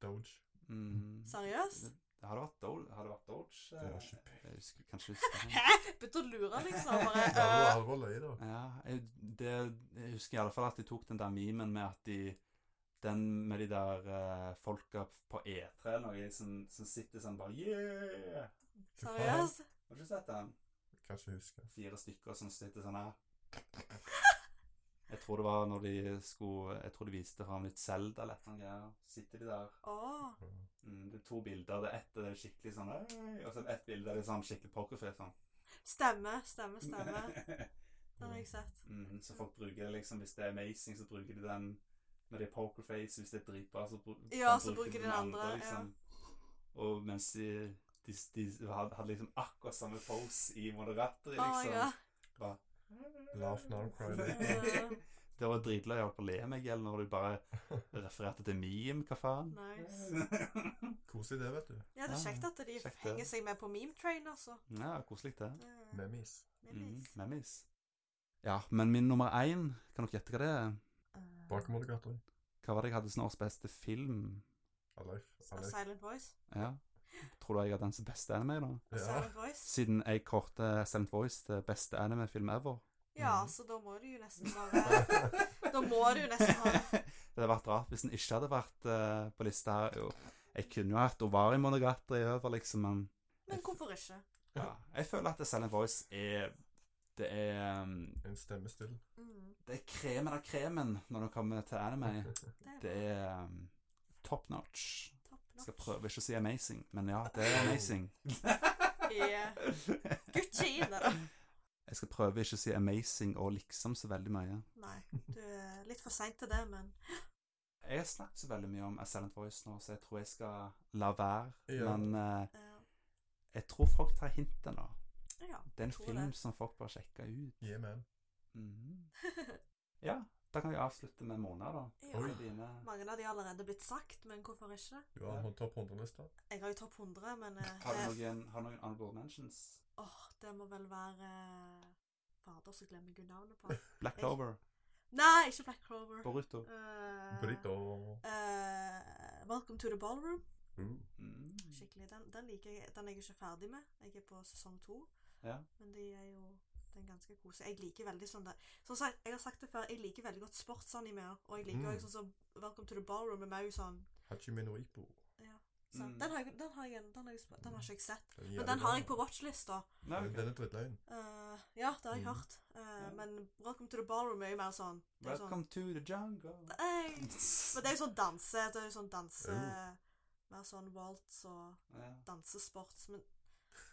Speaker 2: Doge.
Speaker 3: Mm.
Speaker 4: Sånn. Seriøst?
Speaker 3: Har det vært Doge? Har det vært Doge?
Speaker 2: Det var
Speaker 3: eh,
Speaker 2: ikke
Speaker 3: Jeg husker kanskje husker jeg.
Speaker 4: Begynte å lure, liksom. Bare,
Speaker 2: Ja, det var
Speaker 4: eh,
Speaker 2: alvor løy, da.
Speaker 3: Ja, jeg, det, jeg husker i alle fall at de tok den der memen med at de Den med de der eh, folka på E E3 eller noe som, som sitter sånn bare Yeah!
Speaker 4: seriøst?
Speaker 3: Har du ikke sett den?
Speaker 2: Kan ikke huske.
Speaker 3: Fire stykker som sitter sånn her. Jeg tror det var når de skulle Jeg tror de viste ham litt Zelda eller et eller annet greier. Så Sitter de der.
Speaker 4: Å.
Speaker 3: Mm, det er to bilder. Det er ett der det er skikkelig sånn «Hey!» Og så er det ett bilde der det er sånn skikkelig pokerface. Sånn.
Speaker 4: Stemme, stemme, stemme. Den har jeg sett.
Speaker 3: Mm, så folk bruker det liksom Hvis det er amazing, så bruker de den når det er pokerface. Hvis det er dritbra, så, bru
Speaker 4: Ja, så bruker de den andre,
Speaker 3: liksom. Og mens de, de, de hadde hadde liksom akkurat samme pose i Moderatory,
Speaker 4: Oh my god.
Speaker 3: liksom.
Speaker 2: Laugh now, cry
Speaker 4: later.
Speaker 3: det var dritløy å holde på å le meg eller når du bare refererte til meme, hva faen?
Speaker 4: Nice.
Speaker 2: Koselig det, vet du.
Speaker 4: Ja, det er kjekt at de
Speaker 3: Kjekt, ja.
Speaker 4: henger seg med på meme train, altså.
Speaker 3: Ja, koselig det.
Speaker 4: Eh,
Speaker 2: Memis.
Speaker 3: Mm,
Speaker 4: memes.
Speaker 3: memes. Ja, men min nummer én, kan dere gjette hva det er?
Speaker 4: Eh,
Speaker 2: Bakemonogatari.
Speaker 3: Hva var det jeg hadde som årets beste film?
Speaker 2: Alive.
Speaker 4: A
Speaker 2: Alive.
Speaker 4: Silent Voice.
Speaker 3: Ja. Tror du jeg hadde den som beste anime, da?
Speaker 4: A
Speaker 2: Ja.
Speaker 4: Silent Voice.
Speaker 3: Siden jeg kårte Silent Voice til beste anime-film ever.
Speaker 4: Ja, så da må du jo nesten bare Da må du jo nesten ha det.
Speaker 3: Det hadde vært rart hvis den ikke hadde vært eh, på lista her. Jo, jeg kunne jo hatt Ovari Monogatari over, liksom, men
Speaker 4: Men hvorfor ikke?
Speaker 3: ja. jeg føler at Silent Voice er Det er um,
Speaker 2: En stemme stille.
Speaker 4: Mm,
Speaker 3: Det er kremen av kremen når det kommer til anime. Det
Speaker 4: det er
Speaker 3: er um, top notch.
Speaker 4: topp
Speaker 3: Jeg skal
Speaker 4: nok.
Speaker 3: prøve ikke å si amazing, men ja, det er amazing.
Speaker 4: Yeah. Gucci inne, da.
Speaker 3: Jeg skal prøve ikke å si amazing og liksom så veldig mye.
Speaker 4: Nei, du er litt for seint til det, men
Speaker 3: Jeg har snakket så veldig mye om A Silent Voice nå, så jeg tror jeg skal la være.
Speaker 2: Ja.
Speaker 3: Men eh,
Speaker 4: eh,
Speaker 3: jeg tror folk tar hintet nå.
Speaker 4: ja.
Speaker 3: Det er en
Speaker 4: Tror
Speaker 3: film
Speaker 4: det.
Speaker 3: som folk bør sjekke ut.
Speaker 2: Yeah, man.
Speaker 3: Mhm. Ja, da kan vi avslutte med måneder, da.
Speaker 4: ja.
Speaker 2: Oi.
Speaker 3: Dine-
Speaker 4: Mange av de har allerede blitt sagt, men hvorfor ikke?
Speaker 2: Du har en topp 100-lista.
Speaker 4: Jeg har jo topp 100, men eh,
Speaker 3: Har du
Speaker 4: det,
Speaker 3: noen, har du noen honorable mentions?
Speaker 4: åh, det må vel være eh, Fader, så glemmer jeg jo navnet på han.
Speaker 3: Black
Speaker 4: Jeg-
Speaker 3: Clover,
Speaker 4: Nei, ikke Black Clover.
Speaker 3: Boruto.
Speaker 4: Eh,
Speaker 2: Brito.
Speaker 4: eh, Welcome to the Ballroom.
Speaker 2: Uh.
Speaker 3: Mm.
Speaker 4: Skikkelig, den, den liker jeg. Den er jeg ikke ferdig med. Jeg er på sesong to.
Speaker 3: Ja.
Speaker 4: Men de er jo Den er ganske koselig. Jeg liker veldig sånn det Som sagt, jeg har sagt det før, jeg liker veldig godt sportsanime. Og jeg liker
Speaker 2: Mm.
Speaker 4: også sånn som Welcome to the Ballroom med Mau sånn.
Speaker 2: Hachime no Ippo.
Speaker 4: Ja, så
Speaker 3: Mm.
Speaker 4: den, har jeg, den, har jeg, den, har jeg, sp- den har ikke jeg sett.
Speaker 2: Den er
Speaker 4: Men
Speaker 2: jævlig
Speaker 4: den har
Speaker 2: bra.
Speaker 4: jeg på watchlista.
Speaker 3: Nei,
Speaker 2: Den-
Speaker 3: ok.
Speaker 2: Den er drittløgn.
Speaker 4: Eh, ja, det har jeg
Speaker 2: Mm.
Speaker 4: hørt. Eh,
Speaker 3: Ja.
Speaker 4: Men Welcome to the Ballroom er jo mer sånn det er jo sånn,
Speaker 3: Welcome to the jungle.
Speaker 4: Hey! Men det er jo sånn danse. Det er jo sånn danse
Speaker 3: Oh.
Speaker 2: Jo.
Speaker 4: Mer sånn waltz og
Speaker 3: Ja.
Speaker 4: dansesport. Men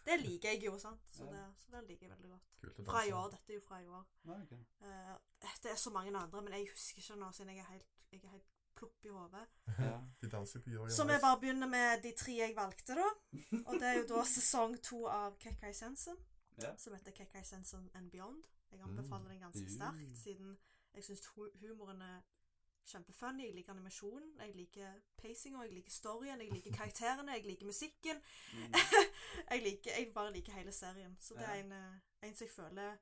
Speaker 4: det liker jeg jo, sant. Så
Speaker 3: Ja.
Speaker 4: det, så det liker jeg veldig godt.
Speaker 2: Kult å
Speaker 4: Fra i
Speaker 2: danse.
Speaker 4: år. Dette er jo fra i år.
Speaker 3: Nei, ok.
Speaker 4: Eh, det er så mange andre, men jeg husker ikke nå, siden jeg er helt, jeg er helt plopp i hodet.
Speaker 3: Ja.
Speaker 2: De danser på Jorgen.
Speaker 4: Så vi bare begynner med de tre jeg valgte, da. Og det er jo da sesong to av Kekkai Sensen,
Speaker 3: Ja.
Speaker 4: som heter Kekkai Sensen and Beyond. Jeg anbefaler den ganske
Speaker 3: Mm.
Speaker 4: sterkt, siden jeg syns humoren er kjempefunny. Jeg liker animasjonen, jeg liker pacinga, jeg liker storyen, jeg liker karakterene, jeg liker musikken.
Speaker 3: Mm.
Speaker 4: Jeg liker, jeg bare liker hele serien. Så det er
Speaker 3: Ja.
Speaker 4: en, eh, en som jeg føler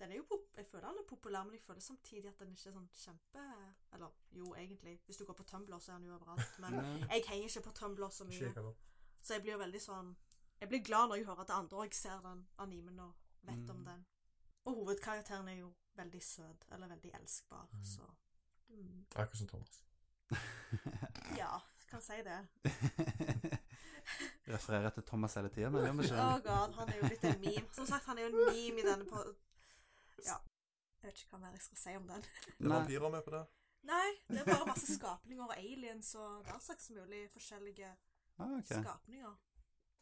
Speaker 4: den er jo pop Jeg føler den er populær, men jeg føler samtidig at den ikke er sånn kjempe Eller jo, egentlig. Hvis du går på Tumblr, så er den jo overalt. Men
Speaker 3: Nei.
Speaker 4: jeg henger ikke på Tumblr så mye.
Speaker 2: Sjekker da.
Speaker 4: Så jeg blir veldig sånn Jeg blir glad når jeg hører at det andre òg ser den animen og vet om
Speaker 3: Mm.
Speaker 4: den. Og hovedkarakteren er jo veldig søt, eller veldig elskbar,
Speaker 2: Mm.
Speaker 4: så mm.
Speaker 2: Akkurat som Thomas.
Speaker 4: Ja, kan si det.
Speaker 3: Jeg refererer til Thomas hele tida, men det gjør vi ikke.
Speaker 4: Oh god, han er jo blitt en meme. Som sagt, han er jo en meme i denne på Ja. Jeg vet ikke hva mer jeg skal si om den.
Speaker 2: Det er
Speaker 3: Nei.
Speaker 2: vampyrer med på det.
Speaker 4: Nei, det er bare masse skapninger og aliens og den slags mulig forskjellige
Speaker 3: Ah, ok.
Speaker 4: skapninger.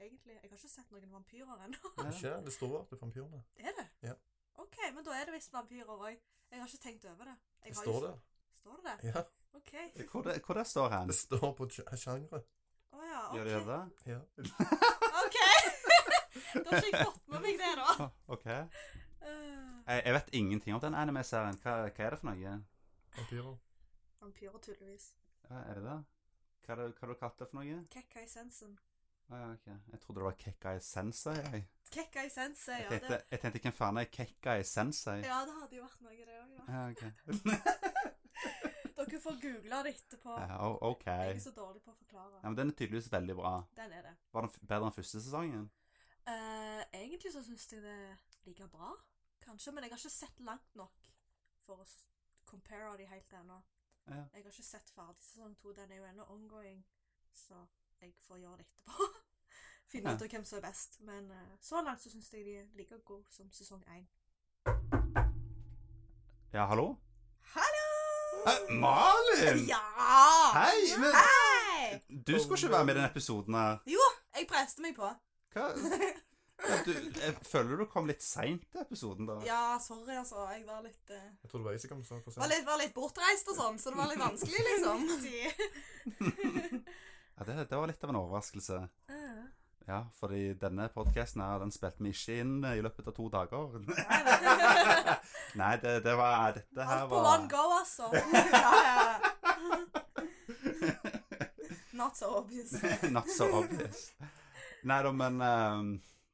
Speaker 4: Egentlig. Jeg har ikke sett noen vampyrer ennå.
Speaker 3: Ja.
Speaker 2: Ikke? Det står at det er vampyrene.
Speaker 4: Er det?
Speaker 2: Ja.
Speaker 4: OK, men da er det visst vampyrer òg. Jeg har ikke tenkt over det. Jeg
Speaker 2: Det
Speaker 4: har
Speaker 2: står
Speaker 4: jo-
Speaker 2: der.
Speaker 4: Står det det?
Speaker 2: Ja.
Speaker 4: OK.
Speaker 3: Hvor, det, hvor det står hen?
Speaker 2: Det står på sj- genre.
Speaker 4: Å ja.
Speaker 3: Gjør det
Speaker 4: OK.
Speaker 3: det?
Speaker 2: Ja.
Speaker 4: OK! da har ikke jeg fått med meg det, da.
Speaker 3: Ah, ok. Jeg,
Speaker 4: Uh,
Speaker 3: jeg vet ingenting om den anime-serien. Hva, hva er det for noe?
Speaker 2: Vampyrer.
Speaker 4: vampyrer, tydeligvis.
Speaker 3: Ja, er det det? Hva, er det- hva har du kalt det for noe?
Speaker 4: Kekkai Sensen.
Speaker 3: Ah, ja, ok. Jeg trodde det var Kekkai Sensei. Jeg,
Speaker 4: Kekkai Sensei,
Speaker 3: jeg,
Speaker 4: ja. Det,
Speaker 3: tenkte, jeg tenkte hvem faen er Kekkai Sensei?
Speaker 4: ja, det hadde jo vært noe, det òg. Ja.
Speaker 3: Ja, ok.
Speaker 4: Dere får google det etterpå.
Speaker 3: Ja, o- ok.
Speaker 4: Jeg er
Speaker 3: Ja,
Speaker 4: så dårlig på å forklare.
Speaker 3: men den er tydeligvis veldig bra.
Speaker 4: Den er det.
Speaker 3: Var den f- bedre enn første sesongen?
Speaker 4: Eh, egentlig så syns jeg det ligger bra, kanskje, men jeg har ikke sett langt nok for å s- compare de helt ennå.
Speaker 3: Ja.
Speaker 4: Jeg har ikke sett ferdig sesong to, den er jo ennå ongoing, så jeg får gjøre det etterpå. Finne
Speaker 3: Ja.
Speaker 4: ut av hvem som er best. Men eh, så langt så syns jeg de er like gode som sesong én.
Speaker 3: Ja, hallo?
Speaker 4: Hallo!
Speaker 3: Eh, Malin!
Speaker 4: Ja!
Speaker 3: Hei! Men
Speaker 4: Hei!
Speaker 3: du skulle ikke være med i den episoden her.
Speaker 4: Jo, jeg preste meg på.
Speaker 3: Hva? Ja, du, jeg føler du kom litt seint til episoden, da.
Speaker 4: Ja, sorry, altså. Jeg var litt eh,
Speaker 2: Jeg tror det var jeg som kom sånn for
Speaker 4: var
Speaker 2: sent.
Speaker 4: litt, var litt bortreist og sånn, så det var litt vanskelig, liksom.
Speaker 3: Ja, det, det var litt av en overraskelse.
Speaker 4: Mm.
Speaker 3: Ja, fordi denne podkasten her, den spilte vi ikke inn i løpet av to dager. Nei, det, det var Dette her
Speaker 4: Alt på
Speaker 3: var
Speaker 4: one go, altså. Ja, ja, ja. Not so obvious.
Speaker 3: Not so obvious. Nei da, men eh,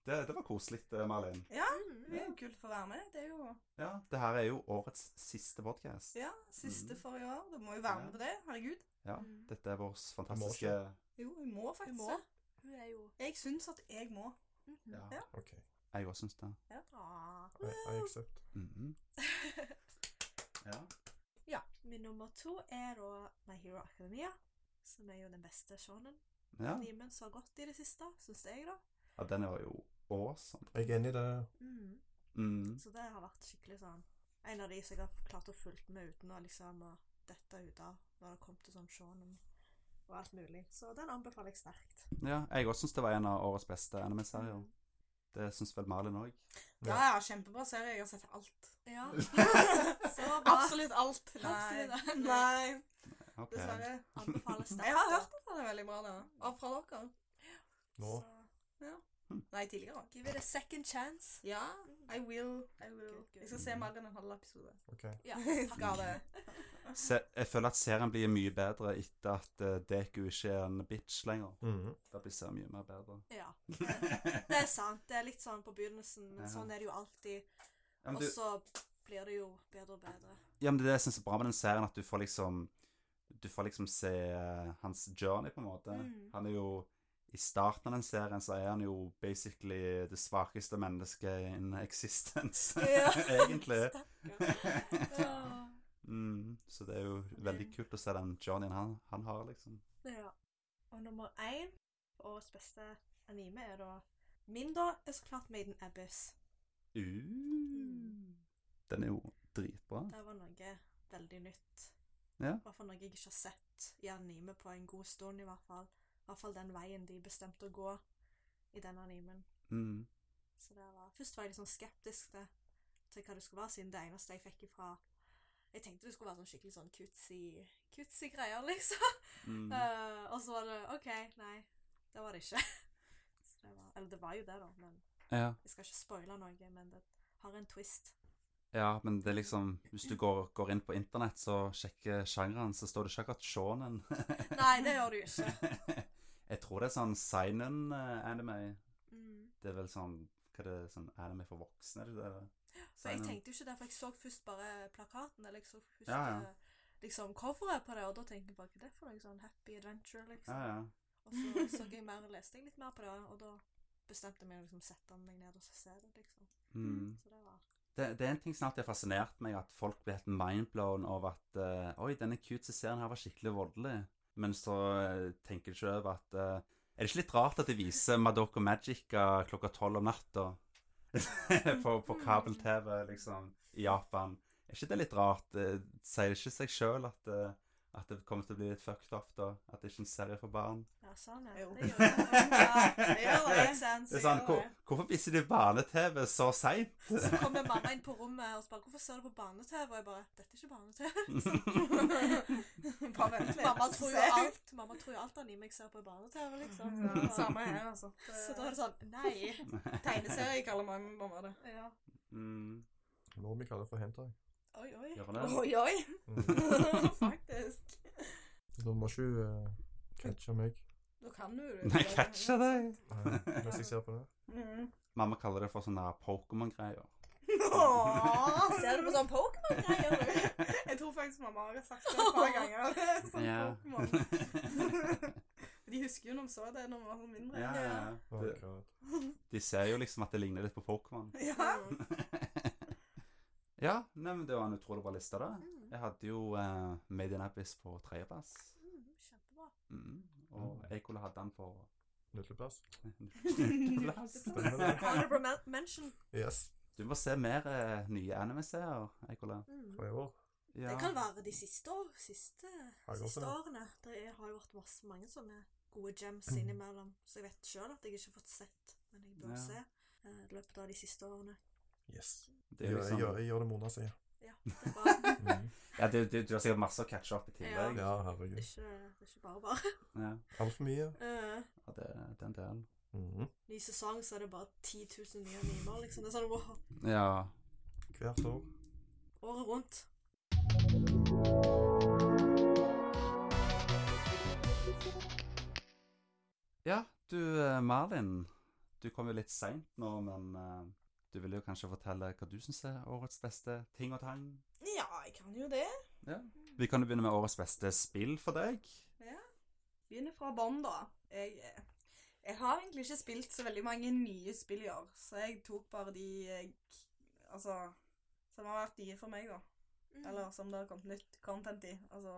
Speaker 3: det, det var koselig, eh, Malin.
Speaker 5: Ja, det er jo kult for å være med. Det er jo
Speaker 3: Ja, det her er jo årets siste podkast.
Speaker 5: ja, siste
Speaker 3: Mm.
Speaker 5: for i år. Da må jo være
Speaker 3: Ja.
Speaker 5: med på det. Herregud.
Speaker 3: Ja,
Speaker 5: Mm.
Speaker 3: dette er vår fantastiske
Speaker 2: ikke.
Speaker 5: Jo, vi må faktisk
Speaker 4: må.
Speaker 5: det.
Speaker 4: Hun er jo Mhm.
Speaker 5: Jeg syns at jeg må.
Speaker 3: Ja,
Speaker 5: Ja.
Speaker 2: OK.
Speaker 3: jeg òg syns det.
Speaker 4: Ah.
Speaker 2: I, I accept.
Speaker 3: Mhm. Ja.
Speaker 4: Min nummer to er da My Hero Academia, som er jo den beste shonen.
Speaker 3: ja.
Speaker 4: Nimen så godt i det siste, syns jeg, da.
Speaker 3: Ja, den var jo awesome.
Speaker 2: Jeg er enig i det.
Speaker 3: Mm.
Speaker 4: Så det har vært skikkelig sånn En av de som jeg har klart å fulgt med uten å liksom å dette ut av når det kom til sånn shonen og alt mulig. Så den anbefaler jeg sterkt.
Speaker 3: Ja, jeg òg syns det var en av årets beste anime-serier. Det syns vel Malin òg.
Speaker 5: Ja, ja, kjempebra serie. Jeg har sett alt.
Speaker 4: Ja. Så bra.
Speaker 5: Absolutt alt.
Speaker 4: Absolutt.
Speaker 5: Nei.
Speaker 3: Ok.
Speaker 5: Dessverre.
Speaker 4: Anbefaler sterkt.
Speaker 5: Jeg har hørt at den er veldig bra, da. Og fra dere. Hm.
Speaker 2: Nå.
Speaker 5: Nei, tidligere òg.
Speaker 4: Give it a second chance.
Speaker 5: Ja, I will. I will.
Speaker 4: Good, good.
Speaker 5: Jeg skal se mer enn en halv episode.
Speaker 2: OK.
Speaker 4: Ja,
Speaker 5: Skal det.
Speaker 3: Se, jeg føler at serien blir mye bedre etter at eh, Deku ikke er en bitch lenger.
Speaker 2: Mhm.
Speaker 3: Da blir serien mye mer bedre.
Speaker 4: Ja. Det er sant. Det er litt sånn på begynnelsen, men
Speaker 3: Ja.
Speaker 4: sånn er det jo alltid.
Speaker 3: Ja, men
Speaker 4: Og
Speaker 3: du,
Speaker 4: så blir det jo bedre og bedre.
Speaker 3: ja, men det er det jeg syns er bra med den serien, at du får liksom Du får liksom se eh, hans journey, på en måte.
Speaker 4: Mm.
Speaker 3: Han er jo I starten av den serien så er han jo basically det svakeste mennesket in existence, egentlig.
Speaker 4: Ja.
Speaker 3: Mm, så det er jo veldig kult å se den journeyen han, han har, liksom.
Speaker 4: Ja. Og nummer én på årets beste anime er da Min, da, er så klart Maiden Abyss. Mm.
Speaker 3: Uh, den er jo dritbra.
Speaker 4: Det var noe veldig nytt.
Speaker 3: Ja.
Speaker 4: I hvert fall noe jeg ikke har sett i anime på en god stund, i hvert fall. I hvert fall den veien de bestemte å gå i den animen.
Speaker 3: Mm,
Speaker 4: Så det var, først var jeg litt sånn skeptisk til, til hva det skulle være, siden det eneste jeg fikk ifra Jeg tenkte det skulle være sånn skikkelig sånn cutesy, cutesy greier, liksom.
Speaker 3: mm.
Speaker 4: Eh, og så var det OK, nei, det var det ikke. Så det var, eller det var jo det, da, men
Speaker 3: Ja.
Speaker 4: jeg skal ikke spoile noe. Men det har en twist.
Speaker 3: ja, men det er liksom Hvis du går, går inn på internett så sjekker sjangeren, så står det ikke akkurat shonen.
Speaker 4: Nei, det gjør du ikke.
Speaker 3: Jeg tror det er sånn seinen anime.
Speaker 4: Mm.
Speaker 3: Det er vel sånn Hva er det sånn anime for voksne? Er det det?
Speaker 4: For jeg
Speaker 3: Seinen.
Speaker 4: tenkte jo ikke det, for jeg så først bare plakaten, eller jeg så først
Speaker 3: Ja, ja.
Speaker 4: eh, liksom coveret på det, og da tenkte jeg bare hva er det for noe sånn happy adventure,
Speaker 3: Ja,
Speaker 4: liksom.
Speaker 3: ja.
Speaker 4: Og så så jeg mer og leste jeg litt mer på det, og da bestemte jeg meg liksom sette meg ned og så se det, liksom.
Speaker 3: Mm.
Speaker 4: Så det var
Speaker 3: Det, det er en ting som alltid har fascinert meg, at folk blir helt mindblown over at eh, Oi, denne cute serien her var skikkelig voldelig. Men så eh, tenker du ikke over at eh, Er det ikke litt rart at de viser Madoko Magica klokka tolv om natta? på på kabel-TV, liksom, i Japan. Er ikke det litt rart? Eh, Sier det ikke seg sjøl at, eh, at det kommer til å bli litt fucked up, da? At det ikke er en serie for barn?
Speaker 4: Ja, sånn, ja.
Speaker 6: Jo.
Speaker 4: Det gjør det. Ja, det gjør det. Makes sense,
Speaker 3: Det er sånn,
Speaker 4: gjør
Speaker 3: hvor, Hvorfor viser de barne-TV så seint?
Speaker 4: Så kommer mamma inn på rommet og spør hvorfor ser du på barne-TV. Og jeg bare Dette er ikke barne-TV.
Speaker 6: Bare vent litt.
Speaker 4: Mamma tror jo alt Mamma tror jo alt anime jeg ser på i barne-TV, liksom.
Speaker 6: Ja, Samme her, altså.
Speaker 4: Så da er det sånn Nei.
Speaker 6: Tegneserie kaller mange mamma det.
Speaker 4: Ja.
Speaker 3: Mm,
Speaker 2: Nå vi kaller det for hentai.
Speaker 4: Oi, oi.
Speaker 3: gjør det?
Speaker 6: Oi, oi!
Speaker 2: Mm.
Speaker 6: Faktisk.
Speaker 2: Da må ikke hun eh, catche meg
Speaker 6: Da kan du det.
Speaker 3: Nei, catcha deg!
Speaker 2: eh, mens jeg ser på det.
Speaker 6: Mm.
Speaker 3: Mamma kaller det for sånne her Pokémon-greier.
Speaker 6: Åh, ser du på sånn Pokémon-greier, du?
Speaker 4: Jeg tror
Speaker 6: faktisk mamma har sagt det et par ganger.
Speaker 3: Sånn ja.
Speaker 6: De husker jo når vi så det når vi var sånn mindre.
Speaker 3: ja, ja.
Speaker 2: Oh,
Speaker 3: De,
Speaker 2: God.
Speaker 3: de ser jo liksom at det ligner litt på Pokémon.
Speaker 6: Ja.
Speaker 3: ja, nei, men det var en utrolig bra liste, da. Jeg hadde jo eh, Made in Abyss på tredjeplass.
Speaker 4: Mm, Kjempebra.
Speaker 3: Mm. Og Eikola hadde den på
Speaker 2: Nødleplass.
Speaker 3: plass.
Speaker 4: Honorable men- mention.
Speaker 2: Yes.
Speaker 3: Du må se mer eh, nye anime-serier, Eikola.
Speaker 4: Mm.
Speaker 2: For i år.
Speaker 3: Ja.
Speaker 4: Det kan være de siste, år, siste,
Speaker 2: Har jeg også
Speaker 4: siste
Speaker 2: det?
Speaker 4: årene. Det er, har jo vært masse, mange sånne gode gems innimellom. Så jeg vet sjøl at jeg ikke har fått sett, men jeg bør
Speaker 3: Ja.
Speaker 4: se eh, i løpet av de siste årene.
Speaker 2: Yes.
Speaker 3: Det er jo
Speaker 2: Jeg- jeg, gjør,
Speaker 3: liksom,
Speaker 2: jeg gjør det Mona sier.
Speaker 4: Ja, det er bare
Speaker 2: Mm.
Speaker 3: ja, du, du, du har sikkert masse å catche opp i tillegg.
Speaker 2: Ja,
Speaker 4: det er
Speaker 2: herregud.
Speaker 4: ikke, det er ikke bare bare.
Speaker 3: Ja.
Speaker 2: Altfor mye.
Speaker 4: Eh,
Speaker 3: Ja, det, det er en del.
Speaker 2: Mhm.
Speaker 4: ny sesong, så er det bare 10 000 nye mimer. Liksom. Det er sånn wow,
Speaker 3: Ja.
Speaker 2: Hvert år.
Speaker 4: året rundt.
Speaker 3: Ja, du eh, Malin, du kom jo litt seint nå, men eh, du ville jo kanskje fortelle hva du syns er årets beste ting og tang?
Speaker 6: Ja, jeg kan jo det.
Speaker 3: Ja. Vi kan jo begynne med årets beste spill for deg.
Speaker 6: Begynner fra bånn, da. Jeg, jeg har egentlig ikke spilt så veldig mange nye spill i år, så jeg tok bare de jeg, altså, som har vært nye for meg, da.
Speaker 4: Mm.
Speaker 6: Eller som det har kommet nytt content i. Altså,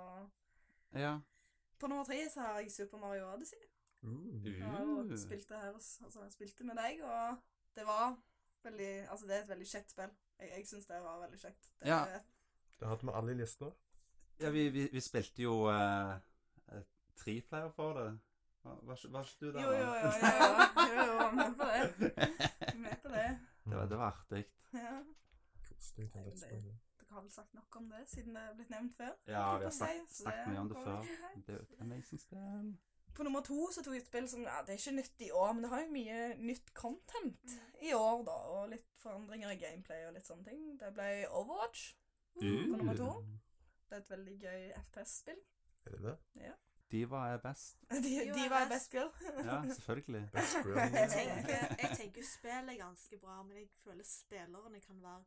Speaker 3: Ja.
Speaker 6: på nummer tre så har jeg Super Mario Odyssey.
Speaker 2: Mm.
Speaker 6: Jeg har jo
Speaker 3: Uh.
Speaker 6: spilt det her, hos- altså, jeg spilte med deg, og det var veldig Altså, det er et veldig kjekt spill. Jeg, jeg syns det var veldig kjekt. Det,
Speaker 3: Ja.
Speaker 2: Det hadde vi alle i lista.
Speaker 3: Ja, vi, vi, vi spilte jo eh, eh, treplayer for det. Var, var, ikke- var ikke du der?
Speaker 6: Jo, jo, jo, jo,
Speaker 3: Malin?
Speaker 6: jo, jo, jo, jo, med på det. Med på det.
Speaker 3: Det var, det var artig.
Speaker 6: Ja.
Speaker 2: Mm. Koselig. kan jeg spørre.
Speaker 6: Dere har vel sagt nok om det, siden det er blitt nevnt før?
Speaker 3: Ja, vi har
Speaker 6: Om
Speaker 3: snak-
Speaker 6: det, så
Speaker 3: snakket mye om det
Speaker 6: går
Speaker 3: før.
Speaker 6: ikke helt.
Speaker 3: Det er jo et amazing spill.
Speaker 6: På nummer to så tok jeg et spill som ja, det er ikke nytt i år, men det har jo mye nytt content i år, da. Og litt forandringer i gameplay og litt sånne ting. Det ble Overwatch på nummer
Speaker 3: Uh,
Speaker 6: to. Det er et veldig gøy FPS-spill.
Speaker 2: Er det det?
Speaker 3: De var best.
Speaker 6: De,
Speaker 4: Jo,
Speaker 6: de
Speaker 4: jeg
Speaker 6: var
Speaker 4: vet.
Speaker 6: best spill.
Speaker 3: Ja, selvfølgelig.
Speaker 2: Best
Speaker 4: Jeg
Speaker 2: friend.
Speaker 4: tenker, jeg tenker jo spill er ganske bra, men jeg føler spillerne kan være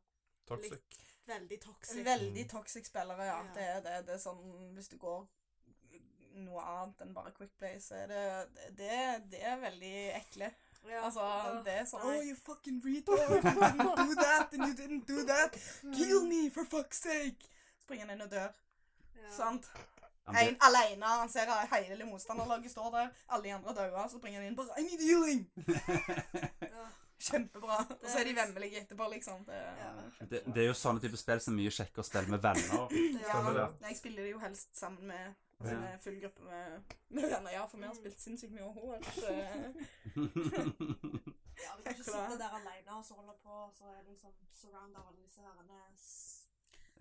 Speaker 2: Toxic.
Speaker 4: veldig toxic.
Speaker 6: Veldig toxic spillere, ja.
Speaker 4: Ja.
Speaker 6: Det er det. Det er sånn hvis du går noe annet enn bare Quick Play, så er det Det, det er veldig ekle.
Speaker 4: Ja.
Speaker 6: Altså,
Speaker 4: Åh,
Speaker 6: det er sånn
Speaker 4: nei.
Speaker 6: Oh, you fucking retard! You didn't do that, and you didn't do that! Kill me, for fuck's sake! Springer han inn og dør.
Speaker 4: ja.
Speaker 6: Sant?
Speaker 3: Ja, men
Speaker 6: En alene, han ser hele motstanderlaget står der, alle de andre daua, så bringer han inn bare I need healing!
Speaker 3: det,
Speaker 4: Ja.
Speaker 6: Kjempebra. Og så er de
Speaker 4: litt-
Speaker 6: vemmelige etterpå, liksom. Det,
Speaker 4: Ja.
Speaker 3: det, det er jo sånne type spill som er mye kjekkere å spille med venner.
Speaker 6: Ja,
Speaker 2: Stemmer det.
Speaker 6: jeg spiller det jo helst sammen med
Speaker 3: Ja.
Speaker 6: ja. full gruppe med, med venner. Ja, for vi har spilt sinnssykt mye overhold.
Speaker 4: Ja, vi kan ikke
Speaker 6: Ekkola.
Speaker 4: sitte der alene og så holde på, og så er det liksom surround av alle disse herrene s-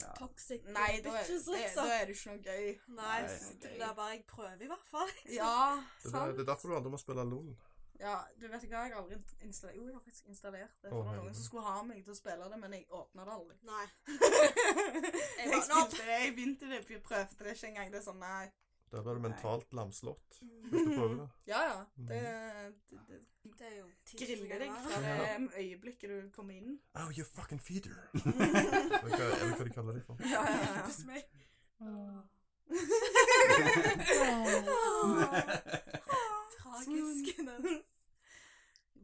Speaker 3: Ja.
Speaker 4: toxic
Speaker 6: Nei, da er,
Speaker 4: bitches,
Speaker 6: det, da
Speaker 4: liksom.
Speaker 6: er det ikke noe gøy.
Speaker 4: Nei,
Speaker 3: Nei.
Speaker 4: så det er bare jeg prøver, i hvert fall.
Speaker 6: Ja,
Speaker 2: Det, er-
Speaker 6: sant.
Speaker 2: det er derfor du handler om å spille LOL.
Speaker 6: Ja, du vet ikke hva, jeg har aldri installert Jo, jeg har faktisk installert
Speaker 2: Å,
Speaker 6: det. For det var
Speaker 2: herregud.
Speaker 6: noen som skulle ha meg til å spille det, men jeg åpna det aldri.
Speaker 4: Nei.
Speaker 6: jeg,
Speaker 4: bare, nå-
Speaker 6: spilte det, jeg begynte det, jeg prøvde det ikke engang. Det er sånn, nei.
Speaker 2: Der ble du
Speaker 3: Nei.
Speaker 2: mentalt lamslått.
Speaker 4: Mm.
Speaker 2: Hvis du prøver det.
Speaker 6: Ja, ja.
Speaker 3: Mm.
Speaker 6: Det, det, det
Speaker 4: Det er jo tid som
Speaker 6: Ah, griller
Speaker 4: går
Speaker 6: deg
Speaker 4: av.
Speaker 6: fra det øyeblikket du kommer inn.
Speaker 2: Oh, you fucking feeder. Eller hva, eller hva de kaller det for.
Speaker 6: Ja, ja, ja.
Speaker 4: Hos meg. Tragisk. den.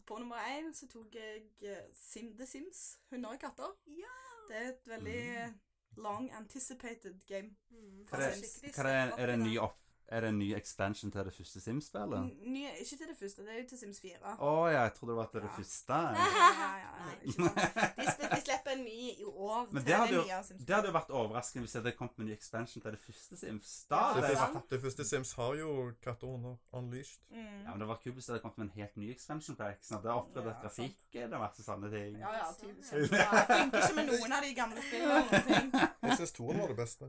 Speaker 6: På nummer én så tok jeg eh, Sim, The Sims. Hunder og katter.
Speaker 4: Ja.
Speaker 6: Det er et veldig long anticipated game.
Speaker 4: Mm,
Speaker 3: Mm. Hva
Speaker 6: er
Speaker 4: altså,
Speaker 6: det-
Speaker 4: skikkelig
Speaker 3: Hva er, er, det en ny
Speaker 4: steppa
Speaker 3: opp, er det en ny expansion til det første Sims-spillet?
Speaker 6: N- Nye, ikke til det første, det er jo til Sims 4.
Speaker 3: Å ja, jeg trodde det var til det
Speaker 6: Ja.
Speaker 3: første.
Speaker 6: Ja, ja, ja,
Speaker 4: Nei.
Speaker 6: ikke sant. De, sl de slipper en ny i år.
Speaker 3: Men
Speaker 6: til
Speaker 3: det hadde
Speaker 6: den
Speaker 3: jo-
Speaker 6: nye Sims.
Speaker 3: Det hadde jo vært overraskende hvis det hadde kommet med en ny expansion til det første Sims. Da
Speaker 6: Ja,
Speaker 3: hadde
Speaker 2: Det
Speaker 3: jeg
Speaker 6: sant.
Speaker 3: vært
Speaker 2: første, det første Sims har jo katter og hunder. Unleashed.
Speaker 6: Mm.
Speaker 3: Ja, men Det var kult hvis det hadde kommet med en helt ny expansion pack. Sånn at det har oppgradert
Speaker 6: Ja,
Speaker 3: grafikken og masse sånne ting.
Speaker 6: Ja, ja,
Speaker 4: Sånn,
Speaker 6: tydeligvis.
Speaker 4: ja.
Speaker 6: Ja, jeg funker ikke med noen av de gamle spillene. eller noen ting.
Speaker 2: Jeg syns toen var det beste.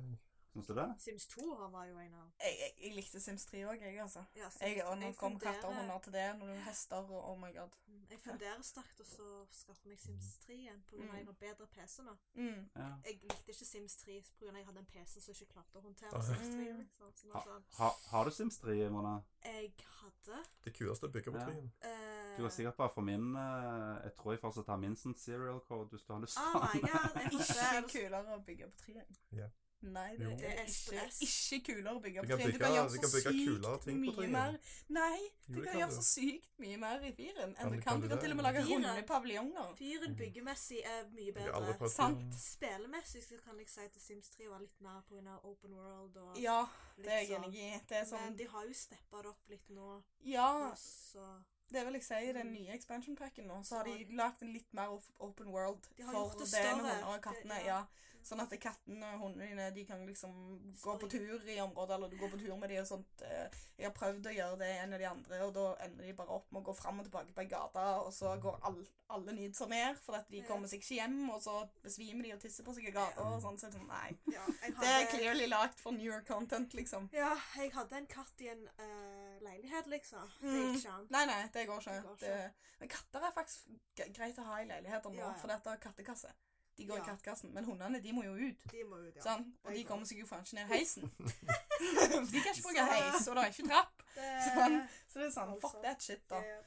Speaker 3: Syns du det?
Speaker 4: Sims 2 han var jo en av
Speaker 6: Jeg, jeg, jeg likte Sims 3 òg, jeg, altså.
Speaker 4: ja, Sims
Speaker 6: Jeg, og
Speaker 4: 3.
Speaker 6: nå kom
Speaker 4: funderer-
Speaker 6: katter og hunder til det. Når du har hester og oh my god.
Speaker 4: Mm, Jeg funderer sterkt og så skaffe meg Sims 3 igjen pga.
Speaker 6: Mm.
Speaker 4: en av bedre PC nå.
Speaker 6: Mm.
Speaker 3: Ja.
Speaker 4: Jeg likte ikke Sims 3 pga. jeg hadde en PC som ikke klarte å håndtere
Speaker 2: Ah.
Speaker 4: Sims 3.
Speaker 6: Mm.
Speaker 4: Liksom. Så nå
Speaker 3: Ha,
Speaker 4: sånn,
Speaker 3: ha, har du Sims 3, Mona?
Speaker 4: jeg hadde
Speaker 2: Det kuleste er bygget på
Speaker 3: Ja.
Speaker 2: trien.
Speaker 4: eh,
Speaker 3: Du kan sikkert bare få min eh, Jeg tror jeg fortsatt har min sånn serial code hvis du har lyst.
Speaker 4: Oh my god, jeg får se.
Speaker 6: Ikke kulere å bygge på tre.
Speaker 2: Ja.
Speaker 6: Nei, det
Speaker 2: Jo.
Speaker 6: er,
Speaker 4: Det er
Speaker 6: ikke,
Speaker 4: stress.
Speaker 6: ikke kulere å bygge
Speaker 2: Du
Speaker 6: på
Speaker 2: kan
Speaker 6: tre. Du
Speaker 2: bygge-
Speaker 6: kan gjøre
Speaker 2: du
Speaker 6: så
Speaker 2: kan bygge kulere
Speaker 6: sykt
Speaker 2: ting på
Speaker 6: mye
Speaker 2: tre.
Speaker 6: mer. Nei, du
Speaker 2: Jo, det
Speaker 6: kan
Speaker 2: kan
Speaker 6: gjøre
Speaker 2: du.
Speaker 6: så sykt mye mer i firen
Speaker 2: Ja,
Speaker 6: enn du
Speaker 2: det
Speaker 6: kan.
Speaker 2: kan
Speaker 6: Du
Speaker 2: du
Speaker 6: kan
Speaker 2: det.
Speaker 6: til og med lage
Speaker 4: Firen.
Speaker 6: runde paviljonger.
Speaker 4: Fyren byggemessig er mye
Speaker 2: Jeg har Mhm. aldri
Speaker 4: bedre.
Speaker 2: prøvd
Speaker 6: Sant.
Speaker 2: trien.
Speaker 4: Spillemessig så kan jeg si at Sims 3 var litt mer pga. open world og
Speaker 6: Ja,
Speaker 4: litt
Speaker 6: det er jeg
Speaker 4: sånn.
Speaker 6: enig i. Det er sånn Ah.
Speaker 4: Men de har jo steppa det opp litt nå.
Speaker 6: Ja,
Speaker 4: og Så
Speaker 6: det vil jeg si. i
Speaker 4: Mm.
Speaker 6: Den nye expansion packen nå, så har de lagd en litt mer op- open world
Speaker 4: De har
Speaker 6: for
Speaker 4: gjort det
Speaker 6: det med
Speaker 4: større.
Speaker 6: hunder og kattene.
Speaker 4: Det-
Speaker 6: Ja.
Speaker 4: ja.
Speaker 6: Sånn at kattene og hundene dine de kan liksom gå på
Speaker 4: Springe.
Speaker 6: tur i området, eller du går på tur med dem og sånt. Eh, Jeg har prøvd å gjøre det en av de andre, og da ender de bare opp med å gå fram og tilbake på ei gate, og så går all, alle nydelser ned, for at de
Speaker 4: Ja.
Speaker 6: kommer seg ikke hjem, og så besvimer de og tisser på seg i gata og sånn. Så jeg er sånn, nei.
Speaker 4: ja, jeg
Speaker 6: Det er
Speaker 4: hadde-
Speaker 6: clearly lagd for newer content, liksom.
Speaker 4: Ja, jeg hadde en katt i en eh, leilighet, liksom. Det
Speaker 6: Mm.
Speaker 4: gikk ikke an.
Speaker 6: Nei, nei, det går ikke.
Speaker 4: Det går ikke.
Speaker 6: Det, men katter er faktisk g- greit å ha i leiligheter nå,
Speaker 4: Ja, ja.
Speaker 6: for dette er kattekasse. De går
Speaker 4: Ja.
Speaker 6: i kattekassen, men hundene de må jo ut.
Speaker 4: De må ut, ja.
Speaker 6: Sånn, og de
Speaker 4: jeg
Speaker 6: kommer seg jo faen ikke ned heisen. de kan ikke bruke heis, og det er ikke trapp.
Speaker 4: Det,
Speaker 6: Sånn. Så det er sånn, fuck
Speaker 4: Altså,
Speaker 6: that shit, da.
Speaker 4: det-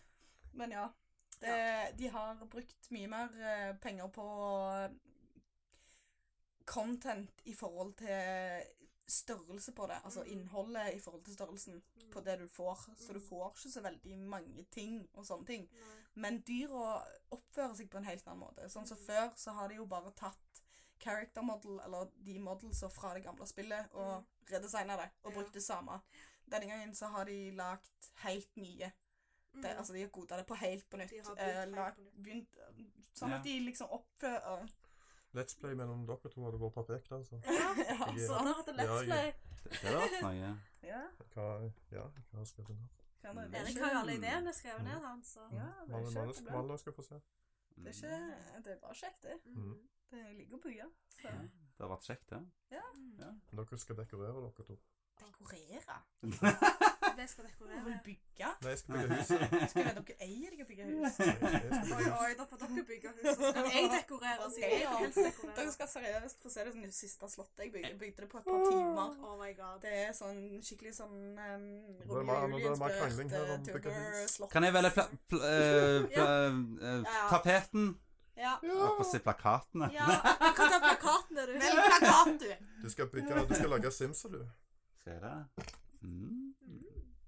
Speaker 6: Men ja. Det, de har brukt mye mer eh, penger på eh, content i forhold til størrelse på det. Altså
Speaker 4: Mm.
Speaker 6: innholdet i forhold til størrelsen
Speaker 4: Mm.
Speaker 6: på det du får. Så du
Speaker 4: Mm.
Speaker 6: får ikke så veldig mange ting og sånne ting.
Speaker 4: Nei.
Speaker 6: Men dyra oppfører seg på en helt annen måte. Sånn som
Speaker 4: Mm.
Speaker 6: før så har de jo bare tatt character model, eller de modelser fra det gamle spillet, og redesigna det,
Speaker 4: Mm. Ja.
Speaker 6: og brukt det samme. Denne gangen så har de lagt helt nye. Det,
Speaker 4: Mm.
Speaker 6: altså de har goda det på helt på nytt.
Speaker 4: De har begynt
Speaker 6: eh,
Speaker 4: helt
Speaker 6: lagt-
Speaker 4: på nytt.
Speaker 6: begynt, sånn
Speaker 3: Ja.
Speaker 6: at de liksom oppfører
Speaker 2: Let's play mellom dere to hadde vært perfekt, altså.
Speaker 6: Ja, sånn.
Speaker 2: Jeg-
Speaker 4: Så han har hatt en let's
Speaker 2: Ja,
Speaker 4: play.
Speaker 2: jeg-
Speaker 3: Det, det hadde vært noe.
Speaker 6: ja.
Speaker 2: Hva, ja, hva skal jeg nå?
Speaker 6: Kan dere- det er
Speaker 4: Erik
Speaker 6: ikke
Speaker 4: har jo alle ideene skrevet
Speaker 2: Mm.
Speaker 4: ned, han, så
Speaker 6: Ja, det er
Speaker 2: Malle,
Speaker 6: ikke
Speaker 2: Malle,
Speaker 6: et
Speaker 2: skal-
Speaker 6: problem.
Speaker 2: Malle skal få se.
Speaker 3: Mm.
Speaker 6: Det er ikke Det er bare kjekt, det.
Speaker 4: Mm.
Speaker 6: Det ligger på byer. Så
Speaker 3: Mm. Ja, Det hadde vært kjekt, det.
Speaker 2: Dere skal dekorere dere to.
Speaker 6: dekorere?
Speaker 4: Jeg skal
Speaker 6: Du vil
Speaker 4: dekorere.
Speaker 6: bygge?
Speaker 2: Nei, jeg skal bygge huset.
Speaker 6: Skal jeg- dere eier dere bygger hus?
Speaker 2: Jeg skal
Speaker 4: Oi,
Speaker 2: bygge
Speaker 4: oi, da får dere bygge huset. Så skal jeg dekorere, siden jeg vil helst
Speaker 6: Dere
Speaker 4: dekorere.
Speaker 6: skal seriøst få se det som det siste slottet jeg bygde. Jeg bygde det på et par timer.
Speaker 4: Oh my god.
Speaker 6: Det er sånn skikkelig sånn um,
Speaker 2: er mer- nå er det mer krangling her om bygge
Speaker 6: slott.
Speaker 3: Kan jeg velge pla pl eh, pla eh,
Speaker 4: Ja.
Speaker 3: tapeten?
Speaker 4: Ja.
Speaker 3: Jeg holdt på å si plakatene.
Speaker 4: ja. Du kan ta plakatene, du.
Speaker 6: plakat, du!
Speaker 2: Du skal bygge, du skal lage Sims, sa du.
Speaker 3: Skal jeg det? Mm.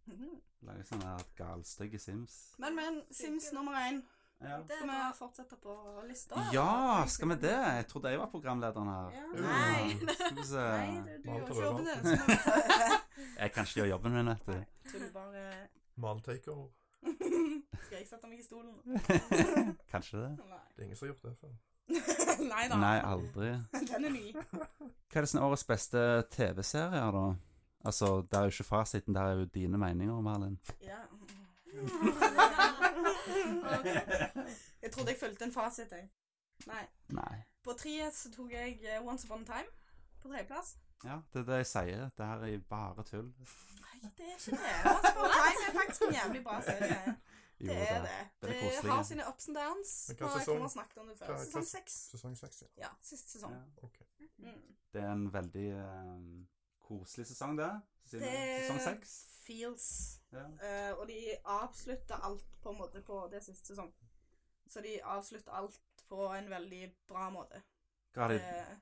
Speaker 6: Mhm.
Speaker 3: Lager sånne her galstygge Sims.
Speaker 6: Men, men, Sims nummer én.
Speaker 3: Ja.
Speaker 5: Det er
Speaker 6: Skal vi
Speaker 5: bra.
Speaker 6: fortsette på lista?
Speaker 3: ja, skal vi det? Jeg trodde jeg var programlederen her.
Speaker 6: Ja.
Speaker 5: Nei.
Speaker 3: Ja, Skal vi se.
Speaker 6: Nei, du, du
Speaker 2: Malte
Speaker 6: gjør ikke
Speaker 2: Rømer.
Speaker 6: jobben din. så må vi ta over.
Speaker 3: Jeg kan ikke gjøre jobben min, vet du.
Speaker 6: Tull bare.
Speaker 2: Maltakeover.
Speaker 6: Skal jeg sette meg i stolen?
Speaker 3: Kanskje det?
Speaker 6: Nei.
Speaker 2: Det er ingen som har gjort det før.
Speaker 6: Nei da.
Speaker 3: Nei, aldri.
Speaker 6: Den er ny.
Speaker 3: Hva er det som er årets beste TV-serier, da? Altså, der er jo ikke fasiten, der er jo dine meninger, Malin.
Speaker 6: Ja.
Speaker 5: Ok.
Speaker 6: Jeg trodde jeg fulgte en fasit, jeg. Nei.
Speaker 3: Nei.
Speaker 6: På treet så tok jeg eh, Once Upon a Time på tredjeplass.
Speaker 3: Ja, det er det jeg sier. Det her er bare tull.
Speaker 6: Nei, det er ikke det. Once Upon a Time er faktisk en jævlig bra serie.
Speaker 3: Jo,
Speaker 6: Det er det.
Speaker 3: Den er
Speaker 6: Det
Speaker 3: koselig.
Speaker 6: har sine ups and downs.
Speaker 2: Men hva
Speaker 6: Nå har jeg
Speaker 2: sesong?
Speaker 6: kommer og snakket om det før.
Speaker 2: Hva-
Speaker 6: Sesong
Speaker 2: hva-
Speaker 6: seks.
Speaker 2: Sesong seks, ja.
Speaker 6: Ja, siste sesong.
Speaker 3: Ja.
Speaker 2: Ok.
Speaker 6: Mm.
Speaker 3: Det er en veldig eh, koselig sesong, det. Siden det...
Speaker 6: Det-
Speaker 3: Sesong seks.
Speaker 6: Feels
Speaker 3: Ja.
Speaker 6: Eh, og de avslutta alt på en måte på det siste sesong. Så de avslutta alt på en veldig bra måte.
Speaker 3: Hva har de
Speaker 6: Eh,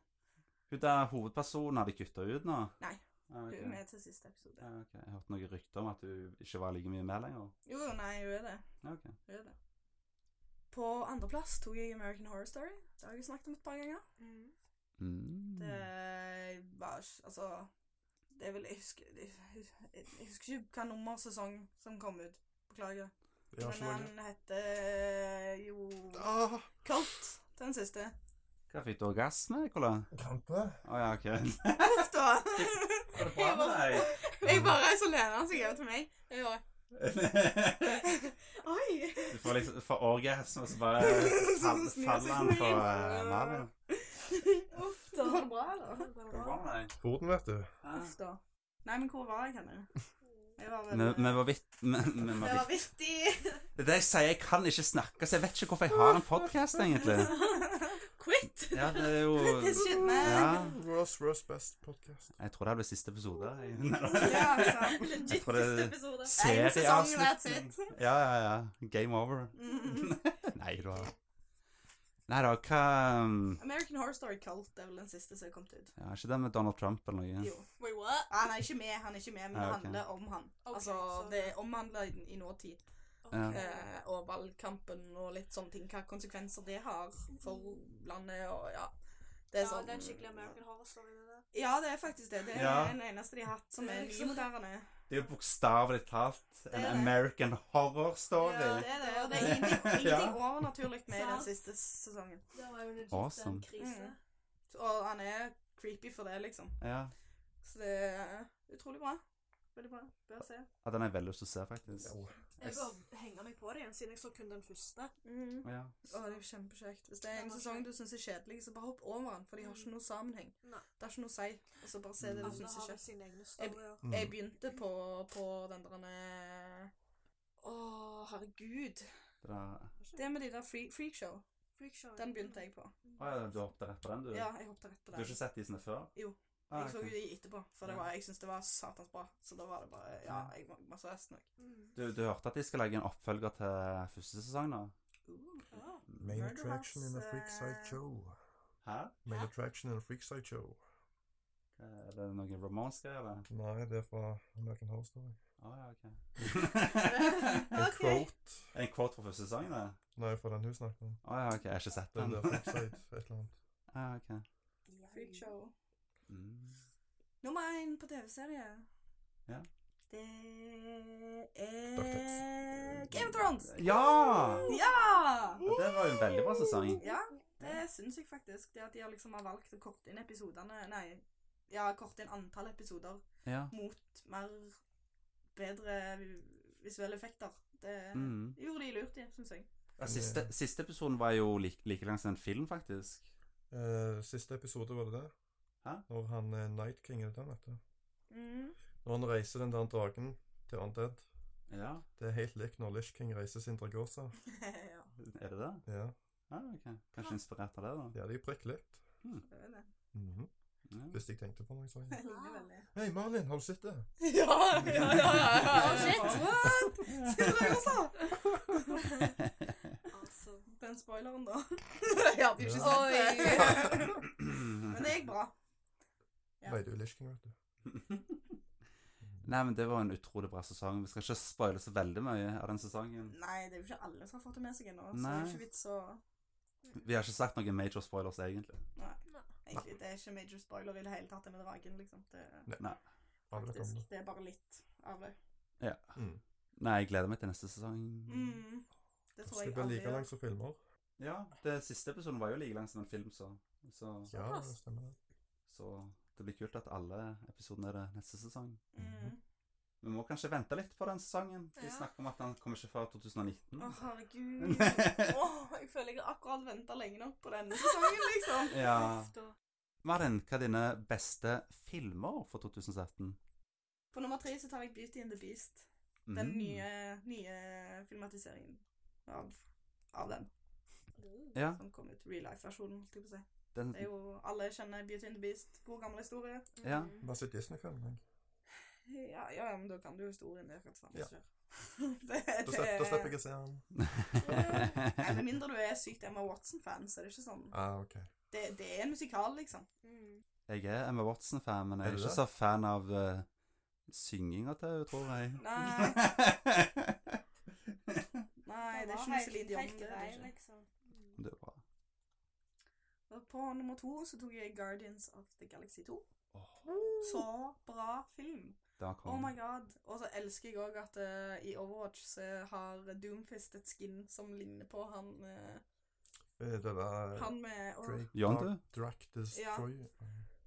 Speaker 3: Hun der hovedpersonen, har de kutta ut nå?
Speaker 6: Nei.
Speaker 3: Ah,
Speaker 6: hun
Speaker 3: ok.
Speaker 6: er med til siste episode.
Speaker 3: Ja, ok. Jeg hørte noen rykter om at hun ikke var like mye med lenger.
Speaker 6: Jo, jo, nei, hun er det.
Speaker 3: Ja, ok.
Speaker 6: Hun er det. På andreplass tok jeg American Horror Story. Det har jeg jo snakket om et par ganger.
Speaker 5: Mm.
Speaker 3: Mm.
Speaker 6: Det var ikke- Altså Det er vel Jeg husker, jeg, jeg jeg husker ikke hva nummersesong som kom ut. Beklager.
Speaker 2: Jeg har
Speaker 6: Men um,
Speaker 2: ikke noe.
Speaker 6: han heter jo
Speaker 2: Ah,
Speaker 6: Cult, den siste.
Speaker 3: Hva fikk du orgasme, Nicola?
Speaker 2: krampe.
Speaker 3: Å ja, OK.
Speaker 6: Uff da.
Speaker 3: Går det bra med deg?
Speaker 6: Jeg bare så lener han seg over til meg. Jeg bare Oi!
Speaker 3: Du får liksom får orgasme, og så bare
Speaker 6: Så
Speaker 3: fall,
Speaker 6: snur
Speaker 3: faller han
Speaker 6: seg
Speaker 3: på
Speaker 6: ned.
Speaker 3: eh, mannen.
Speaker 6: Uff da. Går det bra, eller?
Speaker 3: Går det bra med deg?
Speaker 2: Foden, vet du.
Speaker 3: Ja.
Speaker 6: Uff da. Nei, men hvor var jeg henne? Jeg var vel
Speaker 3: Vi vi var vidt... Vi vi var
Speaker 6: Det
Speaker 3: vidt...
Speaker 6: var vittig.
Speaker 3: Det er det jeg sier, jeg kan ikke snakke, så jeg vet ikke hvorfor jeg har en podkast, egentlig.
Speaker 6: Quit!
Speaker 3: Ja, det er jo
Speaker 6: Det skjønner jeg.
Speaker 3: Ja.
Speaker 2: World's worst best podcast.
Speaker 3: Jeg tror det blir siste episode.
Speaker 6: Ja, altså.
Speaker 3: Jeg
Speaker 5: Legit
Speaker 3: tror det er
Speaker 5: siste episode.
Speaker 6: En sesong,
Speaker 3: Serieavsnitt.
Speaker 6: that's it.
Speaker 3: Ja, ja, ja. Game over.
Speaker 6: Mm.
Speaker 3: Nei da. Nei da, hva um,
Speaker 6: American Horror Story Cult er vel den siste som er kommet ut.
Speaker 3: ja, Ikke det med Donald Trump eller noe?
Speaker 6: Jo. Ah,
Speaker 5: Wait, what?
Speaker 6: Han er ikke med, han er ikke med, men det
Speaker 3: Ja, ok.
Speaker 6: handler om han.
Speaker 5: Ok,
Speaker 6: altså,
Speaker 5: så-
Speaker 6: det omhandler i, i nåtid.
Speaker 3: Ja.
Speaker 6: Eh, og valgkampen og litt sånne ting. Hva konsekvenser det har for landet og ja. Det
Speaker 5: Ja,
Speaker 6: er sånn
Speaker 5: det er en skikkelig American Horror Story. Det der.
Speaker 6: Ja, det er faktisk det. Det er
Speaker 3: Ja.
Speaker 6: den eneste de har hatt som
Speaker 5: Det er
Speaker 6: er
Speaker 5: liksom-
Speaker 6: nymoderne.
Speaker 3: Det er jo bokstavelig talt
Speaker 6: er
Speaker 3: en
Speaker 6: det.
Speaker 3: American horror
Speaker 5: Ja,
Speaker 3: story.
Speaker 6: Det er det, og det
Speaker 5: det.
Speaker 6: er ingenting,
Speaker 3: Ja.
Speaker 6: ingenting overnaturlig med
Speaker 5: Sant.
Speaker 6: den siste sesongen.
Speaker 5: Det var jo legit
Speaker 3: Awesome.
Speaker 5: en krise.
Speaker 6: Mm. Og han er creepy for det, liksom.
Speaker 3: Ja.
Speaker 6: Så det er utrolig bra. Veldig bra. Bør se.
Speaker 3: ja, den har jeg veldig lyst til å se, faktisk.
Speaker 2: Jo.
Speaker 5: Jeg bør henge meg på det igjen, siden jeg så kun den første.
Speaker 6: Mm.
Speaker 3: Ja.
Speaker 6: Å, det er jo kjempekjekt. Hvis det er Mm.
Speaker 5: Den
Speaker 6: en
Speaker 5: var
Speaker 6: sesong
Speaker 5: kjekk.
Speaker 6: du syns er kjedelig, så bare hopp over den, for de har ikke noe sammenheng.
Speaker 5: Nei.
Speaker 6: Det har ikke noe å si. Og så bare se det
Speaker 5: Alle
Speaker 6: du syns
Speaker 5: har
Speaker 6: er
Speaker 5: vel
Speaker 6: kjekt.
Speaker 5: sine egne storyer.
Speaker 2: Mm.
Speaker 6: Jeg begynte på, på den derre Å, herregud.
Speaker 3: Det der.
Speaker 6: Det med de der free, freakshow.
Speaker 5: Freakshow.
Speaker 6: Den begynte jeg på.
Speaker 3: Å ja, du hoppet rett på den, du?
Speaker 6: Ja, jeg hoppet rett på
Speaker 3: Du har
Speaker 6: den.
Speaker 3: ikke sett de sine før?
Speaker 6: Jo.
Speaker 3: Ah,
Speaker 6: Jeg så
Speaker 3: ok.
Speaker 6: jo de etterpå, for det
Speaker 3: Ja.
Speaker 6: var, jeg syntes det var satans bra. Så da var det bare Ja, jeg må, må se resten òg.
Speaker 5: Mm.
Speaker 3: du, du hørte at de skal lage en oppfølger til første sesong, da?
Speaker 5: Ah.
Speaker 2: Main
Speaker 6: Murder
Speaker 2: attraction in a
Speaker 6: House,
Speaker 2: freakside
Speaker 6: eh,
Speaker 2: show.
Speaker 3: Hæ?
Speaker 2: Main
Speaker 5: Hæ?
Speaker 2: attraction in a freakside show.
Speaker 3: Er det noen romance-greier, eller?
Speaker 2: Nei, det er fra American Horror Story.
Speaker 3: Å ja, ok.
Speaker 2: En quote.
Speaker 3: Er det en quote fra første sesong, det?
Speaker 2: Nei, fra den hun snakket om.
Speaker 3: Å ja, ok. Jeg har ikke sett
Speaker 2: Den
Speaker 3: den.
Speaker 2: der freakside, et eller annet.
Speaker 3: ja, ok.
Speaker 6: Freakshow.
Speaker 3: Mm.
Speaker 6: Nummer én på TV-serie.
Speaker 3: Ja.
Speaker 6: Det
Speaker 2: Ducktales.
Speaker 6: er Game of Thrones!
Speaker 3: Ja!
Speaker 6: Ja!
Speaker 3: Ja, Det var jo en veldig bra sesong.
Speaker 6: Ja, det syns jeg faktisk. Det at de har liksom har valgt å korte inn episodene Nei, ja, korte inn antall episoder
Speaker 3: Ja.
Speaker 6: mot mer bedre vi- visuelle effekter. Det
Speaker 3: Mm.
Speaker 6: gjorde de lurt i, syns jeg.
Speaker 3: Ja, siste, siste episoden var jo like, like langt som en film, faktisk.
Speaker 2: Eh, siste episode var det det.
Speaker 3: Hæ?
Speaker 2: Når han eh, Night King er det den, vet du.
Speaker 6: Mm.
Speaker 2: Når han reiser den der dragen til Undead.
Speaker 3: Ja.
Speaker 2: Det er helt likt når Lish King reiser sin Dragosa.
Speaker 6: ja,
Speaker 3: Er det det?
Speaker 2: Ja,
Speaker 3: Ja, ok. Kanskje inspirert av det, da.
Speaker 2: ja de er prikk likt.
Speaker 6: det er det.
Speaker 2: Mhm.
Speaker 3: Ja.
Speaker 2: Hvis jeg tenkte på noe sånt.
Speaker 6: Veldig, veldig.
Speaker 2: Hei, Marlin, har du sett det?
Speaker 6: Ja, ja, ja, ja.
Speaker 5: Oh, shit.
Speaker 6: What? Skulle jeg også?
Speaker 5: Awesome.
Speaker 6: Den spoileren, da. Jeg hadde jo ikke sett det. Men det gikk bra. Ja.
Speaker 2: Nei, du er Lish King, vet du.
Speaker 3: Nei, men det var en utrolig bra sesong. Vi skal ikke spoile så veldig mye av den sesongen.
Speaker 6: Nei, det er jo ikke alle som har fått det med seg ennå, så det
Speaker 3: Nei.
Speaker 6: er jo ikke vits å
Speaker 3: Vi har ikke sagt noen major spoilers, egentlig.
Speaker 6: Egentlig, det er ikke major spoiler i det hele tatt, det med dragen, liksom. Det,
Speaker 2: Alle vet om
Speaker 6: faktisk,
Speaker 2: det.
Speaker 6: det er bare litt av det.
Speaker 2: Mm.
Speaker 3: Nei, jeg gleder meg til neste sesong.
Speaker 6: Mm. Det tror
Speaker 2: Skal det
Speaker 6: jeg
Speaker 2: bli
Speaker 6: alle
Speaker 2: like
Speaker 6: gjør.
Speaker 2: langt som filmer?
Speaker 3: Ja, den siste episoden var jo like lang som en film, så, så
Speaker 2: Ja, det stemmer. det.
Speaker 3: Så det blir kult at alle episodene er det neste sesong.
Speaker 6: Mm.
Speaker 3: Vi må kanskje vente litt på den sesongen. De
Speaker 5: Ja.
Speaker 3: snakker om at den kommer ikke før 2019.
Speaker 6: Å, herregud. Åh, jeg føler jeg har akkurat venta lenge nok på denne sesongen, liksom.
Speaker 3: Ja.
Speaker 5: Da-
Speaker 3: Marin, hva er dine beste filmer for 2017?
Speaker 6: På nummer tre så tar jeg Beauty and the Beast.
Speaker 3: Mm.
Speaker 6: Den nye, nye filmatiseringen av, av den.
Speaker 3: Ja,
Speaker 6: Som kom ut. Real Life-versjonen, holdt jeg på å si.
Speaker 3: den,
Speaker 6: Det er jo, alle kjenner Beauty and the Beast. God gammel historie.
Speaker 3: ja.
Speaker 5: Mm.
Speaker 2: Bare se Disney-film. tenk.
Speaker 6: Ja, ja, men da kan du jo historien. Det er akkurat samme
Speaker 2: Ja.
Speaker 6: som skjer. Det,
Speaker 2: Da slipper, da slipper jeg å se den.
Speaker 6: Nei, Med mindre du er sykt Emma Watson-fan, så er det ikke sånn
Speaker 2: Ah, ok.
Speaker 6: Det, det er en musikal, liksom.
Speaker 5: Mm.
Speaker 3: Jeg er Emma Watson-fan, men jeg er
Speaker 2: Er du
Speaker 3: ikke
Speaker 2: det?
Speaker 3: så fan av uh, synginga til henne, tror jeg.
Speaker 6: Nei. Nei,
Speaker 5: Den
Speaker 6: det er
Speaker 5: var
Speaker 6: ikke noe
Speaker 5: helt-
Speaker 6: Celine Dion.
Speaker 5: helt
Speaker 6: Det er sånn.
Speaker 5: grei,
Speaker 6: det ikke.
Speaker 5: liksom. Mm.
Speaker 3: Det er bra.
Speaker 6: Og På nummer to så tok jeg Guardians of the Galaxy 2.
Speaker 3: Åh,
Speaker 6: Så bra film.
Speaker 3: da
Speaker 6: Oh
Speaker 3: kom
Speaker 6: my god. Og så elsker jeg òg at eh, i Overwatch så har Doomfist et skin som ligner på han eh,
Speaker 2: Eh, Det der
Speaker 6: Han med oh,
Speaker 2: Drake
Speaker 3: John,
Speaker 2: Dark-
Speaker 3: du?
Speaker 2: Drack Destroy.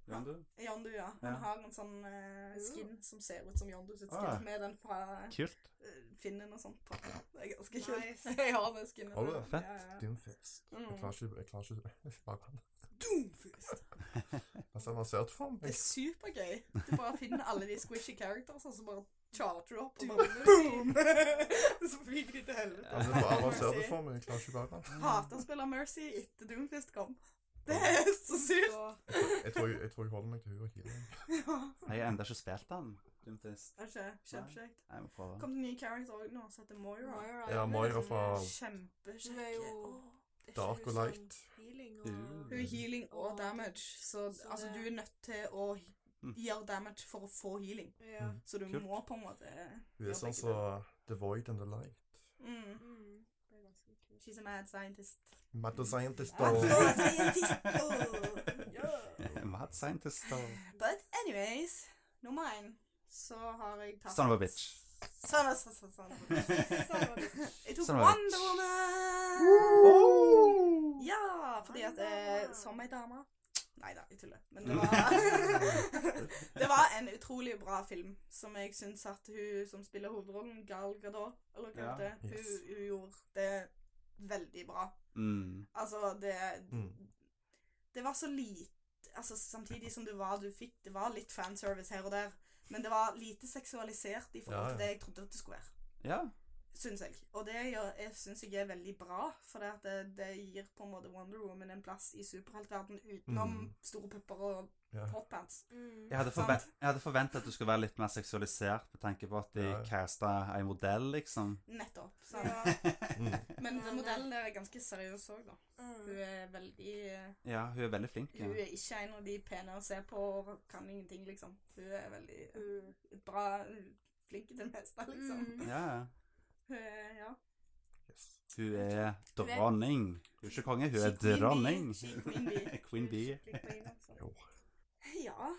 Speaker 3: Jan, du?
Speaker 6: Yondu, ja. Han
Speaker 3: Ja.
Speaker 6: har en sånn eh, skin som ser ut som Yondu sitt skin,
Speaker 3: Ah.
Speaker 6: med den fra eh,
Speaker 3: Kult.
Speaker 6: finnen og sånt på. Det er ganske kult.
Speaker 5: Nice.
Speaker 6: jeg har den skinnen.
Speaker 2: Har du det?
Speaker 3: Fett.
Speaker 6: Ja, ja.
Speaker 2: Doomfist. Jeg
Speaker 6: Mm.
Speaker 2: klarer ikke Jeg klarer ikke spare den.
Speaker 6: Doomfist.
Speaker 2: Jeg ser avansert for
Speaker 6: Det
Speaker 2: meg.
Speaker 6: er supergøy. Du bare finner alle de squishy characters, og så bare charger du opp. Og bare,
Speaker 5: Boom!
Speaker 6: så flyr de til helvete.
Speaker 2: Jeg ser for avansert for meg. Jeg klarer ikke bære den.
Speaker 6: Hater å spille Mercy etter Doomfist kom. Det er så sykt.
Speaker 5: Da-
Speaker 2: Jeg tror jeg, jeg, tror jeg holder meg til hun og healing.
Speaker 6: Ja,
Speaker 3: Jeg har enda ikke spilt den. Dumtist.
Speaker 6: det er ikke kjempekjekt.
Speaker 3: Jeg må prøve.
Speaker 6: Kom det en ny character også nå, som heter Moira.
Speaker 5: Moira
Speaker 2: Ja,
Speaker 5: er
Speaker 2: Moira
Speaker 5: liksom-
Speaker 2: fra
Speaker 6: Kjempekjekk.
Speaker 5: Hun er jo-
Speaker 6: Åh.
Speaker 5: det er ikke
Speaker 2: Dark
Speaker 5: hun
Speaker 2: og
Speaker 5: som
Speaker 2: Light.
Speaker 5: Healing og
Speaker 3: Du.
Speaker 6: Hun er healing og damage, så
Speaker 5: Så
Speaker 6: altså,
Speaker 5: det-
Speaker 6: du er nødt til å
Speaker 3: Mm.
Speaker 6: gjøre damage for å få healing.
Speaker 5: Ja.
Speaker 2: Mm.
Speaker 6: Så du
Speaker 3: Kult.
Speaker 6: må på en måte
Speaker 2: Hun er
Speaker 6: gjøre
Speaker 2: sånn
Speaker 6: begge
Speaker 2: som The Void and the Light.
Speaker 6: deler. mm.
Speaker 5: Mm. Det er ganske kult.
Speaker 6: She's a mad scientist.
Speaker 2: Mad the Scientist
Speaker 6: Mad
Speaker 2: og
Speaker 6: scientist, åh. Ja.
Speaker 3: Mad scientist og
Speaker 6: But anyways, nummer én så har jeg tatt
Speaker 3: Son of a bitch.
Speaker 6: Son of, son, son, son of a bitch. Jeg tok
Speaker 3: Son of a
Speaker 6: Wonder
Speaker 3: bitch.
Speaker 6: Woman! Ja, fordi at eh, som ei dame Nei da, jeg tuller. Men det var Det var en utrolig bra film som jeg syns at hun som spiller hovedrollen, Gal Gadot, eller hva
Speaker 3: Ja,
Speaker 6: det heter,
Speaker 2: yes.
Speaker 6: hun, hun gjorde det veldig bra.
Speaker 3: Mm.
Speaker 6: Altså, det
Speaker 2: Mm.
Speaker 6: Det var så lite Altså, samtidig som det var du fikk Det var litt fanservice her og der, men det var lite seksualisert i forhold
Speaker 2: Ja, ja.
Speaker 6: til det jeg trodde at det skulle være
Speaker 3: Ja.
Speaker 6: syns jeg. Og det gjør, jeg syns jeg er veldig bra, for det, at det, det gir på en måte Wonder Woman en plass i superheltverden utenom
Speaker 2: Mm.
Speaker 6: store pupper og
Speaker 2: ja.
Speaker 6: hotpants.
Speaker 5: Mm.
Speaker 3: Jeg hadde, forven jeg hadde forventet at du skulle være litt mer seksualisert, med tanke på at de
Speaker 2: Ja.
Speaker 3: casta ei modell, liksom.
Speaker 6: Nettopp. Så.
Speaker 5: Ja.
Speaker 2: mm.
Speaker 6: Men
Speaker 5: Ja,
Speaker 6: den
Speaker 5: nei.
Speaker 6: modellen der er ganske seriøs òg, da. Hun
Speaker 5: Mm.
Speaker 6: er veldig
Speaker 3: Ja, hun er veldig flink. Ja.
Speaker 6: Hun er ikke en av de pene å se på og kan ingenting, liksom. Hun er veldig bra flink til det meste, liksom.
Speaker 5: Mm.
Speaker 3: Ja, ja.
Speaker 6: Hun er, Eh, ja.
Speaker 2: yes.
Speaker 3: Hun er dronning. Hun er ikke konge, hun er
Speaker 6: She queen bee.
Speaker 3: dronning.
Speaker 6: She queen bee.
Speaker 3: Queen bee.
Speaker 6: Skikkelig queen, altså.
Speaker 2: Jo.
Speaker 6: Ja.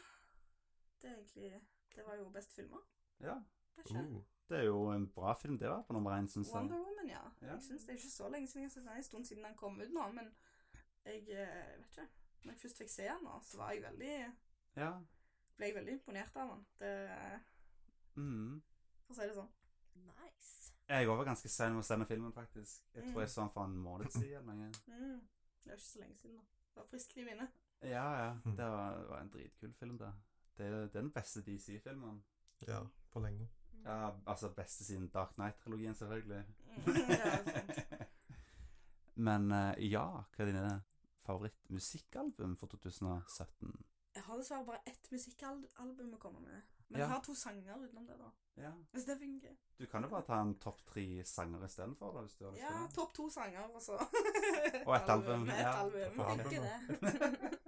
Speaker 6: Det er egentlig Det var jo best filmer.
Speaker 3: Ja.
Speaker 6: Det skjer.
Speaker 2: Uh.
Speaker 3: Det er jo en bra film, det, var på nummer én, syns
Speaker 6: Wonder
Speaker 3: jeg.
Speaker 6: Woman, ja.
Speaker 3: Uh, Ja.
Speaker 6: Jeg synes Det er ikke så lenge siden jeg har sett den. Det er En stund siden den kom ut nå, men jeg eh, vet ikke. Når jeg først fikk se den, nå, så var jeg veldig,
Speaker 3: Ja.
Speaker 6: ble jeg veldig imponert av den. Det,
Speaker 3: Mm.
Speaker 6: for å si det sånn.
Speaker 5: Nice.
Speaker 3: Jeg òg var ganske sein med å se den filmen, faktisk. Jeg
Speaker 6: Mm.
Speaker 3: tror jeg så den for en måned siden. eller noe.
Speaker 6: Mm. Det er ikke så lenge siden, da. Det var friskt i minnet.
Speaker 3: Ja, ja.
Speaker 2: Mm.
Speaker 3: Det var, var en dritkul film, det. Det er, det er den beste DC-filmen.
Speaker 2: Ja, på lenge.
Speaker 3: Ja, altså beste siden Dark Knight-trilogien, selvfølgelig.
Speaker 6: Mm. Ja, sant.
Speaker 3: Men eh, ja, hva er dine favorittmusikkalbum for 2017?
Speaker 6: jeg har dessverre bare ett musikkalbum å komme med. Men
Speaker 3: Ja.
Speaker 6: jeg har to sanger utenom det, da.
Speaker 3: Ja.
Speaker 6: Hvis det funker.
Speaker 3: Du kan jo bare ta en topp tre sanger istedenfor, da, hvis du har lyst
Speaker 6: Ja,
Speaker 3: til det.
Speaker 6: topp to sanger, og så
Speaker 3: Og et album,
Speaker 6: Et
Speaker 3: ja.
Speaker 6: album.
Speaker 2: Ja.
Speaker 6: Funker det.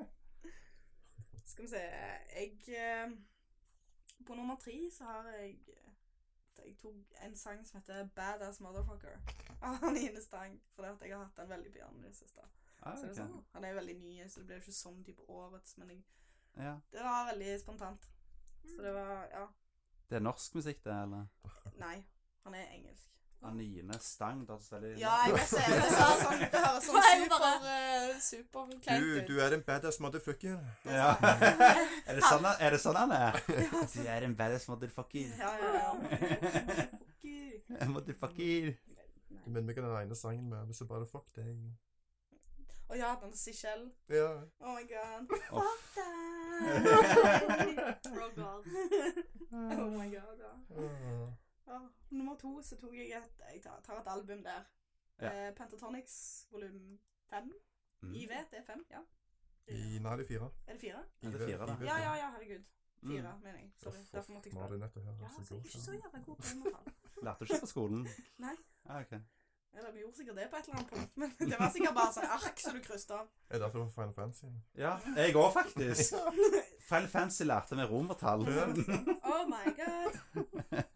Speaker 6: Skal vi se Jeg eh, På nummer tre så har jeg eh, Jeg tok en sang som heter Badass Motherfucker av Nine Stang. Fordi at jeg har hatt den veldig på hjernen i det siste.
Speaker 3: Ah,
Speaker 6: Så det er
Speaker 3: ok.
Speaker 6: sånn, han er jo veldig ny, så det blir jo ikke sånn type årets, men jeg,
Speaker 3: ja.
Speaker 6: det var veldig spontant. Så det var Ja.
Speaker 3: Det er norsk musikk, det, eller?
Speaker 6: Nei, han er engelsk.
Speaker 3: Anine Stang. Det høres veldig
Speaker 6: Ja, jeg vet det. Det, sa sånn, det høres sånn
Speaker 5: Nei,
Speaker 6: super
Speaker 5: bare-
Speaker 6: eh, superkleint
Speaker 2: Du,
Speaker 6: ut.
Speaker 2: du er en badass motherfucker.
Speaker 3: Ja. er, det sånn, han- er det sånn han er? Du er en badass motherfucker.
Speaker 6: Ja, ja, altså. ja.
Speaker 3: motherfucker.
Speaker 2: Du minner meg om den ene sangen med Hvis du bare fuck deg.
Speaker 6: Og ja, den Sichelle.
Speaker 2: Ja.
Speaker 6: Oh my god.
Speaker 3: Åh.
Speaker 6: Fuck that. oh my god, ja.
Speaker 2: Ah.
Speaker 6: ja. Nummer to så tok jeg et Jeg tar, tar et album der.
Speaker 3: Ja.
Speaker 6: Eh, Pentatonix volum fem.
Speaker 3: Mm.
Speaker 6: IV, det er fem, ja.
Speaker 2: I, nei, det er fire.
Speaker 6: Er det fire?
Speaker 3: Er det fire, da?
Speaker 6: Ja, ja, ja, herregud. Fire,
Speaker 3: Mm.
Speaker 6: mener jeg. Sorry. Derfor måtte jeg
Speaker 2: Nå har
Speaker 6: spørre.
Speaker 2: du nettopp hørt
Speaker 6: Ja,
Speaker 2: hvordan det
Speaker 6: så jeg er ikke så
Speaker 2: går.
Speaker 6: jævla god på nummertall.
Speaker 3: Lærte du ikke på skolen?
Speaker 6: Nei.
Speaker 3: Ah, ok.
Speaker 6: Eller vi gjorde sikkert det på et eller annet punkt, men det var sikkert bare sånn ark som du krysset av.
Speaker 2: Er det derfor du var Final Fantasy?
Speaker 3: Ja, jeg òg, faktisk. Final Fantasy lærte meg romertall.
Speaker 6: Oh my god.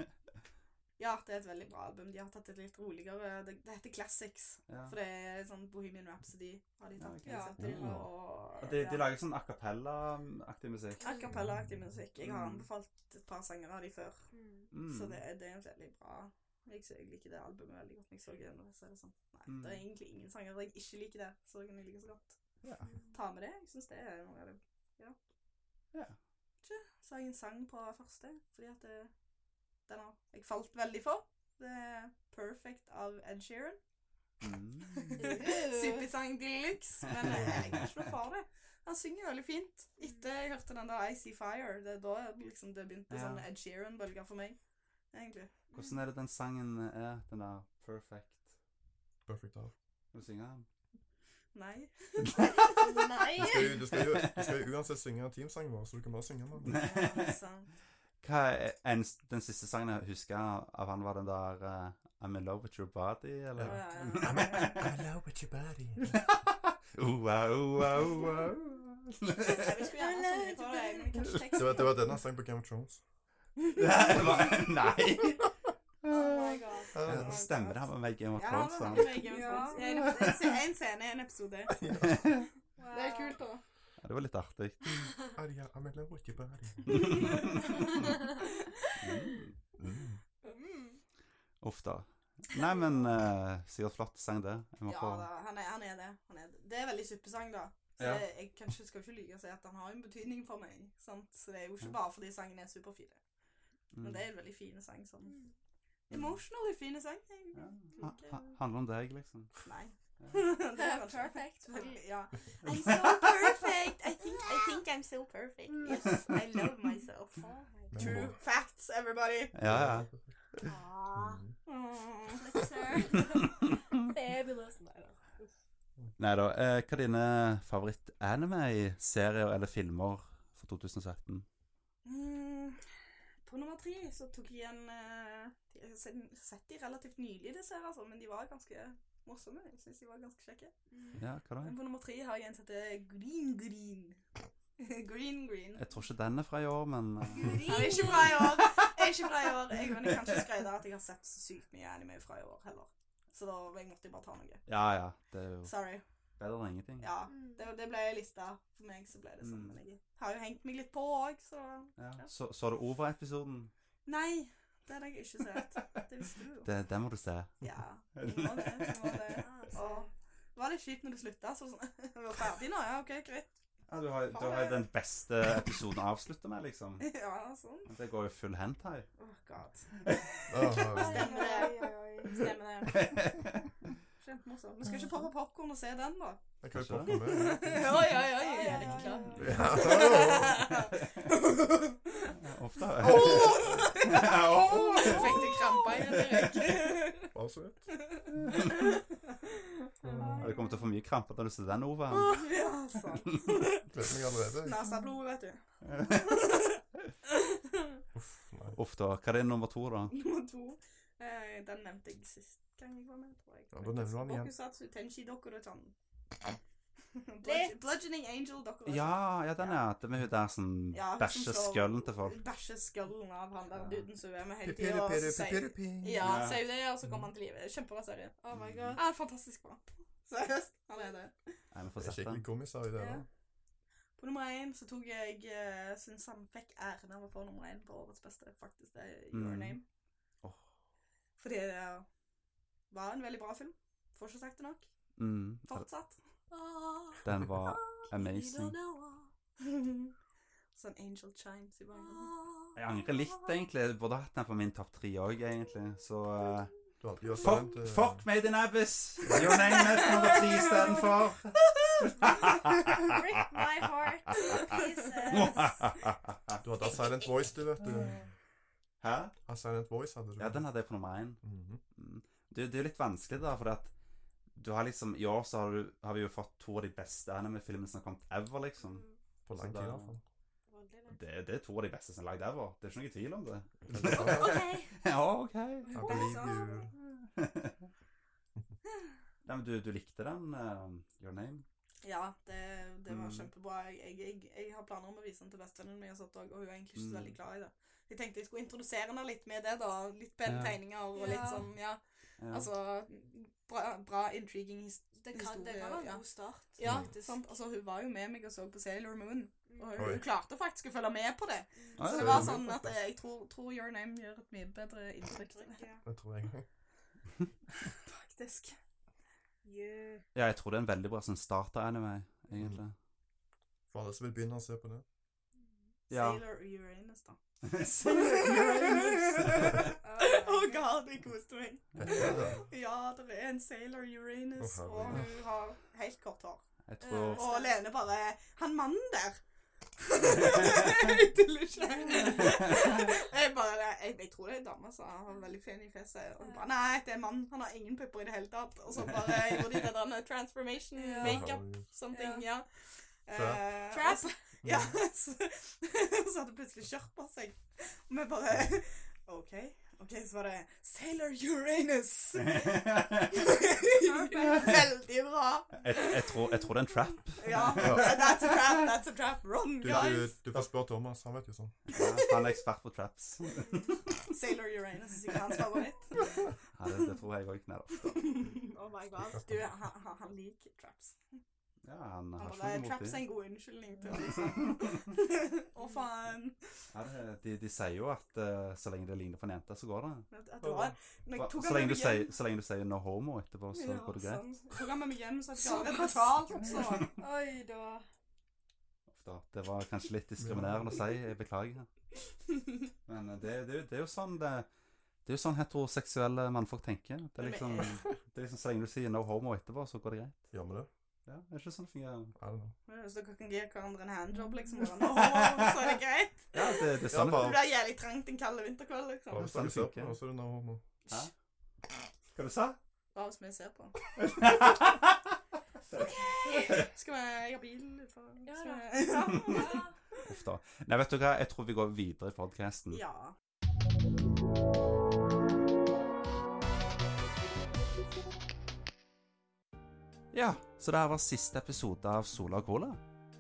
Speaker 6: Ja, det er et veldig bra album. De har tatt et litt roligere Det, det heter Classics.
Speaker 3: Ja.
Speaker 6: For det er sånn Bohemian Rhapsody har de tatt.
Speaker 3: Ja,
Speaker 6: Ja,
Speaker 3: ok.
Speaker 6: ja.
Speaker 3: Mm.
Speaker 6: Og
Speaker 3: De, de
Speaker 6: ja.
Speaker 3: lager sånn a cappella-aktig musikk.
Speaker 6: a cappella-aktig musikk. Jeg har
Speaker 3: Mm.
Speaker 6: anbefalt et par sanger av de før,
Speaker 3: Mm.
Speaker 6: så det, det er veldig bra. Jeg, så, jeg liker det albumet veldig godt. når Jeg så det nå, så er det sånn Nei,
Speaker 3: Mm.
Speaker 6: det er egentlig ingen sanger der jeg ikke liker det, så kan jeg like så godt.
Speaker 3: Ja.
Speaker 6: Ta med det. Jeg syns det er noe av det Ja.
Speaker 3: Ja.
Speaker 6: Tja, så har jeg en sang på første, fordi at det, den har jeg falt veldig for. Det er 'Perfect' av Ed Sheeran.
Speaker 3: Mm.
Speaker 2: Uhuh.
Speaker 6: Suppisang de luxe, men jeg kan ikke noe for det. Han synger veldig fint. Etter jeg hørte den der I See Fire, det er da liksom det begynte
Speaker 3: Ja.
Speaker 6: sånn Ed Sheeran-bølger for meg. Egentlig.
Speaker 3: Hvordan er det den sangen er, den der perfect?
Speaker 2: Perfect Dark.
Speaker 3: Vil du synge den?
Speaker 6: Nei.
Speaker 2: Du skal jo, du skal jo, du skal jo uansett synge teamsangen vår, så du kan bare synge den.
Speaker 6: Ja, det er sant.
Speaker 3: Hva er en, den siste sangen jeg husker av han var den der eh, I'm in love with your body,
Speaker 6: Å,
Speaker 3: eller?
Speaker 6: ja, ja, ja.
Speaker 2: I love with your body.
Speaker 3: Oa, oa, oa.
Speaker 6: Jeg skulle gjerne synge for deg, men kanskje
Speaker 2: Det var, det
Speaker 6: teksten
Speaker 2: var den han sang på Game of Thrones.
Speaker 3: Nei!
Speaker 6: Oh my god.
Speaker 2: Ah.
Speaker 3: Stemmer det, han var med i Game of
Speaker 6: Ja, han
Speaker 3: Thrones?
Speaker 6: var
Speaker 3: han.
Speaker 6: veldig med i Game of Thrones. En episode- En scene i en episode. Det er kult, da.
Speaker 3: Ja, det var litt artig.
Speaker 2: Aria, I'm Ah, in love with your body.
Speaker 3: Uff da. Nei, men eh, sikkert flott sang, det. Jeg må
Speaker 6: Ja
Speaker 3: få
Speaker 6: da, han er, han er det. Han er det. det er veldig suppesang, da. Så
Speaker 3: Ja.
Speaker 6: jeg, jeg kanskje skal ikke lyve og si at han har en betydning for meg. Sant? Så det er jo ikke bare fordi sangen er superfin.
Speaker 3: Mm.
Speaker 6: Men det er en veldig fin sang. Sånn. Emotionally fine sang. Jeg
Speaker 3: Ja.
Speaker 6: liker-
Speaker 3: Ha- Handler om deg, liksom.
Speaker 6: Nei.
Speaker 3: Ja.
Speaker 6: det er kanskje
Speaker 5: Perfect.
Speaker 6: veldig- Ja. I'm so perfect. I think, I think I'm so perfect. Yes, I love myself.
Speaker 2: Men-
Speaker 6: True facts, everybody.
Speaker 3: Ja,
Speaker 2: Ah,
Speaker 3: ja.
Speaker 2: Mm.
Speaker 6: Mm.
Speaker 5: Fabulous. Nei da.
Speaker 3: Nei da. eh, hva er dine favoritt-anime-serier eller filmer for 2017?
Speaker 6: Mm, På nummer tre så tok jeg en eh, de- Jeg har sett- sett de relativt nylig, disse her, altså, men de var ganske morsomme. Jeg synes de var ganske kjekke.
Speaker 3: Ja, hva da?
Speaker 6: Men på nummer tre har jeg en som heter Green Green. green Green.
Speaker 3: Jeg tror ikke den er fra i år, men eh,
Speaker 6: Ja, det er ikke fra i år. Det er ikke fra i år. Jeg, men jeg kan ikke skryte at jeg har sett så sykt mye anime fra i år heller. Så da jeg måtte jeg bare ta noe.
Speaker 3: Ja ja. Det er jo
Speaker 6: Sorry.
Speaker 3: bedre enn ingenting.
Speaker 6: Ja, det, det ble lista. For meg så ble det sånn.
Speaker 3: Mm.
Speaker 6: Men jeg har jo hengt meg litt på òg, så
Speaker 3: Ja. Så, så er det Ova-episoden.
Speaker 6: Nei, det har jeg ikke sett. Det visste du jo.
Speaker 3: Det, den må du se.
Speaker 6: Ja, vi må det. Vi må det. Og var litt kjipt når det slutta. Så sånn, vi var ferdig nå, ja, ok, greit.
Speaker 3: Ja, du har du har jo den beste episoden å avslutte med, liksom.
Speaker 6: Ja, sånn.
Speaker 3: Det går jo full hentai.
Speaker 6: Åh, god.
Speaker 2: Ah,
Speaker 6: Stemmer det. Stemmer det. Kjempemorsomt. eh, Vi skal ikke poppe popkorn og se den, da.
Speaker 2: Jeg kan jo poppe med.
Speaker 5: Oi, oi, oi. Er det klart?
Speaker 2: Ja.
Speaker 3: Ofte. Åh!
Speaker 6: Fikk du krampa i Erik?
Speaker 2: Bare så vidt.
Speaker 3: Ja, Du kommer til å få mye kramper når du ser den, Ove.
Speaker 6: Ja, sant.
Speaker 2: Gleder meg allerede.
Speaker 6: Nasablod, vet du.
Speaker 2: Uff, nei.
Speaker 3: Uff da. Hva er din nummer to, da?
Speaker 6: Nummer to. Eh, Den nevnte jeg sist gang jeg var med, tror jeg.
Speaker 2: Ja, da nevner du den igjen.
Speaker 6: Tokusatsu Tenshi Dokuro-chan. Bludge- Bludgeoning Angel, dere vet.
Speaker 3: Ja, ja, den er det med hun der som
Speaker 6: Ja, hun som
Speaker 3: bæsjer
Speaker 6: slår-
Speaker 3: skullen til folk.
Speaker 6: Bæsjer skullen av han der
Speaker 3: Ja.
Speaker 6: duden som er med hele tida. Og så sier
Speaker 2: Pipiripiripiripiriping.
Speaker 6: ja,
Speaker 3: Ja.
Speaker 6: sier hun det, og så kommer han til live. Kjempebra serie.
Speaker 5: Oh my
Speaker 3: Mm.
Speaker 5: god.
Speaker 6: Ja, fantastisk bra. Seriøst. Han er det.
Speaker 3: Nei, vi
Speaker 2: Det
Speaker 3: får
Speaker 2: er
Speaker 3: sett den.
Speaker 2: skikkelig komisar i det.
Speaker 6: Ja.
Speaker 2: da.
Speaker 6: På nummer én så tok jeg eh, Syns han fikk æren av å få nummer én på årets beste, faktisk. Det er Your
Speaker 3: Mm.
Speaker 6: Name.
Speaker 3: Åh.
Speaker 6: Fordi det var en veldig bra film. Får ikke sagt det nok.
Speaker 3: Mm,
Speaker 6: Fortsatt.
Speaker 5: Ah,
Speaker 3: den var
Speaker 5: you don't
Speaker 3: amazing.
Speaker 5: know, ah,
Speaker 6: sånn Angel Chimes i bakgrunnen.
Speaker 5: ah.
Speaker 3: Jeg angrer litt, egentlig. Jeg Burde hatt den på min topp tre òg, egentlig. Så eh,
Speaker 2: Du har alltid gjort
Speaker 3: fuck,
Speaker 2: sånt, eh,
Speaker 3: fuck made in abyss! Your name is nummer tre istedenfor.
Speaker 5: Break my heart to pieces.
Speaker 2: Du hadde hatt Silent Voice, du, vet du.
Speaker 3: Hæ?
Speaker 2: A Silent Voice hadde du.
Speaker 3: Ja, den hadde jeg på nummer én.
Speaker 2: Mhm.
Speaker 3: Det, det er jo litt vanskelig, da, for at du har liksom I år så har, du, har vi jo fått to av de beste anime-filmene som har kommet ever, liksom.
Speaker 2: På
Speaker 3: Så
Speaker 2: lang tid,
Speaker 3: da-
Speaker 2: i hvert fall.
Speaker 3: Det, det er to av de beste som er lagd ever. Det er ikke noe tvil om det.
Speaker 5: OK.
Speaker 3: ja, OK.
Speaker 2: I believe you.
Speaker 3: Nei, men du, du likte den, eh, Your Name?
Speaker 6: Ja, det, det var
Speaker 3: Mm.
Speaker 6: kjempebra. Jeg, jeg, jeg, jeg har planer om å vise den til bestevennen min, og sånt også, og hun er egentlig ikke så
Speaker 3: Mm.
Speaker 6: veldig glad i det. Jeg tenkte jeg skulle introdusere henne litt med det, da. Litt pene
Speaker 3: Ja.
Speaker 6: tegninger og
Speaker 5: Ja.
Speaker 6: litt sånn, ja.
Speaker 3: Ja.
Speaker 6: Altså bra, bra intriguing his-
Speaker 5: Det kan, det kan
Speaker 6: historie.
Speaker 5: være
Speaker 6: ja.
Speaker 5: en god start.
Speaker 6: Ja,
Speaker 5: faktisk.
Speaker 4: Sånn.
Speaker 6: sant. Altså, hun var jo med meg og så på Sailor Moon, og hun,
Speaker 2: Oi.
Speaker 6: hun klarte faktisk å følge med på det.
Speaker 3: Ah,
Speaker 6: Så
Speaker 3: ja,
Speaker 6: det
Speaker 2: Sailor
Speaker 6: var
Speaker 2: Moon,
Speaker 6: sånn at
Speaker 2: faktisk.
Speaker 6: eh, jeg tror, tror Your Name gjør et mye bedre inntrykk,
Speaker 2: Det tror jeg.
Speaker 6: faktisk.
Speaker 5: Yeah.
Speaker 3: ja, jeg tror det er en veldig bra sånn starter-anime,
Speaker 6: Mm.
Speaker 3: egentlig.
Speaker 2: For alle som vil begynne å se på det.
Speaker 3: Ja.
Speaker 6: Sailor Uranus, da.
Speaker 5: Oh,
Speaker 6: Oh god, jeg koste meg.
Speaker 2: Heter det det?
Speaker 6: Ja, det er en Sailor Uranus,
Speaker 2: Å, herregud.
Speaker 6: og hun har helt kort hår.
Speaker 3: Jeg tror
Speaker 6: Og Lene bare Han mannen der! jeg tuller ikke. Jeg bare Jeg, jeg tror det er en dame som har veldig fin i fjeset. Og hun bare Nei, det er en mann. Han har ingen pupper i det hele tatt. Og så bare gjorde de det der med transformation,
Speaker 5: Ja.
Speaker 6: makeup,
Speaker 2: Herregud.
Speaker 6: something. Ja.
Speaker 2: Trap.
Speaker 6: Eh,
Speaker 5: Trap.
Speaker 6: og så- Ja. Så, så hadde plutselig skjerpa seg. Og vi bare OK. OK, så var det Sailor Uranus. Veldig bra.
Speaker 3: jeg, jeg, tror, jeg tror det er en trap.
Speaker 6: Ja. That's a trap, that's a trap. Run,
Speaker 2: Du, du,
Speaker 6: guys.
Speaker 2: du får spørre Thomas, han vet jo sånn.
Speaker 3: Ja, han er ekspert på traps.
Speaker 6: Sailor Uranus er sikkert hans favoritt.
Speaker 3: Ja, det, det tror jeg òg knall.
Speaker 5: oh my god.
Speaker 6: Du, han, han, han liker traps.
Speaker 3: Ja, han
Speaker 6: Han
Speaker 3: har
Speaker 6: bare,
Speaker 3: ikke noe mot
Speaker 6: traps er
Speaker 3: det.
Speaker 6: en god unnskyldning til å liksom Å, faen.
Speaker 3: Ja, det, de, de sier jo at eh, så lenge det ligner på en jente, så går det.
Speaker 6: At at det var, når
Speaker 3: Hva-
Speaker 6: jeg tok
Speaker 3: Så
Speaker 6: han
Speaker 3: lenge,
Speaker 6: med
Speaker 3: du
Speaker 6: meg
Speaker 3: sier,
Speaker 6: hjem
Speaker 3: så lenge du sier 'no homo' etterpå, så
Speaker 6: Ja, sånn.
Speaker 3: går det greit.
Speaker 6: sant. Tok han med meg hjem, så jeg hadde
Speaker 5: Såpass.
Speaker 6: betalt også.
Speaker 5: Oi da.
Speaker 3: Da, Det var kanskje litt diskriminerende å si. Jeg beklager. Men eh, det, det, er jo- det er jo sånn det, det er jo sånn heteroseksuelle mannfolk tenker. Det er liksom, det er liksom så lenge du sier 'no homo' etterpå, så går det greit.
Speaker 2: Gjør vi det?
Speaker 3: Ja, det er ikke sånn det fungerer.
Speaker 2: I don't know.
Speaker 6: Så dere kan gi hverandre en handjob, liksom. Og nå, så er det greit.
Speaker 3: Ja, det, det er sånn.
Speaker 6: Det blir jævlig trangt en kald vinterkveld,
Speaker 2: Bare
Speaker 6: liksom.
Speaker 2: hvis dere
Speaker 3: sånn
Speaker 2: ser på
Speaker 3: funker.
Speaker 2: det, så er det no homo.
Speaker 3: Hva du sa
Speaker 6: Bare hvis vi ser på. Skal vi Jeg har bil utenfor.
Speaker 5: Ja
Speaker 6: Skal
Speaker 5: da.
Speaker 6: vi- Ja.
Speaker 3: Uff da. Nei, vet du hva, jeg tror vi går videre i podkasten.
Speaker 6: ja.
Speaker 3: Ja, så det her var siste episode av Sola og Cola.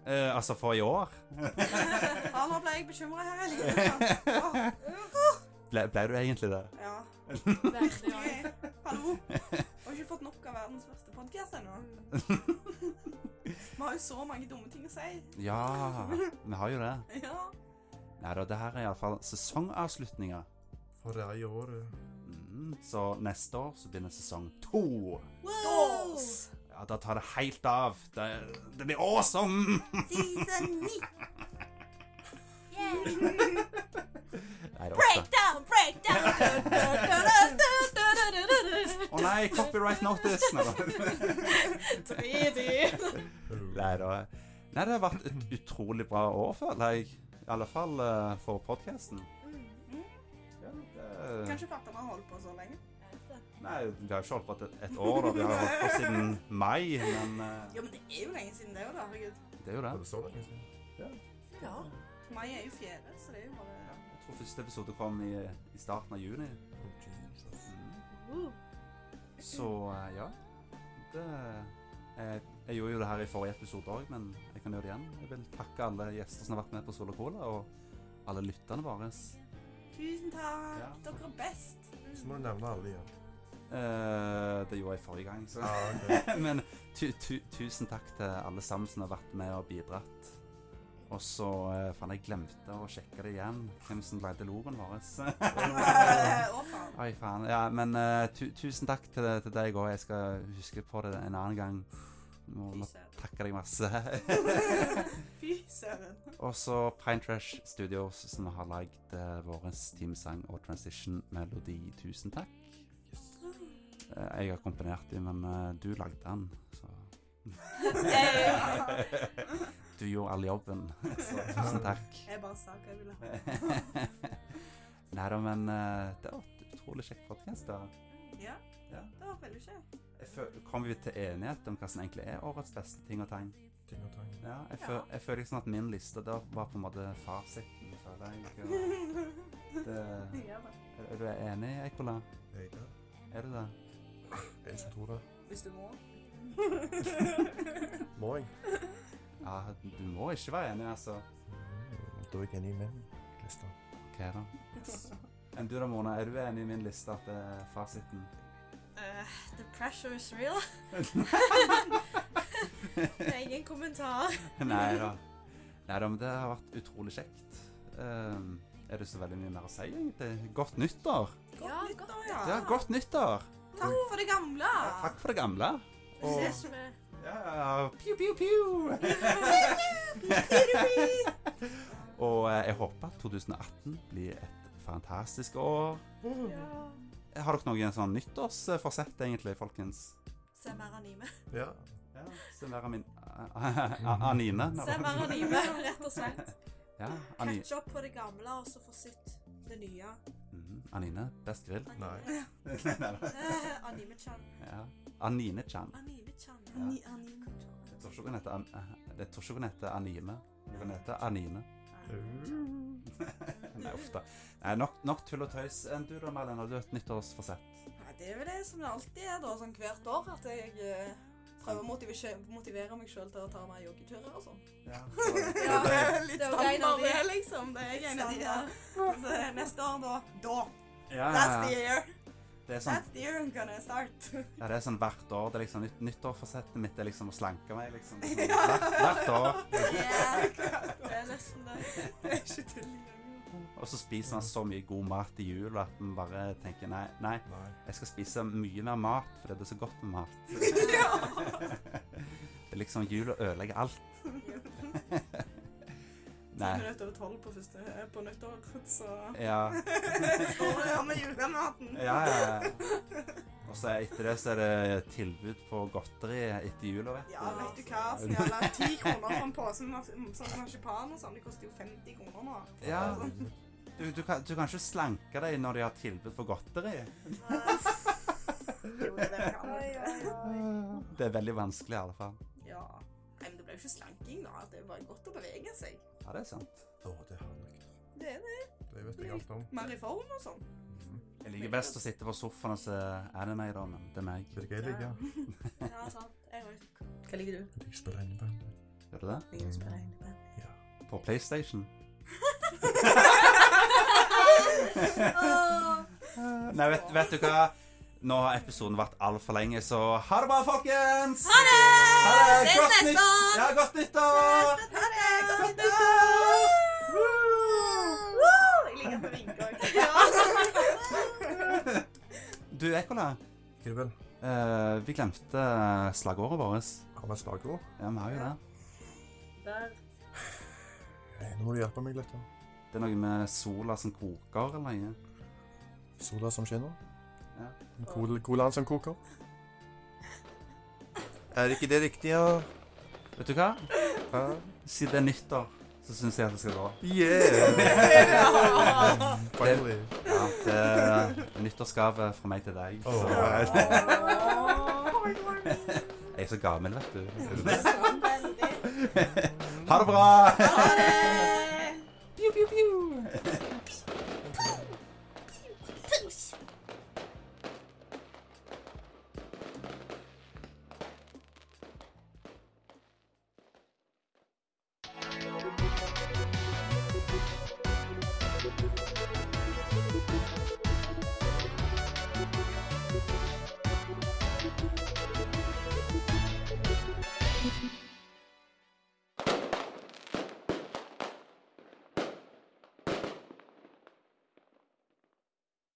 Speaker 3: Eh, altså for i år.
Speaker 6: Ja, nå ble jeg bekymra her. Jeg Åh,
Speaker 3: Ble, ble du egentlig det?
Speaker 6: Ja.
Speaker 5: Veldig.
Speaker 6: Jeg- Hallo. Jeg har ikke fått nok av verdens verste podkast ennå. Vi har jo så mange dumme ting å si.
Speaker 3: Ja, vi har jo det.
Speaker 6: Ja.
Speaker 3: Nei da, det her er iallfall sesongavslutninga.
Speaker 2: For det er i år. eh.
Speaker 3: Mm, så neste år så begynner sesong to.
Speaker 6: Dolls.
Speaker 3: Ja, da tar det helt av. Det, det blir awesome!
Speaker 6: Season 9.
Speaker 3: Nei, det var ikke det.
Speaker 5: Down, break down.
Speaker 3: Å nei, copyright notice! Nei da. Nei da. Nei, det har vært et utrolig bra år, føler jeg. I alle fall eh, for podkasten. Ja, det-
Speaker 6: Kanskje fatter man holdt på så lenge.
Speaker 3: Nei, vi har ikke holdt på et, et år, da. Vi har holdt på siden mai, men eh,
Speaker 6: Ja, men det er jo lenge siden det, jo da. Herregud.
Speaker 3: det er jo det.
Speaker 2: Var det så lenge siden?
Speaker 6: Ja. Mai er jo fjerde, så det er jo bare
Speaker 3: Jeg tror første episode kom i, i starten av juni.
Speaker 2: Oh, Jesus.
Speaker 3: Mm. Så eh, ja. Det Jeg, jeg gjorde jo det her i forrige episode òg, men jeg kan gjøre det igjen. Jeg vil takke alle gjester som har vært med på Sol og Cola, og alle lytterne våre.
Speaker 6: Tusen takk.
Speaker 3: Ja.
Speaker 6: Dere er best.
Speaker 2: Så må du nevne alle igjen.
Speaker 3: Eh, det gjorde jeg forrige gang, så
Speaker 2: Ja, ok.
Speaker 3: Men tu, tu, tusen takk til alle sammen som har vært med og bidratt. Og så eh, faen, jeg glemte å sjekke det igjen. Hvem som lagde logoen vår.
Speaker 6: Å, faen.
Speaker 3: Oi, faen. Ja, men eh, tu, tusen takk til, til deg òg. Jeg skal huske på det en annen gang. Må,
Speaker 6: Fy
Speaker 3: må
Speaker 6: søren.
Speaker 3: takke deg masse.
Speaker 6: Fy søren.
Speaker 3: og så Pine Trash Studios, som har lagd eh, vår teamsang og transition-melodi. Tusen takk. Eh, jeg har komponert den, men eh, du lagde den, så Du gjorde all jobben, så tusen takk.
Speaker 6: Jeg bare sa hva jeg ville ha.
Speaker 3: Nei da, men eh, det var et utrolig kjekt podkast.
Speaker 6: Ja,
Speaker 3: Ja.
Speaker 6: det var veldig kjekt.
Speaker 3: Kommer vi til enighet om hva som egentlig er årets beste ting og tang?
Speaker 2: Ting og tang.
Speaker 3: Ja, jeg, føl, jeg føler liksom at min liste der var på en måte fasiten. føler jeg. Det,
Speaker 6: Ja, da.
Speaker 3: er du enig, Eikola?
Speaker 2: Jeg, ja.
Speaker 3: Er du det?
Speaker 2: jeg som tror det.
Speaker 6: Hvis du må.
Speaker 2: Må jeg?
Speaker 3: Ja, du må ikke være enig, altså.
Speaker 2: Mm, Da er jeg enig med Kristian.
Speaker 3: Ok da. Enn du da, Mona? Er du enig i min liste at det er fasiten?
Speaker 5: Eh, the pressure is real. det er ingen kommentar.
Speaker 3: Nei da. Nei da, men det har vært utrolig kjekt. Ehm, er det så veldig mye mer å si, egentlig? Godt nyttår!
Speaker 6: Godt
Speaker 5: Ja,
Speaker 6: nyttår,
Speaker 5: godt
Speaker 6: ja.
Speaker 4: Ah.
Speaker 3: Ja, godt nyttår!
Speaker 6: Takk for det gamle.
Speaker 3: Takk for det gamle.
Speaker 5: Vi ses med
Speaker 3: Ja, ja, piu, piu, piu. Og eh, jeg håper at 2018 blir et fantastisk år. Har dere noen sånn nyttårsforsett, egentlig, folkens?
Speaker 5: Se mer anime.
Speaker 2: Ja.
Speaker 3: Ja, Se mer av min eh, Anine.
Speaker 5: Se mer anime, rett og slett.
Speaker 3: Ja, Ani-
Speaker 5: Catch opp på det gamle, og så få sett det nye.
Speaker 3: Mhm, Anine. Best grill.
Speaker 2: Nei.
Speaker 5: Eh, Anime-chan.
Speaker 3: Ja. Anine-chan.
Speaker 5: Anime-chan. ja.
Speaker 3: Ja.
Speaker 6: Anine.
Speaker 3: Jeg tror ikke hun heter, An- eh, jeg tror ikke hun heter Anime. Hun heter Anine.
Speaker 2: Mm.
Speaker 3: Nei, uff da. Nei, nok, nok tull og tøys. Enn du da, Malin, har du et nyttårsforsett?
Speaker 6: Nei, det er vel det som det alltid er, da, sånn hvert år, at jeg eh, prøver å motivere, motivere meg sjøl til å ta meg joggeturer og sånn.
Speaker 3: Ja.
Speaker 6: Ja, det er litt
Speaker 5: Det er jo en av
Speaker 6: standard,
Speaker 5: de.
Speaker 6: det, liksom. Det er jeg en av de der. Så neste år, da. Da. That's the
Speaker 3: ja.
Speaker 6: year.
Speaker 3: Det er sånn,
Speaker 6: That's the year I'm gonna start.
Speaker 3: ja, det er sånn hvert år. Det er liksom nytt, Nyttårsforsettet mitt er liksom å slanke meg, liksom. Sånn, hvert, hvert år.
Speaker 5: Det er nesten det.
Speaker 6: Det er ikke tull engang.
Speaker 3: Og så spiser man så mye god mat i jul at man bare tenker nei, nei,
Speaker 2: Nei.
Speaker 3: jeg skal spise mye mer mat fordi det er så godt med mat. Det er liksom jul og ødelegger alt.
Speaker 6: Ti
Speaker 3: Nei.
Speaker 6: minutter over tolv på, første, eh, på nyttår, så
Speaker 3: Ja.
Speaker 6: Står det her med julematen.
Speaker 3: Ja, ja, ja. Og så etter det så er det tilbud på godteri etter jula, vet du.
Speaker 6: Ja, vet du hva? Sånn jævla 10 kroner for en pose med mas- sånn marsipan og sånn. Det koster jo 50 kroner nå.
Speaker 3: Ja, du, du, kan, du kan ikke slanke deg når de har tilbud på godteri.
Speaker 6: Jo, det er det jeg kan.
Speaker 3: Det er veldig vanskelig i alle fall.
Speaker 6: Ja. Nei, men det ble jo ikke slanking, da. Det var godt å bevege seg.
Speaker 3: Ja, det er sant.
Speaker 2: Å, det er herlig.
Speaker 6: Det er det.
Speaker 2: Det vet jeg alt om.
Speaker 6: Mer i form og sånn.
Speaker 3: Jeg liker best å sitte på sofaen og se anime, da, men det er meg.
Speaker 2: Vet du hva jeg liker?
Speaker 5: Ja, sant. Jeg òg.
Speaker 6: Hva liker du?
Speaker 2: Jeg liker å spille inneband.
Speaker 3: Gjør du det?
Speaker 6: Liker å spille inneband.
Speaker 3: På PlayStation? Nei, vet, vet du hva? Nå har episoden vært altfor lenge, så ha det bra, folkens! Ha det!
Speaker 5: Ses
Speaker 3: Godt
Speaker 5: neste
Speaker 3: nytt-
Speaker 5: år!
Speaker 3: Ja, godt nyttår!
Speaker 6: Ha det! Godt nyttår! Woo! Jeg liker å vinke òg.
Speaker 3: Du, Ekola,
Speaker 2: Hva er det vel?
Speaker 3: eh, vi glemte eh, slagordet vårt.
Speaker 2: Har vi et slagord?
Speaker 3: Ja, vi har jo det.
Speaker 2: Nei, Nå må du hjelpe meg litt. da.
Speaker 3: Det er noe med sola som koker eller noe.
Speaker 2: Sola som skinner.
Speaker 3: Ja.
Speaker 2: Col- Colaen som koker. Er ikke det riktig, ja?
Speaker 3: Vet du hva?
Speaker 2: Hæ?
Speaker 3: Siden det er nyttår, så syns jeg at det skal gå.
Speaker 2: Yeah! Finally.
Speaker 3: Ja, det er nyttårsgave fra meg til deg. Så. Jeg er så gammel, vet du. Ha det bra! Ha det! Piu, piu, piu.
Speaker 4: Woo-hoo.